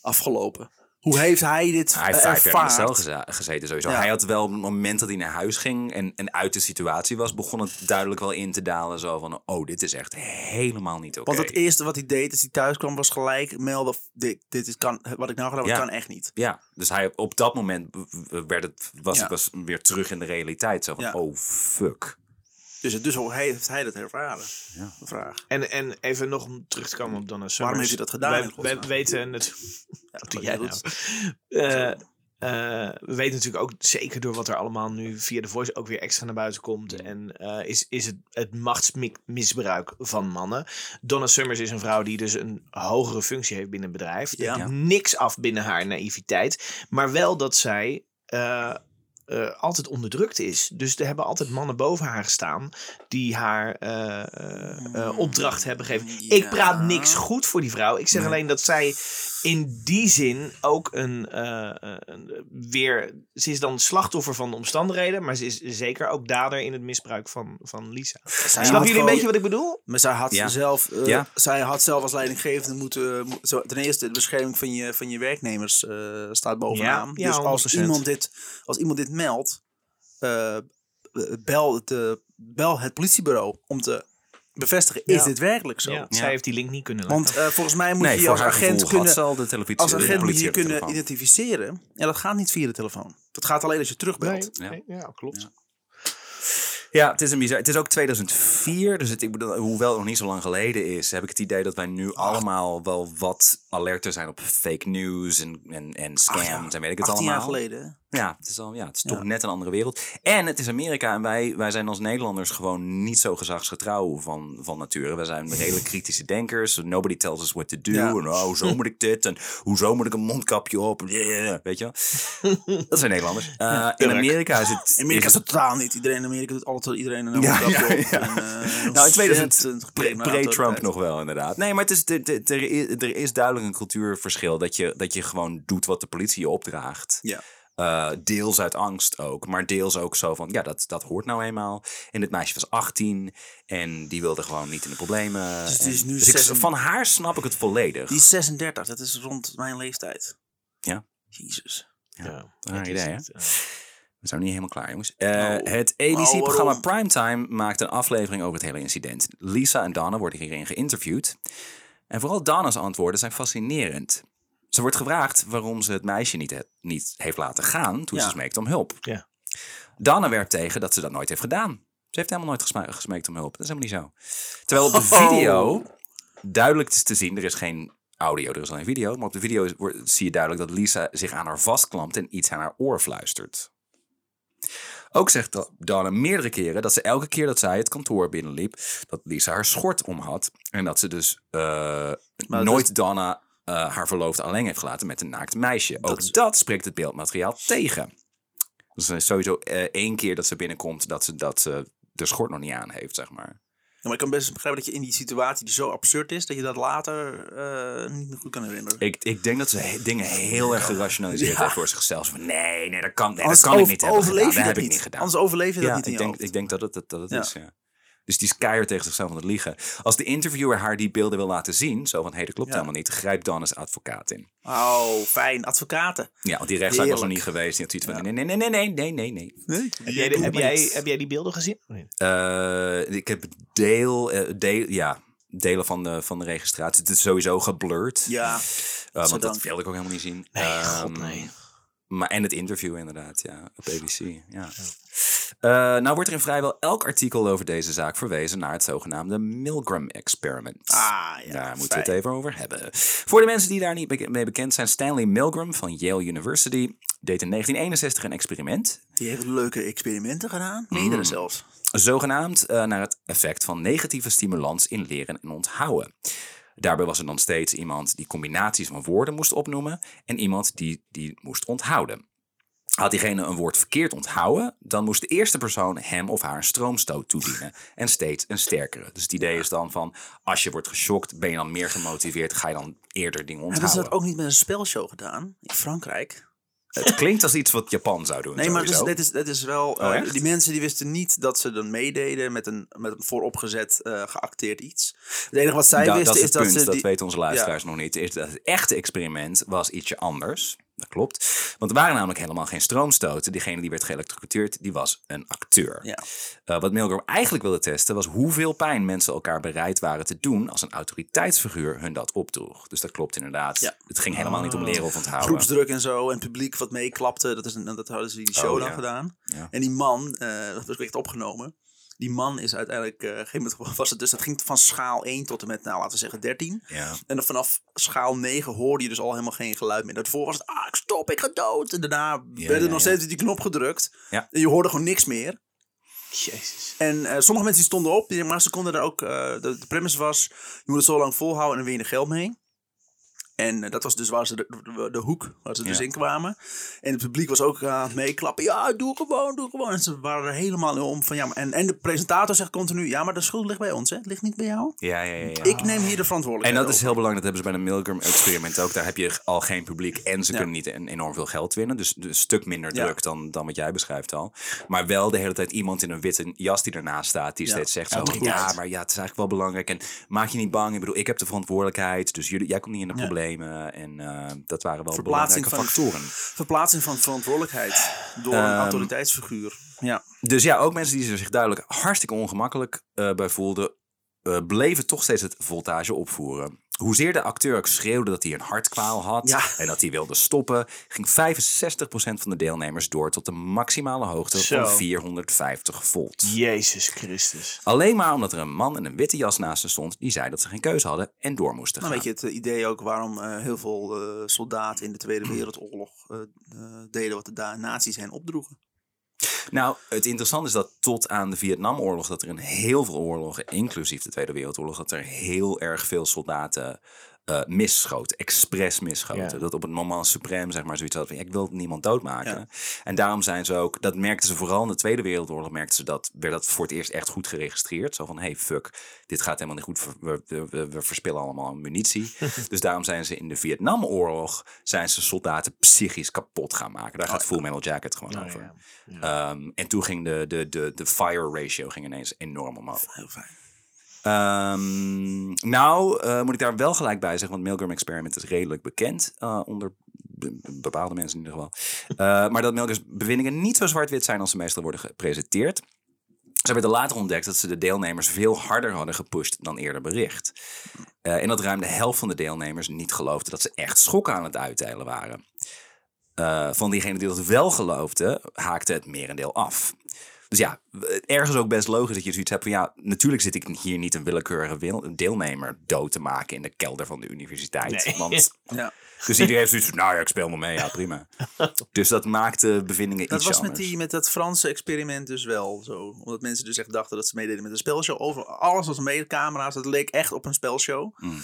[SPEAKER 1] afgelopen? Hoe heeft hij dit
[SPEAKER 3] Hij heeft
[SPEAKER 1] eh,
[SPEAKER 3] vijf jaar in de cel
[SPEAKER 1] ervaard?
[SPEAKER 3] geze- gezeten sowieso.
[SPEAKER 1] Ja.
[SPEAKER 3] Hij had wel op het moment dat hij naar huis ging en, en uit de situatie was, begon het duidelijk wel in te dalen. Zo van, oh, dit is echt helemaal niet oké.
[SPEAKER 1] Want het eerste wat hij deed als hij thuis kwam was gelijk melden, f- dit, dit is kan, wat ik nou gedaan heb,
[SPEAKER 3] Ja.
[SPEAKER 1] kan echt niet.
[SPEAKER 3] Ja, dus hij, op dat moment w- w- werd het, was
[SPEAKER 1] Ja.
[SPEAKER 3] het was weer terug in de realiteit. Zo van,
[SPEAKER 1] Ja.
[SPEAKER 3] oh, fuck.
[SPEAKER 1] Dus, dus hoe hij- heeft hij dat ervaren?
[SPEAKER 3] Ja.
[SPEAKER 1] Een vraag.
[SPEAKER 2] En, en even nog om terug te komen op Donna Summers.
[SPEAKER 1] Waarom heeft hij dat gedaan, in
[SPEAKER 2] Wij, wij
[SPEAKER 1] godsnaam?
[SPEAKER 2] weten het. Wat doe jij
[SPEAKER 1] dat
[SPEAKER 2] nou?
[SPEAKER 1] is-
[SPEAKER 2] Eh, eh, we weten natuurlijk ook zeker door wat er allemaal nu via de voice ook weer extra naar buiten komt. En eh, is, is het, het machtsmisbruik van mannen. Donna Summers is een vrouw die dus een hogere functie heeft binnen het bedrijf.
[SPEAKER 1] Ja.
[SPEAKER 2] Ja. Niks af binnen haar naïviteit. Maar wel dat zij eh, eh, altijd onderdrukt is. Dus er hebben altijd mannen boven haar gestaan die haar eh, eh, eh, opdracht hebben gegeven. Ik praat
[SPEAKER 1] Ja.
[SPEAKER 2] niks goed voor die vrouw. Ik zeg
[SPEAKER 1] Nee.
[SPEAKER 2] alleen dat zij in die zin ook een, eh, een- weer... Ze is dan slachtoffer van de omstandigheden, maar ze is zeker ook dader in het misbruik van, van Lisa.
[SPEAKER 1] Zij
[SPEAKER 2] Snappen
[SPEAKER 1] had
[SPEAKER 2] jullie een beetje
[SPEAKER 1] gewoon-
[SPEAKER 2] wat ik bedoel?
[SPEAKER 1] Maar zij had,
[SPEAKER 3] Ja.
[SPEAKER 1] zelf, eh,
[SPEAKER 3] Ja.
[SPEAKER 1] zij had zelf als leidinggevende moeten... eh, mo- zo, ten eerste, de bescherming van je, van je werknemers eh, staat bovenaan.
[SPEAKER 2] Ja, ja,
[SPEAKER 1] dus als
[SPEAKER 2] 100%.
[SPEAKER 1] iemand dit, als iemand dit meldt, eh, eh, bel, het, eh, bel het politiebureau om te bevestigen, is
[SPEAKER 2] Ja.
[SPEAKER 1] dit werkelijk zo?
[SPEAKER 2] Ja, Zij heeft die link niet kunnen
[SPEAKER 1] Want eh, volgens mij moet
[SPEAKER 3] Nee,
[SPEAKER 1] je
[SPEAKER 3] voor
[SPEAKER 1] als
[SPEAKER 3] haar
[SPEAKER 1] agent
[SPEAKER 3] agent
[SPEAKER 1] kunnen...
[SPEAKER 3] had ze al de televisie.
[SPEAKER 1] Als
[SPEAKER 3] de
[SPEAKER 1] agent moet je
[SPEAKER 3] politie
[SPEAKER 1] je
[SPEAKER 3] op de
[SPEAKER 1] kunnen
[SPEAKER 3] telefoon.
[SPEAKER 1] identificeren. En dat gaat niet via de telefoon. Dat gaat alleen als je terugbelt.
[SPEAKER 3] Ja. nee,
[SPEAKER 2] klopt.
[SPEAKER 3] Ja, het is een bizar. Het is ook 2004, dus het, ik bedoel, hoewel het nog niet zo lang geleden is, heb ik het idee dat wij nu allemaal wel wat alerter zijn op fake news en, en, en scams
[SPEAKER 1] ja,
[SPEAKER 3] en weet ik het
[SPEAKER 1] 18
[SPEAKER 3] allemaal.
[SPEAKER 1] jaar geleden. hè?
[SPEAKER 3] Ja, het is, al, ja, het is toch net een andere wereld. En het is Amerika en wij, wij zijn als Nederlanders gewoon niet zo gezagsgetrouw van, van nature. Wij zijn redelijk kritische denkers. Nobody tells us what to do.
[SPEAKER 1] Ja.
[SPEAKER 3] En oh, zo moet ik dit. En hoezo moet ik een mondkapje op? Eh, Weet je wel? Dat zijn Nederlanders. Eh, in
[SPEAKER 2] tuurlijk.
[SPEAKER 3] Amerika is het...
[SPEAKER 1] In Amerika
[SPEAKER 3] is
[SPEAKER 1] is dat
[SPEAKER 3] het
[SPEAKER 1] totaal niet. Iedereen in Amerika doet altijd iedereen een
[SPEAKER 3] Ja,
[SPEAKER 1] mondkapje
[SPEAKER 3] ja,
[SPEAKER 1] op.
[SPEAKER 3] ja.
[SPEAKER 1] En, eh,
[SPEAKER 3] Nou, in 2000
[SPEAKER 1] ontzettend
[SPEAKER 3] pre-
[SPEAKER 1] prima
[SPEAKER 3] pre-Trump
[SPEAKER 1] autoriteit.
[SPEAKER 3] nog wel, inderdaad. Nee, maar het is, er, er- er is, er is duidelijk een cultuurverschil. Dat je, dat je gewoon doet wat de politie je opdraagt.
[SPEAKER 1] Ja.
[SPEAKER 3] Eh, deels uit angst ook, maar deels ook zo van... Ja, dat, dat hoort nou eenmaal. En het meisje was 18 en die wilde gewoon niet in de problemen.
[SPEAKER 1] Dus die is
[SPEAKER 3] En-
[SPEAKER 1] nu
[SPEAKER 3] dus ik-
[SPEAKER 1] 16.
[SPEAKER 3] van haar snap ik het volledig.
[SPEAKER 1] Die is 36, dat is rond mijn leeftijd.
[SPEAKER 3] Ja.
[SPEAKER 1] Jezus.
[SPEAKER 3] Raar
[SPEAKER 2] dat is
[SPEAKER 3] idee, hè?
[SPEAKER 2] het, eh.
[SPEAKER 3] We zijn nog niet helemaal klaar, jongens. Eh, het
[SPEAKER 1] Oh,
[SPEAKER 3] ABC-programma
[SPEAKER 1] Nou, waarom?
[SPEAKER 3] Primetime maakt een aflevering over het hele incident. Lisa en Dana worden hierin geïnterviewd. En vooral Dana's antwoorden zijn fascinerend. Ze wordt gevraagd waarom ze het meisje niet, he- niet heeft laten gaan toen
[SPEAKER 1] Ja.
[SPEAKER 3] ze smeekt om hulp.
[SPEAKER 2] Ja.
[SPEAKER 3] Dana werpt tegen dat ze dat nooit heeft gedaan. Ze heeft helemaal nooit gesma- gesmeekt om hulp. Dat is helemaal niet zo. Terwijl op de
[SPEAKER 1] Oh.
[SPEAKER 3] video duidelijk is te zien, er is geen audio, er is alleen video. Maar op de video is- wordt- zie je duidelijk dat Lisa zich aan haar vastklampt en iets aan haar oor fluistert. Ook zegt Da- Dana meerdere keren dat ze elke keer dat zij het kantoor binnenliep, dat Lisa haar schort om had. En dat ze dus eh,
[SPEAKER 2] dat
[SPEAKER 3] nooit Dana eh, haar verloofde alleen heeft gelaten met een naakt meisje. Ook dat spreekt het beeldmateriaal tegen. Dus er is sowieso eh, één keer dat ze binnenkomt dat ze, dat ze de schort nog niet aan heeft, zeg maar.
[SPEAKER 1] Ja, maar ik kan best begrijpen dat je in die situatie die zo absurd is, dat je dat later eh, niet meer goed kan herinneren.
[SPEAKER 3] Ik, ik denk dat ze he- dingen heel erg gerationaliseerd
[SPEAKER 1] Ja.
[SPEAKER 3] heeft voor zichzelf. Van, nee, nee, dat kan, nee, dat
[SPEAKER 1] Anders
[SPEAKER 3] kan ik
[SPEAKER 1] over-
[SPEAKER 3] niet hebben
[SPEAKER 1] overleef
[SPEAKER 3] gedaan.
[SPEAKER 1] je
[SPEAKER 3] Dat
[SPEAKER 1] dat
[SPEAKER 3] heb ik
[SPEAKER 1] niet.
[SPEAKER 3] niet gedaan.
[SPEAKER 1] Anders overleef je dat
[SPEAKER 3] ja,
[SPEAKER 1] niet in
[SPEAKER 3] ik
[SPEAKER 1] je
[SPEAKER 3] denk,
[SPEAKER 1] hoofd.
[SPEAKER 3] ik denk dat het dat, dat het
[SPEAKER 1] Ja.
[SPEAKER 3] is, ja. Dus die is keihard tegen zichzelf aan het liegen. Als de interviewer haar die beelden wil laten zien, zo van, hé, dat klopt
[SPEAKER 1] Ja.
[SPEAKER 3] helemaal niet, grijpt dan als advocaat in.
[SPEAKER 1] Oh, fijn. Advocaten.
[SPEAKER 3] Ja, want die rechtszaak was nog niet geweest. Die had zoiets van, nee, nee, nee, nee, nee, nee, nee.
[SPEAKER 1] Nee?
[SPEAKER 2] Heb jij, de- heb, jij, heb jij die beelden gezien?
[SPEAKER 3] Eh, ik heb deel, eh, deel, ja, delen van de, van de registratie. Het is sowieso geblurred.
[SPEAKER 1] Ja.
[SPEAKER 3] Eh, want
[SPEAKER 1] Zodank.
[SPEAKER 3] dat wilde ik ook helemaal niet zien.
[SPEAKER 2] Nee,
[SPEAKER 3] Ehm,
[SPEAKER 2] god, nee.
[SPEAKER 3] Maar en het interview inderdaad, ja, op BBC. Ja. Eh, nou wordt er in vrijwel elk artikel over deze zaak verwezen naar het zogenaamde Milgram-experiment.
[SPEAKER 1] Ah, ja,
[SPEAKER 3] Daar moeten we
[SPEAKER 1] fijn.
[SPEAKER 3] het even over hebben. Voor de mensen die daar niet beke- mee bekend zijn, Stanley Milgram van Yale University deed in 1961 een experiment
[SPEAKER 1] Die heeft leuke experimenten gedaan. Meerdere
[SPEAKER 3] Mm.
[SPEAKER 1] zelfs.
[SPEAKER 3] zogenaamd eh, naar het effect van negatieve stimulans in leren en onthouden. Daarbij was er dan steeds iemand die combinaties van woorden moest opnoemen en iemand die die moest onthouden. Had diegene een woord verkeerd onthouden, dan moest de eerste persoon hem of haar een stroomstoot toedienen. En steeds een sterkere. Dus het idee is dan van, als je wordt geschokt, ben je dan meer gemotiveerd, ga je dan eerder dingen
[SPEAKER 1] Hebben ze dus dat
[SPEAKER 3] onthouden.
[SPEAKER 1] ook niet met een spelshow gedaan? In Frankrijk?
[SPEAKER 3] Het klinkt als iets wat Japan zou doen.
[SPEAKER 1] Nee, maar dus dit is,
[SPEAKER 3] sowieso.
[SPEAKER 1] dit is, dit is wel... eh,
[SPEAKER 3] Oh, echt?
[SPEAKER 1] die mensen die wisten niet dat ze dan meededen met een, met een vooropgezet eh, geacteerd iets. Het enige wat zij
[SPEAKER 3] Da-
[SPEAKER 1] wisten
[SPEAKER 3] dat is
[SPEAKER 1] is,
[SPEAKER 3] het
[SPEAKER 1] dat
[SPEAKER 3] punt,
[SPEAKER 1] ze...
[SPEAKER 3] dat
[SPEAKER 1] die-
[SPEAKER 3] weten onze luisteraars nog niet. Is dat het echte experiment was ietsje anders. Dat klopt. Want er waren namelijk helemaal geen stroomstoten. Diegene die werd geëlektrocuteerd, die was een acteur.
[SPEAKER 1] Ja.
[SPEAKER 3] Eh, wat Milgram eigenlijk wilde testen was hoeveel pijn mensen elkaar bereid waren te doen als een autoriteitsfiguur hun dat opdroeg. Dus dat klopt inderdaad.
[SPEAKER 1] Ja.
[SPEAKER 3] Het ging helemaal niet om leren of onthouden.
[SPEAKER 1] groepsdruk en zo en publiek wat meeklapte. Dat, is een, dat hadden ze in die show
[SPEAKER 3] Oh,
[SPEAKER 1] dan
[SPEAKER 3] ja.
[SPEAKER 1] gedaan.
[SPEAKER 3] Ja.
[SPEAKER 1] En die man, eh, dat was echt opgenomen. Die man is uiteindelijk, eh, op een gegeven moment was het dus, dat ging van schaal 1 tot en met, nou laten we zeggen 13.
[SPEAKER 3] Ja.
[SPEAKER 1] En dan vanaf schaal 9 hoorde je dus al helemaal geen geluid meer. Daarvoor was het, ah, ik stop, ik ga dood. En daarna werd
[SPEAKER 3] ja,
[SPEAKER 1] er nog
[SPEAKER 3] ja.
[SPEAKER 1] steeds die knop gedrukt.
[SPEAKER 3] Ja.
[SPEAKER 1] En je hoorde gewoon niks meer.
[SPEAKER 2] Jezus.
[SPEAKER 1] En eh, sommige mensen die stonden op, die- maar ze konden er ook. eh, de, de premise was: je moet het zo lang volhouden en dan win je er geld mee. En eh, dat was dus waar ze de, de, de hoek, waar ze dus
[SPEAKER 3] Ja.
[SPEAKER 1] in kwamen. En het publiek was ook aan het meeklappen. Ja, doe gewoon, doe gewoon. En ze waren er helemaal om van ja. maar- En, en de presentator zegt continu: ja, maar de schuld ligt bij ons, hè? Het ligt niet bij jou.
[SPEAKER 3] Ja, ja, ja, ja.
[SPEAKER 1] Ik neem hier de
[SPEAKER 3] En
[SPEAKER 1] verantwoordelijkheid.
[SPEAKER 3] dat is
[SPEAKER 1] over.
[SPEAKER 3] heel belangrijk, dat hebben ze bij de Milgram-experiment ook. Daar heb je al geen publiek en ze kunnen niet en- enorm veel geld winnen. Dus een stuk minder
[SPEAKER 1] Ja.
[SPEAKER 3] druk dan, dan wat jij beschrijft al. Maar wel de hele tijd iemand in een witte jas die ernaast staat, die
[SPEAKER 1] Ja.
[SPEAKER 3] steeds zegt zo,
[SPEAKER 1] Autoriteit.
[SPEAKER 3] ja, maar ja, het is eigenlijk wel belangrijk. En maak je niet bang, ik bedoel, ik heb de verantwoordelijkheid, dus jullie, jij komt niet in de
[SPEAKER 1] Ja.
[SPEAKER 3] problemen. En eh, dat waren wel
[SPEAKER 1] Verplaatsing
[SPEAKER 3] belangrijke
[SPEAKER 1] van-
[SPEAKER 3] factoren.
[SPEAKER 1] Verplaatsing van verantwoordelijkheid door een autoriteitsfiguur. Ja.
[SPEAKER 3] Dus Ehm, ja, ook mensen die er zich duidelijk hartstikke ongemakkelijk eh, bij voelden, eh, bleven toch steeds het voltage opvoeren. Hoezeer de acteur ook schreeuwde dat hij een hartkwaal had
[SPEAKER 1] Ja.
[SPEAKER 3] en dat hij wilde stoppen, ging 65% van de deelnemers door tot de maximale hoogte
[SPEAKER 2] Zo.
[SPEAKER 3] van 450 volt.
[SPEAKER 2] Jezus Christus.
[SPEAKER 3] Alleen maar omdat er een man in een witte jas naast ze stond die zei dat ze geen keuze hadden en door moesten
[SPEAKER 1] Nou,
[SPEAKER 3] gaan.
[SPEAKER 1] weet je, het eh, idee ook waarom eh, heel veel eh, soldaten in de Tweede Wereldoorlog eh, eh, deden wat de da- nazi's hen opdroegen.
[SPEAKER 3] Nou, het interessante is dat tot aan de Vietnamoorlog, dat er in heel veel oorlogen, inclusief de Tweede Wereldoorlog, dat er heel erg veel soldaten eh misschoten, expres misschoten.
[SPEAKER 2] Ja.
[SPEAKER 3] Dat op het moment supreme, zeg maar, zoiets had van, ja, ik wil niemand doodmaken.
[SPEAKER 1] Ja.
[SPEAKER 3] En daarom zijn ze ook, dat merkten ze vooral in de Tweede Wereldoorlog, merkten ze dat, werd dat voor het eerst echt goed geregistreerd. Zo van, hey, fuck, dit gaat helemaal niet goed, we, we, we- we verspillen allemaal munitie. dus daarom zijn ze in de Vietnamoorlog, zijn ze soldaten psychisch kapot gaan maken. Daar gaat Full Metal Jacket gewoon
[SPEAKER 2] Oh, Nou
[SPEAKER 3] over.
[SPEAKER 2] ja.
[SPEAKER 3] Ehm, en toen ging de, de, de, de fire ratio ging ineens enorm omhoog.
[SPEAKER 1] Heel fijn.
[SPEAKER 3] Ehm, nou, eh, moet ik daar wel gelijk bij zeggen, want Milgram Experiment is redelijk bekend eh, onder be- bepaalde mensen in ieder geval. Eh, maar dat Milgram's bevindingen niet zo zwart-wit zijn als ze meestal worden gepresenteerd. Ze hebben er later ontdekt dat ze de deelnemers veel harder hadden gepusht dan eerder bericht. Eh, en dat ruim de helft van de deelnemers niet geloofde dat ze echt schokken aan het uitdelen waren. Eh, van diegenen die dat wel geloofden, haakte het merendeel af. Dus ja, ergens ook best logisch dat je zoiets hebt van ja, natuurlijk zit ik hier niet een willekeurige wil- deelnemer dood te maken in de kelder van de universiteit.
[SPEAKER 2] Nee.
[SPEAKER 3] Want,
[SPEAKER 1] Ja.
[SPEAKER 3] Dus iedereen heeft zoiets van, nou ja, ik speel me mee, ja prima. Dus dat maakt de bevindingen
[SPEAKER 1] Dat
[SPEAKER 3] iets
[SPEAKER 1] was met,
[SPEAKER 3] anders.
[SPEAKER 1] die, met dat Franse experiment dus wel zo. Omdat mensen dus echt dachten dat ze meededen met een spelshow. Over alles was mee, camera's, dat leek echt op een spelshow.
[SPEAKER 3] Mm.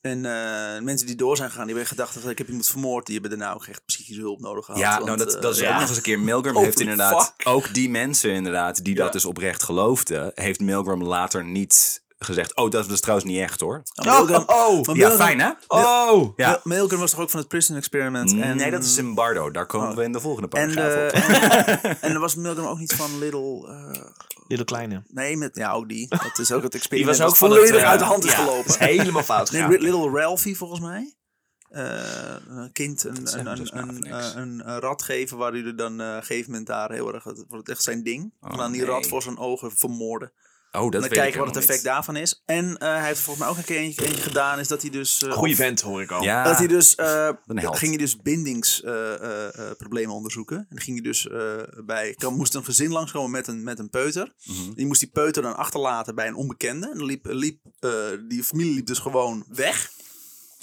[SPEAKER 1] En eh, mensen die door zijn gegaan, die hebben gedacht dat ik heb iemand vermoord. Die hebben daarna ook echt psychische hulp nodig gehad.
[SPEAKER 3] Ja,
[SPEAKER 1] want,
[SPEAKER 3] nou, dat,
[SPEAKER 1] eh,
[SPEAKER 3] dat is ook
[SPEAKER 2] ja.
[SPEAKER 3] nog eens een keer. Milgram
[SPEAKER 1] Oh,
[SPEAKER 3] heeft inderdaad
[SPEAKER 1] fuck.
[SPEAKER 3] ook die mensen inderdaad die dat dus oprecht geloofden, heeft Milgram later niet gezegd. Oh, dat is trouwens niet echt hoor.
[SPEAKER 1] Milgram-
[SPEAKER 2] oh,
[SPEAKER 1] van
[SPEAKER 3] Ja,
[SPEAKER 1] Milgram-
[SPEAKER 3] fijn hè?
[SPEAKER 2] Oh!
[SPEAKER 3] Ja.
[SPEAKER 1] Mil- Milgram was toch ook van het prison experiment? En- Oh.
[SPEAKER 3] nee, dat is Zimbardo. Daar komen we in de volgende
[SPEAKER 1] En,
[SPEAKER 3] paragraaf
[SPEAKER 1] eh,
[SPEAKER 3] op.
[SPEAKER 1] en, en er was Milgram ook niet van Little... eh,
[SPEAKER 2] Little Kleine.
[SPEAKER 1] nee, met, ja, ook die. Dat is ook het
[SPEAKER 2] Die
[SPEAKER 1] experiment.
[SPEAKER 2] was ook
[SPEAKER 1] dat
[SPEAKER 2] van
[SPEAKER 1] volledig
[SPEAKER 2] het, eh,
[SPEAKER 1] uit de hand is
[SPEAKER 2] ja,
[SPEAKER 1] gelopen.
[SPEAKER 2] is helemaal fout
[SPEAKER 1] Nee,
[SPEAKER 2] gegaan.
[SPEAKER 1] Ri- Little Ralphie volgens mij. Eh, een kind
[SPEAKER 3] zegt
[SPEAKER 1] een, een,
[SPEAKER 3] me dus
[SPEAKER 1] een,
[SPEAKER 3] maar
[SPEAKER 1] een,
[SPEAKER 3] niks.
[SPEAKER 1] eh, een, een rat geven waar hij er dan eh, op een gegeven moment daar heel erg, het wordt echt zijn ding.
[SPEAKER 3] Oh,
[SPEAKER 1] en dan die
[SPEAKER 3] nee.
[SPEAKER 1] rat voor zijn ogen vermoorden.
[SPEAKER 3] oh, dat
[SPEAKER 1] en
[SPEAKER 3] weet
[SPEAKER 1] dan
[SPEAKER 3] ik
[SPEAKER 1] kijken wat
[SPEAKER 3] helemaal
[SPEAKER 1] het effect
[SPEAKER 3] niet.
[SPEAKER 1] daarvan is. En eh, hij heeft volgens mij ook een keer eentje, eentje gedaan, is dat hij dus... eh,
[SPEAKER 2] Goeie vent, hoor ik al.
[SPEAKER 3] Ja,
[SPEAKER 1] dat hij dus, eh,
[SPEAKER 3] een held.
[SPEAKER 1] ging hij dus bindingsproblemen onderzoeken. En dan ging hij dus eh, bij, kan, moest een gezin langskomen met een, met een peuter.
[SPEAKER 3] Mhm.
[SPEAKER 1] Die moest die peuter dan achterlaten bij een onbekende. En dan liep, liep, eh, die familie liep dus gewoon weg.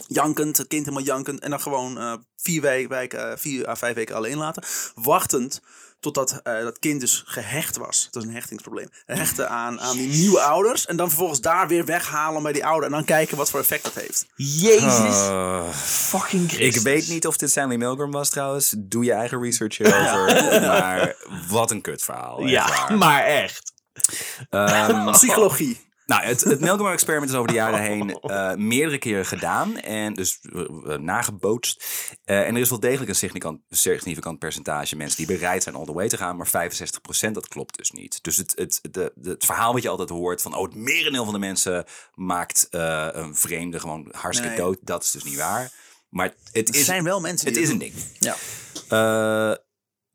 [SPEAKER 1] Jankend, het kind helemaal jankend. En dan gewoon eh, vier, wijk, wijk, eh, vier à vijf weken alleen laten. Wachtend totdat eh, dat kind dus gehecht was. Dat is een hechtingsprobleem. Hechten aan, aan die nieuwe ouders. En dan vervolgens daar weer weghalen bij die ouder. En dan kijken wat voor effect dat heeft.
[SPEAKER 2] Jezus
[SPEAKER 3] Eh,
[SPEAKER 2] fucking
[SPEAKER 3] ik
[SPEAKER 2] Christus.
[SPEAKER 3] weet niet of dit Stanley Milgram was trouwens. Doe je eigen research hierover. Maar wat een kutverhaal. Oh, echt
[SPEAKER 2] Ja,
[SPEAKER 3] waar.
[SPEAKER 2] maar echt.
[SPEAKER 3] Ehm,
[SPEAKER 1] Psychologie.
[SPEAKER 3] Nou, het, het Milgram-experiment is over de jaren heen
[SPEAKER 2] Oh.
[SPEAKER 3] eh, meerdere keren gedaan. En dus eh, eh, nagebootst. Eh, en er is wel degelijk een significant, significant percentage mensen die bereid zijn all the way te gaan. Maar 65% dat klopt dus niet. Dus het, het, de, de- het verhaal wat je altijd hoort van... Oh, het merendeel van de mensen maakt eh, een vreemde gewoon hartstikke
[SPEAKER 1] Nee.
[SPEAKER 3] dood. Dat is dus niet waar. Maar het
[SPEAKER 1] Er
[SPEAKER 3] is,
[SPEAKER 1] zijn wel mensen
[SPEAKER 3] het
[SPEAKER 1] die
[SPEAKER 3] is
[SPEAKER 1] dat
[SPEAKER 3] een
[SPEAKER 1] doen.
[SPEAKER 3] ding.
[SPEAKER 1] Ja.
[SPEAKER 3] Eh,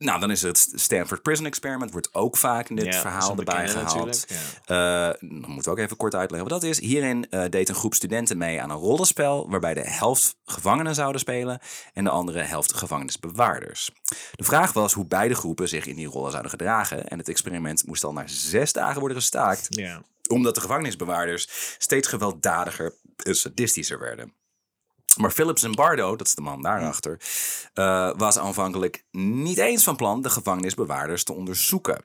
[SPEAKER 3] nou, dan is het Stanford Prison Experiment. Wordt ook vaak in dit
[SPEAKER 2] Ja, dat is
[SPEAKER 3] verhaal
[SPEAKER 2] een
[SPEAKER 3] erbij
[SPEAKER 2] bekende
[SPEAKER 3] gehaald.
[SPEAKER 2] natuurlijk,
[SPEAKER 3] Eh, dan moeten we ook even kort uitleggen wat dat is. Hierin eh, deed een groep studenten mee aan een rollenspel... waarbij de helft gevangenen zouden spelen... en de andere helft gevangenisbewaarders. De vraag was hoe beide groepen zich in die rollen zouden gedragen... en het experiment moest al na zes dagen worden gestaakt...
[SPEAKER 2] Ja.
[SPEAKER 3] omdat de gevangenisbewaarders steeds gewelddadiger en sadistischer werden. Maar Philip Zimbardo, dat is de man daarachter, eh, was aanvankelijk niet eens van plan de gevangenisbewaarders te onderzoeken.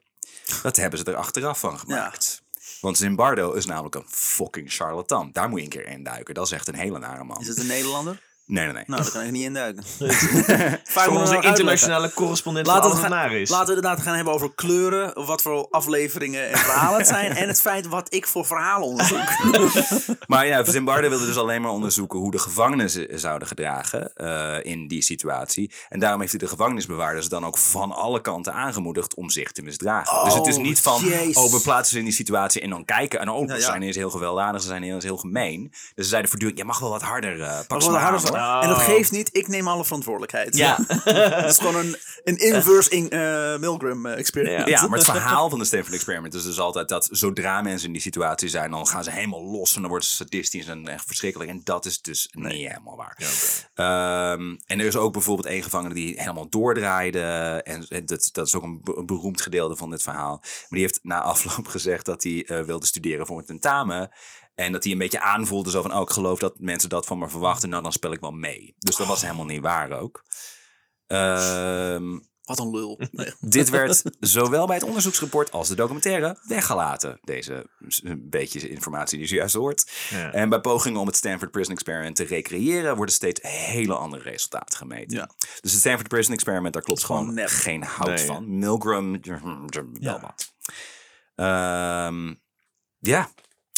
[SPEAKER 3] Dat hebben ze er achteraf van gemaakt. Want Zimbardo is namelijk een fucking charlatan. Daar moet je een keer in duiken. Dat is echt een hele nare man.
[SPEAKER 1] Is het een Nederlander?
[SPEAKER 3] Nee, nee, nee.
[SPEAKER 1] Nou, daar kan ik niet in duiken.
[SPEAKER 2] Vraag
[SPEAKER 1] me nou
[SPEAKER 2] onze
[SPEAKER 1] uitleggen.
[SPEAKER 2] internationale correspondent
[SPEAKER 1] Laten
[SPEAKER 2] Laat
[SPEAKER 1] we,
[SPEAKER 2] het
[SPEAKER 1] het gaan,
[SPEAKER 2] naar is.
[SPEAKER 1] laten we inderdaad gaan hebben over kleuren, wat voor afleveringen en verhalen het zijn. En het feit wat ik voor verhalen onderzoek.
[SPEAKER 3] Maar ja, Zimbardo wilde dus alleen maar onderzoeken hoe de gevangenen ze- zouden gedragen eh, in die situatie. En daarom heeft hij de gevangenisbewaarders dan ook van alle kanten aangemoedigd om zich te misdragen. dus het is niet van,
[SPEAKER 1] jeez.
[SPEAKER 3] oh, we plaatsen ze in die situatie en dan kijken. En oh,
[SPEAKER 1] Ja,
[SPEAKER 3] ze
[SPEAKER 1] ja.
[SPEAKER 3] zijn eens heel gewelddadig, ze zijn eens heel gemeen. Dus ze zeiden voortdurend, je mag wel wat harder, eh pak ze
[SPEAKER 1] Wat
[SPEAKER 3] maar
[SPEAKER 1] harder
[SPEAKER 3] aan,
[SPEAKER 1] zo.
[SPEAKER 3] hoor.
[SPEAKER 1] En dat geeft niet, ik neem alle verantwoordelijkheid.
[SPEAKER 2] Ja.
[SPEAKER 1] Dat is gewoon een, een inverse in, eh, Milgram eh, experiment.
[SPEAKER 3] Ja, maar het verhaal van de Stanford Experiment is dus altijd dat zodra mensen in die situatie zijn, dan gaan ze helemaal los en dan worden ze sadistisch en echt verschrikkelijk. En dat is dus niet helemaal waar. Ehm, en er is ook bijvoorbeeld één gevangene die helemaal doordraaide. En en dat, dat is ook een, be- een beroemd gedeelte van dit verhaal. Maar die heeft na afloop gezegd dat hij eh, wilde studeren voor een tentamen. En dat hij een beetje aanvoelde zo van, oh, ik geloof dat mensen dat van me verwachten. Nou, dan speel ik wel mee. Dus dat was helemaal niet waar ook. Ehm
[SPEAKER 1] Wat een lul. Nee.
[SPEAKER 3] dit werd zowel bij het onderzoeksrapport als de documentaire weggelaten. Deze s- een beetje informatie die je juist hoort.
[SPEAKER 2] Ja.
[SPEAKER 3] En bij pogingen om het Stanford Prison Experiment te recreëren... worden steeds hele andere resultaten gemeten.
[SPEAKER 1] Ja.
[SPEAKER 3] Dus het Stanford Prison Experiment, daar klopt gewoon
[SPEAKER 1] gewoon nep.
[SPEAKER 3] geen hout
[SPEAKER 2] Nee.
[SPEAKER 3] van. Milgram, hm, wel wat. Ehm, ja,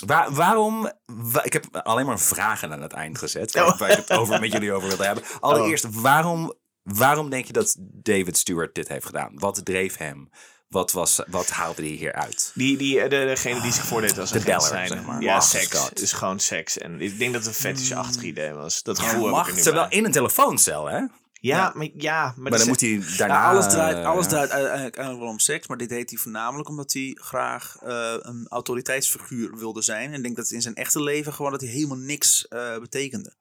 [SPEAKER 3] Waar- waarom... wa- ik heb alleen maar vragen aan het eind gezet... waar,
[SPEAKER 2] Oh.
[SPEAKER 3] waar ik het over, met jullie over wilde hebben. Allereerst, waarom, waarom denk je dat David Stewart dit heeft gedaan? Wat dreef hem? Wat, was, wat haalde hij hieruit?
[SPEAKER 2] Die, die, eh, de, degene die zich voordeed als een
[SPEAKER 3] De beller,
[SPEAKER 2] Palestijn.
[SPEAKER 3] zeg maar.
[SPEAKER 2] Ja,
[SPEAKER 3] Wacht,
[SPEAKER 2] seks.
[SPEAKER 3] Scott.
[SPEAKER 2] Het is gewoon seks. En ik denk dat het een fetishachtig idee was. Dat gevoel heb ik
[SPEAKER 1] wacht,
[SPEAKER 2] er nu
[SPEAKER 3] Terwijl
[SPEAKER 2] bij.
[SPEAKER 3] in een telefooncel, hè?
[SPEAKER 2] Ja,
[SPEAKER 1] Ja.
[SPEAKER 2] maar, ja, maar,
[SPEAKER 3] Maar
[SPEAKER 2] die
[SPEAKER 3] dan
[SPEAKER 2] zijn-
[SPEAKER 3] moet hij daarna...
[SPEAKER 1] dus Ja, alles draait, alles
[SPEAKER 3] eh,
[SPEAKER 1] draait uiteindelijk uiteindelijk wel om seks. Maar dit deed hij voornamelijk omdat hij graag eh, een autoriteitsfiguur wilde zijn. En ik denk dat in zijn echte leven gewoon dat hij helemaal niks eh, betekende.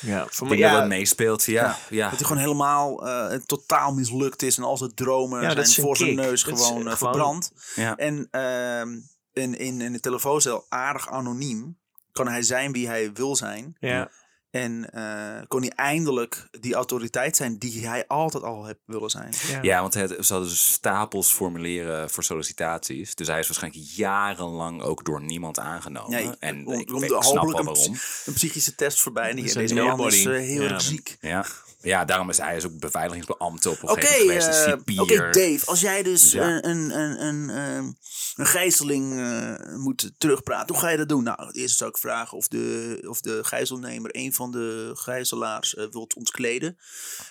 [SPEAKER 2] ja, voor mij,
[SPEAKER 3] Ik denk dat
[SPEAKER 2] ja,
[SPEAKER 3] dat meespeelt, ja. ja.
[SPEAKER 1] Dat hij gewoon helemaal eh, totaal mislukt is. En al zijn dromen
[SPEAKER 2] Ja, dat is een
[SPEAKER 1] zijn voor zijn
[SPEAKER 2] kick.
[SPEAKER 1] neus
[SPEAKER 2] Dat is,
[SPEAKER 1] gewoon
[SPEAKER 2] eh,
[SPEAKER 1] eh,
[SPEAKER 2] gewoon-
[SPEAKER 1] verbrand.
[SPEAKER 3] ja.
[SPEAKER 1] En ehm, in, in, in de telefooncel aardig anoniem kan hij zijn wie hij wil zijn.
[SPEAKER 2] ja,
[SPEAKER 1] En eh, kon hij eindelijk die autoriteit zijn die hij altijd al heeft willen zijn.
[SPEAKER 2] ja.
[SPEAKER 3] Ja, want het, ze hadden dus stapels formulieren voor sollicitaties. Dus hij is waarschijnlijk jarenlang ook door niemand aangenomen.
[SPEAKER 1] Ja, ik-
[SPEAKER 3] en
[SPEAKER 1] om-
[SPEAKER 3] ik,
[SPEAKER 1] om
[SPEAKER 3] ik
[SPEAKER 1] de-
[SPEAKER 3] snap
[SPEAKER 1] hopelijk
[SPEAKER 3] wel
[SPEAKER 1] een-
[SPEAKER 3] waarom.
[SPEAKER 1] Een psychische test voorbij. En die-
[SPEAKER 2] Dus
[SPEAKER 1] deze
[SPEAKER 2] een
[SPEAKER 1] man is eh,
[SPEAKER 2] nailbody.
[SPEAKER 1] heel
[SPEAKER 2] Ja.
[SPEAKER 1] erg ziek.
[SPEAKER 3] Ja. ja, daarom is hij dus ook beveiligingsbeambte op een
[SPEAKER 1] Oké,
[SPEAKER 3] gegeven moment
[SPEAKER 1] eh,
[SPEAKER 3] geweest. Een
[SPEAKER 1] oké,
[SPEAKER 3] cipier.
[SPEAKER 1] Dave, als jij dus
[SPEAKER 3] Ja.
[SPEAKER 1] eh, een, een, een, ehm, een gijzeling eh, moet terugpraten, hoe ga je dat doen? Nou, het eerste zou ik vragen of de, of de gijzelnemer een van de gijzelaars eh, wilt ontkleden.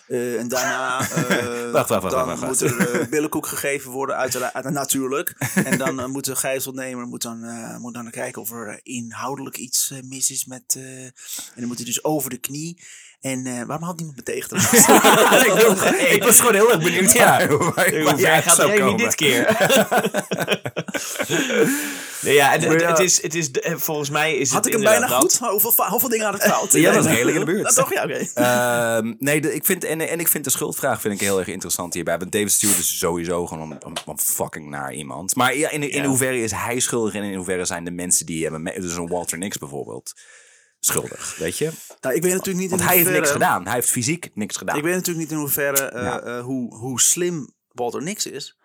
[SPEAKER 1] Eh, en daarna eh,
[SPEAKER 3] Wacht, wacht, wacht,
[SPEAKER 1] dan
[SPEAKER 3] wacht,
[SPEAKER 1] moet
[SPEAKER 3] wacht.
[SPEAKER 1] er eh, billenkoek gegeven worden, uiteraard, eh, natuurlijk. En dan eh, moet de gijzelnemer moet dan, eh, moet dan kijken of er eh, inhoudelijk iets eh, mis is met... eh, en dan moet hij dus over de knie. En eh, waarom had niemand me tegen?
[SPEAKER 3] ik, wil- ik was gewoon heel erg benieuwd ja. waar, waar
[SPEAKER 2] Hoe
[SPEAKER 3] jij
[SPEAKER 2] ver
[SPEAKER 3] uit
[SPEAKER 2] gaat
[SPEAKER 3] zou
[SPEAKER 2] Remy
[SPEAKER 3] komen.
[SPEAKER 2] dit keer? nee, ja, het,
[SPEAKER 3] Maar ja.
[SPEAKER 2] het is, het is, eh, volgens mij is
[SPEAKER 1] Had
[SPEAKER 2] het
[SPEAKER 1] ik hem bijna
[SPEAKER 2] inderdaad dat.
[SPEAKER 1] goed? Hoeveel, fa- hoeveel dingen had ik fout?
[SPEAKER 3] Jij was
[SPEAKER 1] Nee.
[SPEAKER 3] redelijk in de buurt.
[SPEAKER 1] Nou, toch? Ja, oké.
[SPEAKER 3] Ehm, nee, de- ik vind, en, en ik vind de schuldvraag vind ik heel erg interessant hierbij. Want David Stewart is sowieso gewoon een, een- een fucking naar iemand. Maar ja, in, in
[SPEAKER 2] Ja.
[SPEAKER 3] hoeverre is hij schuldig en in hoeverre zijn de mensen die hebben... me- dus een Walter Nix bijvoorbeeld, schuldig, weet je?
[SPEAKER 1] Nou, ik weet natuurlijk niet
[SPEAKER 3] Want
[SPEAKER 1] in
[SPEAKER 3] hij heeft
[SPEAKER 1] hoeverre,
[SPEAKER 3] niks gedaan. Hij heeft fysiek niks gedaan.
[SPEAKER 1] Ik weet natuurlijk niet in hoeverre eh,
[SPEAKER 3] Ja.
[SPEAKER 1] eh, hoe, hoe slim Walter Nix is.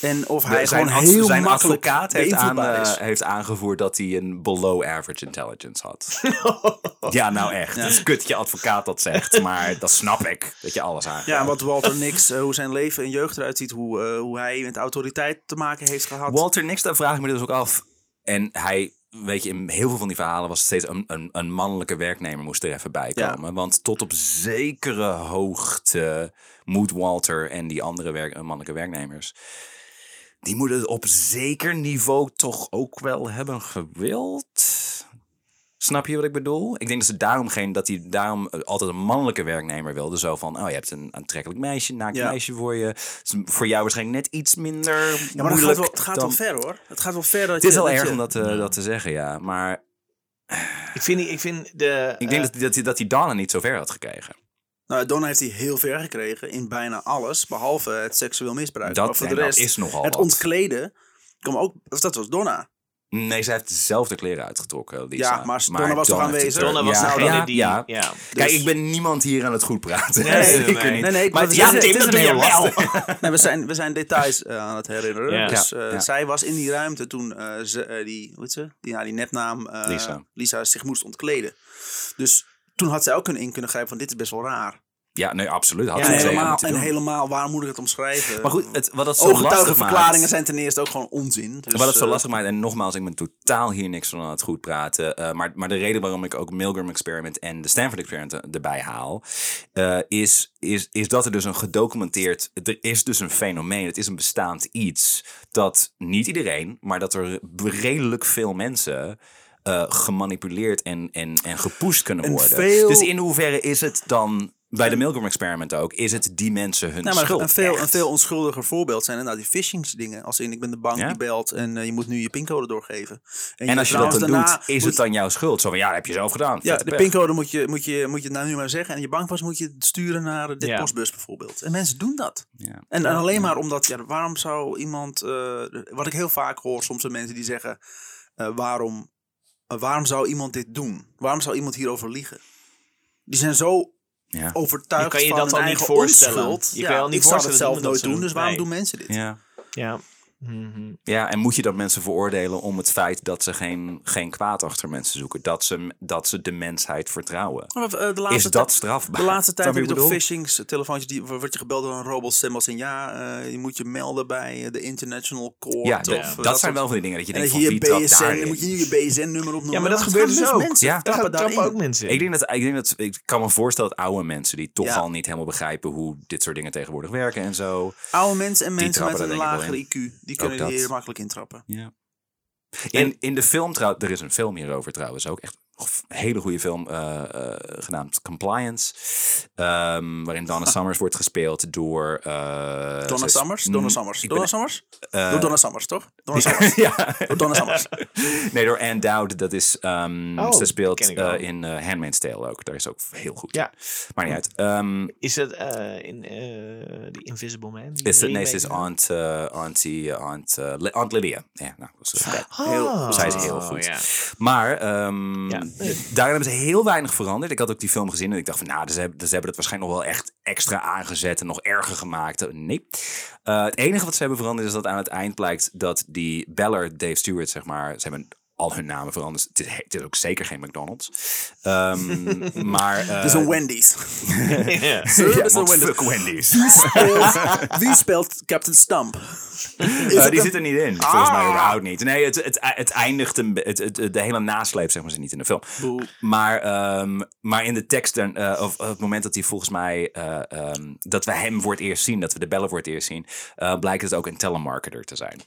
[SPEAKER 1] En of
[SPEAKER 3] De-
[SPEAKER 1] hij
[SPEAKER 3] zijn
[SPEAKER 1] gewoon
[SPEAKER 3] ad-
[SPEAKER 1] heel
[SPEAKER 3] zijn
[SPEAKER 1] makkelijk
[SPEAKER 3] advocaat heeft, aan,
[SPEAKER 1] beïnvloedbaar
[SPEAKER 3] eh,
[SPEAKER 1] is.
[SPEAKER 3] heeft aangevoerd dat hij een below average intelligence had. ja, nou echt. Het is kut dat je advocaat dat zegt, maar dat snap ik. Dat je alles aan.
[SPEAKER 1] Ja, en wat Walter Nix, eh, hoe zijn leven en jeugd eruit ziet, hoe, eh, hoe hij met autoriteit te maken heeft gehad.
[SPEAKER 3] Walter Nix, daar vraag ik me dus ook af. En hij, weet je, in heel veel van die verhalen was het steeds een, een, een mannelijke werknemer moest er even bij komen. Want tot op zekere hoogte moet Walter en die andere werk, eh, mannelijke werknemers. Die moeten het op zeker niveau toch ook wel hebben gewild. Snap je wat ik bedoel? Ik denk dat ze daarom geen, dat hij daarom eh, altijd een mannelijke werknemer wilde. Zo van, oh, je hebt een aantrekkelijk meisje, een naakt
[SPEAKER 1] Ja.
[SPEAKER 3] meisje voor je. Het is voor jou waarschijnlijk net iets minder
[SPEAKER 1] ja, maar het gaat,
[SPEAKER 3] moeilijk
[SPEAKER 1] wel, het gaat
[SPEAKER 3] dan-
[SPEAKER 1] wel ver hoor. Het gaat wel ver. Dat
[SPEAKER 3] het is
[SPEAKER 1] je-
[SPEAKER 3] wel
[SPEAKER 1] dat
[SPEAKER 3] erg
[SPEAKER 1] je-
[SPEAKER 3] om dat, eh, dat te zeggen, ja. Maar
[SPEAKER 2] Ik vind, die- ik vind de...
[SPEAKER 1] Eh.
[SPEAKER 2] eh,
[SPEAKER 3] ik denk dat, dat, hij- dat hij Dana niet zo ver had gekregen.
[SPEAKER 1] Nou, Donna heeft hij heel ver gekregen in bijna alles, behalve het seksueel misbruik.
[SPEAKER 3] Dat,
[SPEAKER 1] maar voor
[SPEAKER 3] en
[SPEAKER 1] de
[SPEAKER 3] dat
[SPEAKER 1] rest,
[SPEAKER 3] is nogal
[SPEAKER 1] het
[SPEAKER 3] wat.
[SPEAKER 1] ontkleden, kwam ook, of dat was Donna.
[SPEAKER 3] Nee, zij heeft dezelfde kleren uitgetrokken, Lisa.
[SPEAKER 1] Ja, maar Donna was toch
[SPEAKER 3] heeft
[SPEAKER 1] aanwezig?
[SPEAKER 3] het-
[SPEAKER 2] Donna was
[SPEAKER 3] ja,
[SPEAKER 2] degene
[SPEAKER 3] ja,
[SPEAKER 2] die...
[SPEAKER 3] ja.
[SPEAKER 2] ja.
[SPEAKER 3] Kijk, ik ben niemand hier aan het goed praten.
[SPEAKER 2] Nee, nee,
[SPEAKER 3] Zeker
[SPEAKER 2] nee.
[SPEAKER 3] niet.
[SPEAKER 1] Nee, dus nee,
[SPEAKER 3] maar
[SPEAKER 1] maar
[SPEAKER 3] het,
[SPEAKER 1] we
[SPEAKER 3] is,
[SPEAKER 1] zijn-
[SPEAKER 3] het is
[SPEAKER 1] dit
[SPEAKER 3] een
[SPEAKER 1] ben
[SPEAKER 3] heel
[SPEAKER 1] je
[SPEAKER 3] lastig.
[SPEAKER 1] Nee, we zijn, we zijn details eh, aan het herinneren.
[SPEAKER 2] Ja.
[SPEAKER 1] Dus eh,
[SPEAKER 3] Ja.
[SPEAKER 1] zij was in die ruimte toen eh, ze, eh, die, hoe heet ze? Die, ja, die nepnaam eh,
[SPEAKER 3] Lisa.
[SPEAKER 1] Lisa. zich moest ontkleden. Dus toen had zij ook kunnen in kunnen grijpen van dit is best wel raar.
[SPEAKER 3] Ja, nee, absoluut. Had
[SPEAKER 2] Ja,
[SPEAKER 1] en,
[SPEAKER 3] ze
[SPEAKER 2] nee,
[SPEAKER 3] zeker
[SPEAKER 1] helemaal,
[SPEAKER 3] moeten
[SPEAKER 1] en
[SPEAKER 3] doen.
[SPEAKER 1] helemaal, waar moet ik het omschrijven?
[SPEAKER 3] Maar goed, het, wat dat zo lastig maakt...
[SPEAKER 1] Ooggetuigenverklaringen zijn ten eerste ook gewoon onzin. Dus,
[SPEAKER 3] Wat het zo
[SPEAKER 1] eh,
[SPEAKER 3] lastig maakt, en nogmaals, ik ben totaal hier niks van aan het goed praten. eh, maar, maar de reden waarom ik ook Milgram Experiment en de Stanford Experiment er- erbij haal, eh, is, is, is dat er dus een gedocumenteerd. Er is dus een fenomeen, het is een bestaand iets. Dat niet iedereen, maar dat er redelijk veel mensen. eh, gemanipuleerd en, en, en gepusht kunnen
[SPEAKER 1] En
[SPEAKER 3] worden.
[SPEAKER 1] veel-
[SPEAKER 3] Dus in hoeverre is het dan, bij de Milgram Experiment ook, is het die mensen hun
[SPEAKER 1] Nou, maar
[SPEAKER 3] schuld?
[SPEAKER 1] een, veel,
[SPEAKER 3] echt?
[SPEAKER 1] een veel onschuldiger voorbeeld zijn inderdaad die phishingsdingen. Als in, ik ben de bank
[SPEAKER 3] Ja?
[SPEAKER 1] die belt en eh, je moet nu je pincode doorgeven.
[SPEAKER 3] en als je dat dan
[SPEAKER 1] trouwens daarna
[SPEAKER 3] doet, is
[SPEAKER 1] moet-
[SPEAKER 3] het dan jouw schuld? Zo van, ja, dat heb je zelf gedaan.
[SPEAKER 1] Ja,
[SPEAKER 3] Vette
[SPEAKER 1] de
[SPEAKER 3] pech.
[SPEAKER 1] pincode moet je, moet, je, moet je nou nu maar zeggen. En je bankpas moet je sturen naar eh, dit
[SPEAKER 2] Ja.
[SPEAKER 1] postbus bijvoorbeeld. En mensen doen dat.
[SPEAKER 3] Ja.
[SPEAKER 1] En, en alleen maar omdat, ja, waarom zou iemand... eh, wat ik heel vaak hoor, soms zijn mensen die zeggen... eh, waarom, eh, waarom zou iemand dit doen? Waarom zou iemand hierover liegen? Die zijn zo
[SPEAKER 3] Ja.
[SPEAKER 1] overtuigd
[SPEAKER 2] Je kan je
[SPEAKER 1] van
[SPEAKER 2] dat
[SPEAKER 1] hun
[SPEAKER 2] al niet
[SPEAKER 1] eigen
[SPEAKER 2] voorstellen.
[SPEAKER 1] onschuld.
[SPEAKER 2] Je kan je al niet
[SPEAKER 1] ik zou
[SPEAKER 2] voorstellen
[SPEAKER 1] dat zelf
[SPEAKER 2] dat iemand dat
[SPEAKER 1] nooit
[SPEAKER 2] zou
[SPEAKER 1] doen,
[SPEAKER 2] doen.
[SPEAKER 1] dus waarom
[SPEAKER 2] Nee.
[SPEAKER 1] doen mensen dit?
[SPEAKER 3] Ja.
[SPEAKER 2] Ja. Mhm.
[SPEAKER 3] ja, en moet je dan mensen veroordelen om het feit dat ze geen, geen kwaad achter mensen zoeken? Dat ze, dat ze de mensheid vertrouwen?
[SPEAKER 1] Maar, eh, de laatste
[SPEAKER 3] Is
[SPEAKER 1] tijd-
[SPEAKER 3] dat strafbaar?
[SPEAKER 1] De laatste tijd heb
[SPEAKER 3] Snap je
[SPEAKER 1] je toch
[SPEAKER 3] wat ik
[SPEAKER 1] phishings, eh, telefoontjes, die wordt je gebeld door een robot stem als in ja, eh, je moet je melden bij eh, de International Court.
[SPEAKER 3] bedoel? Ja,
[SPEAKER 1] of,
[SPEAKER 3] dat,
[SPEAKER 1] eh,
[SPEAKER 3] dat zijn wel van die dingen dat je
[SPEAKER 1] En
[SPEAKER 3] denkt
[SPEAKER 1] dat
[SPEAKER 3] van
[SPEAKER 1] je je
[SPEAKER 3] wie dat
[SPEAKER 1] BSN,
[SPEAKER 3] daarin.
[SPEAKER 1] dan moet je nu je BSN-nummer opnoemen.
[SPEAKER 2] Ja, maar dat
[SPEAKER 1] Want
[SPEAKER 2] gebeurt
[SPEAKER 1] gaan
[SPEAKER 2] dus ook.
[SPEAKER 1] Mensen
[SPEAKER 3] Ja.
[SPEAKER 2] Daar
[SPEAKER 1] trappen
[SPEAKER 2] gaan trappen
[SPEAKER 1] daarin.
[SPEAKER 2] ook mensen in.
[SPEAKER 3] Ik, denk dat, ik, denk dat, ik kan me voorstellen dat oude mensen die toch
[SPEAKER 1] Ja.
[SPEAKER 3] al niet helemaal begrijpen hoe dit soort dingen tegenwoordig werken en zo.
[SPEAKER 1] Oude mensen en mensen
[SPEAKER 3] trappen
[SPEAKER 1] met een
[SPEAKER 3] er denk ik wel
[SPEAKER 1] lagere IQ, die
[SPEAKER 3] Ook
[SPEAKER 1] kunnen
[SPEAKER 3] dat. Eh,
[SPEAKER 1] hier makkelijk intrappen.
[SPEAKER 3] Ja. In, in de film trouwens, er is een film hierover trouwens ook. Echt hele goede film eh, eh, genaamd Compliance. Ehm, waarin Donna Summers wordt gespeeld door... eh,
[SPEAKER 1] Donna
[SPEAKER 3] zij is-
[SPEAKER 1] Summers? Donna
[SPEAKER 3] Mm,
[SPEAKER 1] Summers?
[SPEAKER 3] ik
[SPEAKER 1] Donna
[SPEAKER 3] ben- eh,
[SPEAKER 1] Summers? Doe Donna Summers, toch? Donna Summers.
[SPEAKER 3] ja.
[SPEAKER 1] Doe Donna Summers.
[SPEAKER 3] Nee, door Anne Dowd. Dat is, ehm,
[SPEAKER 2] Oh,
[SPEAKER 3] ze speelt
[SPEAKER 2] ken ik wel.
[SPEAKER 3] eh, in eh, Handmaid's Tale ook. Daar is ook heel goed.
[SPEAKER 2] Ja.
[SPEAKER 3] Maar niet uit. Ehm,
[SPEAKER 2] Is dat eh, in eh The Invisible Man? die
[SPEAKER 3] is het, nee, ze is
[SPEAKER 2] remake?
[SPEAKER 3] aunt, eh, auntie, eh, aunt, eh, Li- aunt Lydia. Ja, nou, dat is eh,
[SPEAKER 2] Ah.
[SPEAKER 3] zij is heel goed.
[SPEAKER 2] ja.
[SPEAKER 3] Maar ehm
[SPEAKER 2] Ja.
[SPEAKER 3] daarin hebben ze heel weinig veranderd. Ik had ook die film gezien en ik dacht van, nou, ze hebben, ze hebben het waarschijnlijk nog wel echt extra aangezet en nog erger gemaakt. Eh, Nee. Eh, het enige wat ze hebben veranderd is dat aan het eind blijkt dat die beller, Dave Stewart, zeg maar, ze hebben al hun namen veranderd. Het is, het is ook zeker geen McDonald's. Ehm, maar... eh,
[SPEAKER 1] Het is een Wendy's.
[SPEAKER 2] Ja.
[SPEAKER 1] Sir, het
[SPEAKER 3] ja,
[SPEAKER 1] is een
[SPEAKER 3] want
[SPEAKER 1] Wendy's.
[SPEAKER 3] fuck Wendy's.
[SPEAKER 1] Speelt- Wie speelt Captain Stump? Is
[SPEAKER 3] Eh,
[SPEAKER 1] het
[SPEAKER 3] die
[SPEAKER 1] een- Ah.
[SPEAKER 3] zit er niet in. Volgens mij überhaupt niet. Nee, het, het, het eindigt een be- het, het, de hele nasleep, zeg maar, zit niet in de film.
[SPEAKER 1] Boe.
[SPEAKER 3] Maar, ehm, maar in de tekst, dan, eh, of, of het moment dat hij volgens mij, eh, ehm, dat we hem voor het eerst zien, dat we de bellen voor het eerst zien, eh, blijkt het ook een telemarketer te zijn.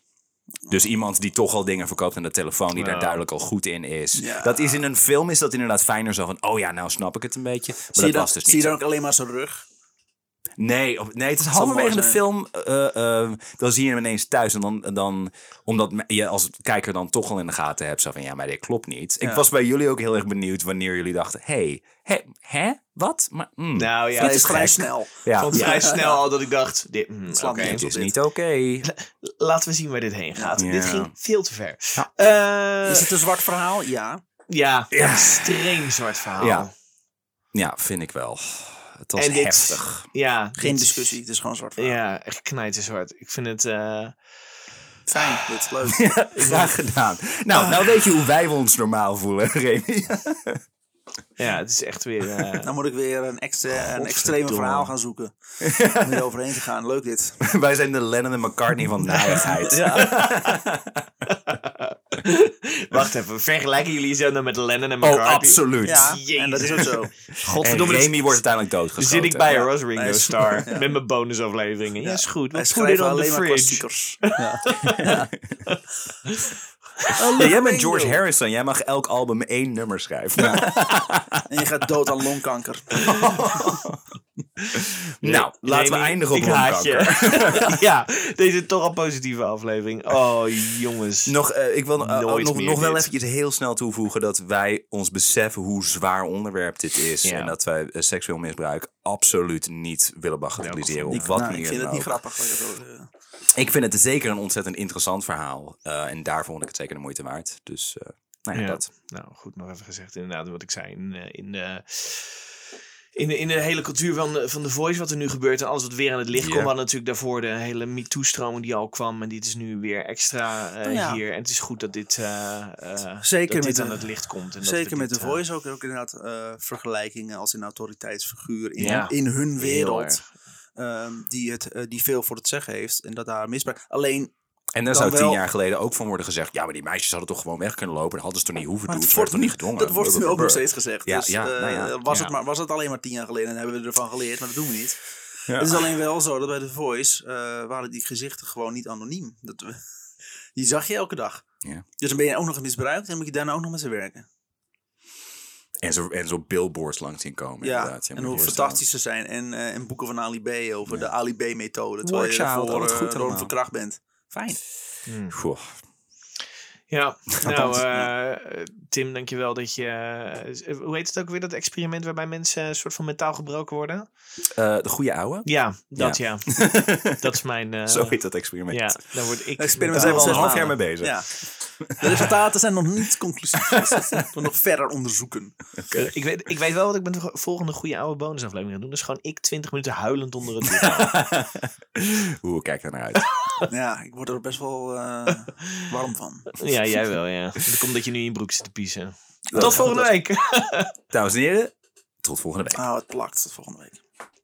[SPEAKER 3] Dus iemand die toch al dingen verkoopt aan de telefoon, die daar
[SPEAKER 2] Ja.
[SPEAKER 3] duidelijk al goed in is.
[SPEAKER 1] Ja.
[SPEAKER 3] Dat is in een film is dat inderdaad fijner zo van, oh ja, nou snap ik het een beetje. Maar
[SPEAKER 1] Zie je,
[SPEAKER 3] dat
[SPEAKER 1] dan,
[SPEAKER 3] was dus
[SPEAKER 1] zie
[SPEAKER 3] niet
[SPEAKER 1] je
[SPEAKER 3] zo.
[SPEAKER 1] dan ook alleen maar zijn rug?
[SPEAKER 3] Nee, op- nee, het is
[SPEAKER 1] zou
[SPEAKER 3] halverwege de
[SPEAKER 1] mooi zijn.
[SPEAKER 3] film. eh, eh, dan zie je hem ineens thuis. En dan, en dan, omdat me- je als kijker dan toch al in de gaten hebt. Zo van, ja, maar dit klopt niet. Ik
[SPEAKER 1] Ja.
[SPEAKER 3] was bij jullie ook heel erg benieuwd wanneer jullie dachten... Hé, hey, hè, hè, wat? Maar, mm,
[SPEAKER 2] Nou ja,
[SPEAKER 3] dit
[SPEAKER 1] Hij is
[SPEAKER 3] is
[SPEAKER 1] vrij
[SPEAKER 3] gek.
[SPEAKER 1] snel.
[SPEAKER 3] Ja,
[SPEAKER 2] Ik vond
[SPEAKER 3] ja,
[SPEAKER 2] vrij snel al dat ik dacht, dit, mm,
[SPEAKER 1] Slaat
[SPEAKER 2] oké.
[SPEAKER 1] niet
[SPEAKER 3] dit
[SPEAKER 1] tot
[SPEAKER 3] is
[SPEAKER 1] dit.
[SPEAKER 3] niet oké.
[SPEAKER 2] laten we zien waar dit heen gaat.
[SPEAKER 3] Ja.
[SPEAKER 2] Dit ging veel te ver.
[SPEAKER 3] Ja.
[SPEAKER 2] Eh,
[SPEAKER 1] Is het een zwart verhaal? Ja.
[SPEAKER 2] ja,
[SPEAKER 3] Ja.
[SPEAKER 2] extreem zwart verhaal.
[SPEAKER 3] Ja. Ja, vind ik wel. Het was
[SPEAKER 2] En dit-
[SPEAKER 3] heftig.
[SPEAKER 2] Ja,
[SPEAKER 1] Geen
[SPEAKER 2] dit-
[SPEAKER 1] discussie, het is gewoon een zwart verhaal.
[SPEAKER 2] Ja, echt knijterzwart. Ik vind het... eh,
[SPEAKER 1] Fijn, dit is leuk.
[SPEAKER 3] Graag gedaan. Nou, nou weet je hoe wij ons normaal voelen, Remy.
[SPEAKER 2] ja, het is echt weer... eh,
[SPEAKER 1] Dan moet ik weer een, extra, een extreme
[SPEAKER 2] Godverdomme.
[SPEAKER 1] verhaal gaan zoeken. Om er overheen te gaan. Leuk dit.
[SPEAKER 3] wij zijn de Lennon en McCartney van naaiigheid.
[SPEAKER 2] Wacht even, vergelijken jullie zo dan met Lennon en
[SPEAKER 3] Oh,
[SPEAKER 2] McCartney?
[SPEAKER 3] absoluut.
[SPEAKER 1] Ja,
[SPEAKER 2] Jezus.
[SPEAKER 1] en dat is ook zo.
[SPEAKER 3] En
[SPEAKER 2] Godverdomme,
[SPEAKER 3] Remy
[SPEAKER 2] dan
[SPEAKER 3] wordt uiteindelijk doodgeschoten.
[SPEAKER 2] zit ik bij
[SPEAKER 3] Ja.
[SPEAKER 2] een Ross Ringo
[SPEAKER 1] Hij is-
[SPEAKER 2] Star met mijn bonusafleveringen. Ja, is goed.
[SPEAKER 1] Wij
[SPEAKER 2] Wat voel je
[SPEAKER 1] schrijven
[SPEAKER 2] dan de
[SPEAKER 1] alleen maar
[SPEAKER 2] fridge?
[SPEAKER 1] klassiekers.
[SPEAKER 3] Ja, jij bent George Harrison. Jij mag elk album één nummer schrijven.
[SPEAKER 1] En je gaat dood aan longkanker.
[SPEAKER 3] Nou, laten
[SPEAKER 2] Remy,
[SPEAKER 3] we eindigen op
[SPEAKER 2] ik haat je.
[SPEAKER 3] longkanker.
[SPEAKER 2] ja, deze toch al positieve aflevering. Oh, jongens.
[SPEAKER 3] Nog, eh, ik wil eh,
[SPEAKER 2] Nooit
[SPEAKER 3] nog,
[SPEAKER 2] meer
[SPEAKER 3] nog wel
[SPEAKER 2] dit.
[SPEAKER 3] eventjes heel snel toevoegen dat wij ons beseffen hoe zwaar onderwerp dit is.
[SPEAKER 2] Ja.
[SPEAKER 3] En dat wij eh, seksueel misbruik absoluut niet willen bagatelliseren. op wat
[SPEAKER 1] Nou,
[SPEAKER 3] manier
[SPEAKER 1] ik vind
[SPEAKER 3] dan
[SPEAKER 1] het niet
[SPEAKER 3] ook.
[SPEAKER 1] grappig. als je dat zo, eh,
[SPEAKER 3] Ik vind het zeker een ontzettend interessant verhaal. eh, en daar vond ik het zeker de moeite waard. Dus, eh nou ja,
[SPEAKER 2] Ja.
[SPEAKER 3] dat.
[SPEAKER 2] Nou, goed, nog even gezegd inderdaad wat ik zei. In, eh, in, de, in, de, in de hele cultuur van de, van de Voice, wat er nu gebeurt en alles wat weer aan het licht
[SPEAKER 3] Ja.
[SPEAKER 2] komt. We hadden natuurlijk daarvoor de hele MeToo-stroming die al kwam. En dit is nu weer extra eh,
[SPEAKER 1] Nou ja.
[SPEAKER 2] hier. En het is goed dat dit, eh, eh,
[SPEAKER 1] Zeker
[SPEAKER 2] dat dit
[SPEAKER 1] met de-
[SPEAKER 2] aan het licht komt. En dat we
[SPEAKER 1] Zeker met
[SPEAKER 2] dit,
[SPEAKER 1] de
[SPEAKER 2] eh,
[SPEAKER 1] voice ook, ook inderdaad eh, vergelijkingen als een autoriteitsfiguur in,
[SPEAKER 2] Ja.
[SPEAKER 1] in hun
[SPEAKER 2] heel
[SPEAKER 1] wereld.
[SPEAKER 2] erg.
[SPEAKER 1] ehm, die, het, eh, die veel voor het zeggen heeft en dat daar misbruik. Alleen,
[SPEAKER 3] En daar
[SPEAKER 1] Dan
[SPEAKER 3] zou tien
[SPEAKER 1] wel-
[SPEAKER 3] jaar geleden ook van worden gezegd. Ja, maar die meisjes hadden toch gewoon weg kunnen lopen. Dat hadden ze toch niet hoeven
[SPEAKER 1] maar
[SPEAKER 3] doen.
[SPEAKER 1] het
[SPEAKER 3] Ze
[SPEAKER 1] wordt,
[SPEAKER 3] werden toch niet gedwongen.
[SPEAKER 1] dat wordt nu ook nog steeds gezegd.
[SPEAKER 3] Ja,
[SPEAKER 1] dus,
[SPEAKER 3] ja,
[SPEAKER 1] eh,
[SPEAKER 3] nou ja,
[SPEAKER 1] was,
[SPEAKER 2] ja.
[SPEAKER 1] Het maar, was het alleen maar tien jaar geleden en hebben we ervan geleerd, maar dat doen we niet.
[SPEAKER 3] Ja.
[SPEAKER 1] Het is alleen wel zo dat bij de voice eh, waren die gezichten gewoon niet anoniem. Dat, we- die zag je elke dag.
[SPEAKER 3] Ja.
[SPEAKER 1] Dus dan ben je ook nog eens misbruikt en moet je daarna ook nog met ze werken.
[SPEAKER 3] En zo, en zo billboards langs zien komen.
[SPEAKER 1] Ja,
[SPEAKER 3] inderdaad. Je
[SPEAKER 1] en
[SPEAKER 3] moet
[SPEAKER 1] hoe
[SPEAKER 3] je
[SPEAKER 1] fantastisch ze zijn. En, eh, en boeken van Ali B over de Ali B-methode. Terwijl je
[SPEAKER 3] Warchild,
[SPEAKER 1] voor,
[SPEAKER 3] al het
[SPEAKER 1] eh,
[SPEAKER 3] goed
[SPEAKER 1] gewoon
[SPEAKER 3] allemaal.
[SPEAKER 1] verkracht bent. Fijn. Hmm.
[SPEAKER 3] voorstellen. Goh.
[SPEAKER 2] Ja, nou
[SPEAKER 1] Althans,
[SPEAKER 2] eh Tim, dankjewel dat je... eh, hoe heet het ook weer, dat experiment waarbij mensen een soort van metaal gebroken worden?
[SPEAKER 3] Eh, de goede ouwe.
[SPEAKER 2] Ja, dat ja. dat is mijn... eh,
[SPEAKER 3] Zo heet dat experiment.
[SPEAKER 2] ja, dan word ik...
[SPEAKER 1] Experiment zijn
[SPEAKER 3] zijn we
[SPEAKER 1] we
[SPEAKER 2] metaal-
[SPEAKER 3] al een
[SPEAKER 1] zes
[SPEAKER 3] half jaar mee
[SPEAKER 1] maanden.
[SPEAKER 3] bezig.
[SPEAKER 1] Ja. De resultaten zijn nog niet conclusief. Dus dat moeten we nog verder onderzoeken.
[SPEAKER 2] Eh, Ik weet, ik weet wel wat ik met de volgende goede oude bonusaflevering ga doen. Dat is gewoon ik 20 minuten huilend onder het doek.
[SPEAKER 3] Hoe kijk daar naar uit?
[SPEAKER 1] Ja, ik word er best wel eh, warm van.
[SPEAKER 2] ja, jij wel, ja. Dat komt dat je nu in je broek zit te piezen.
[SPEAKER 1] Dat-
[SPEAKER 2] Tot volgende week!
[SPEAKER 3] Dames en heren, tot volgende week.
[SPEAKER 1] Ah, het plakt. Tot volgende week.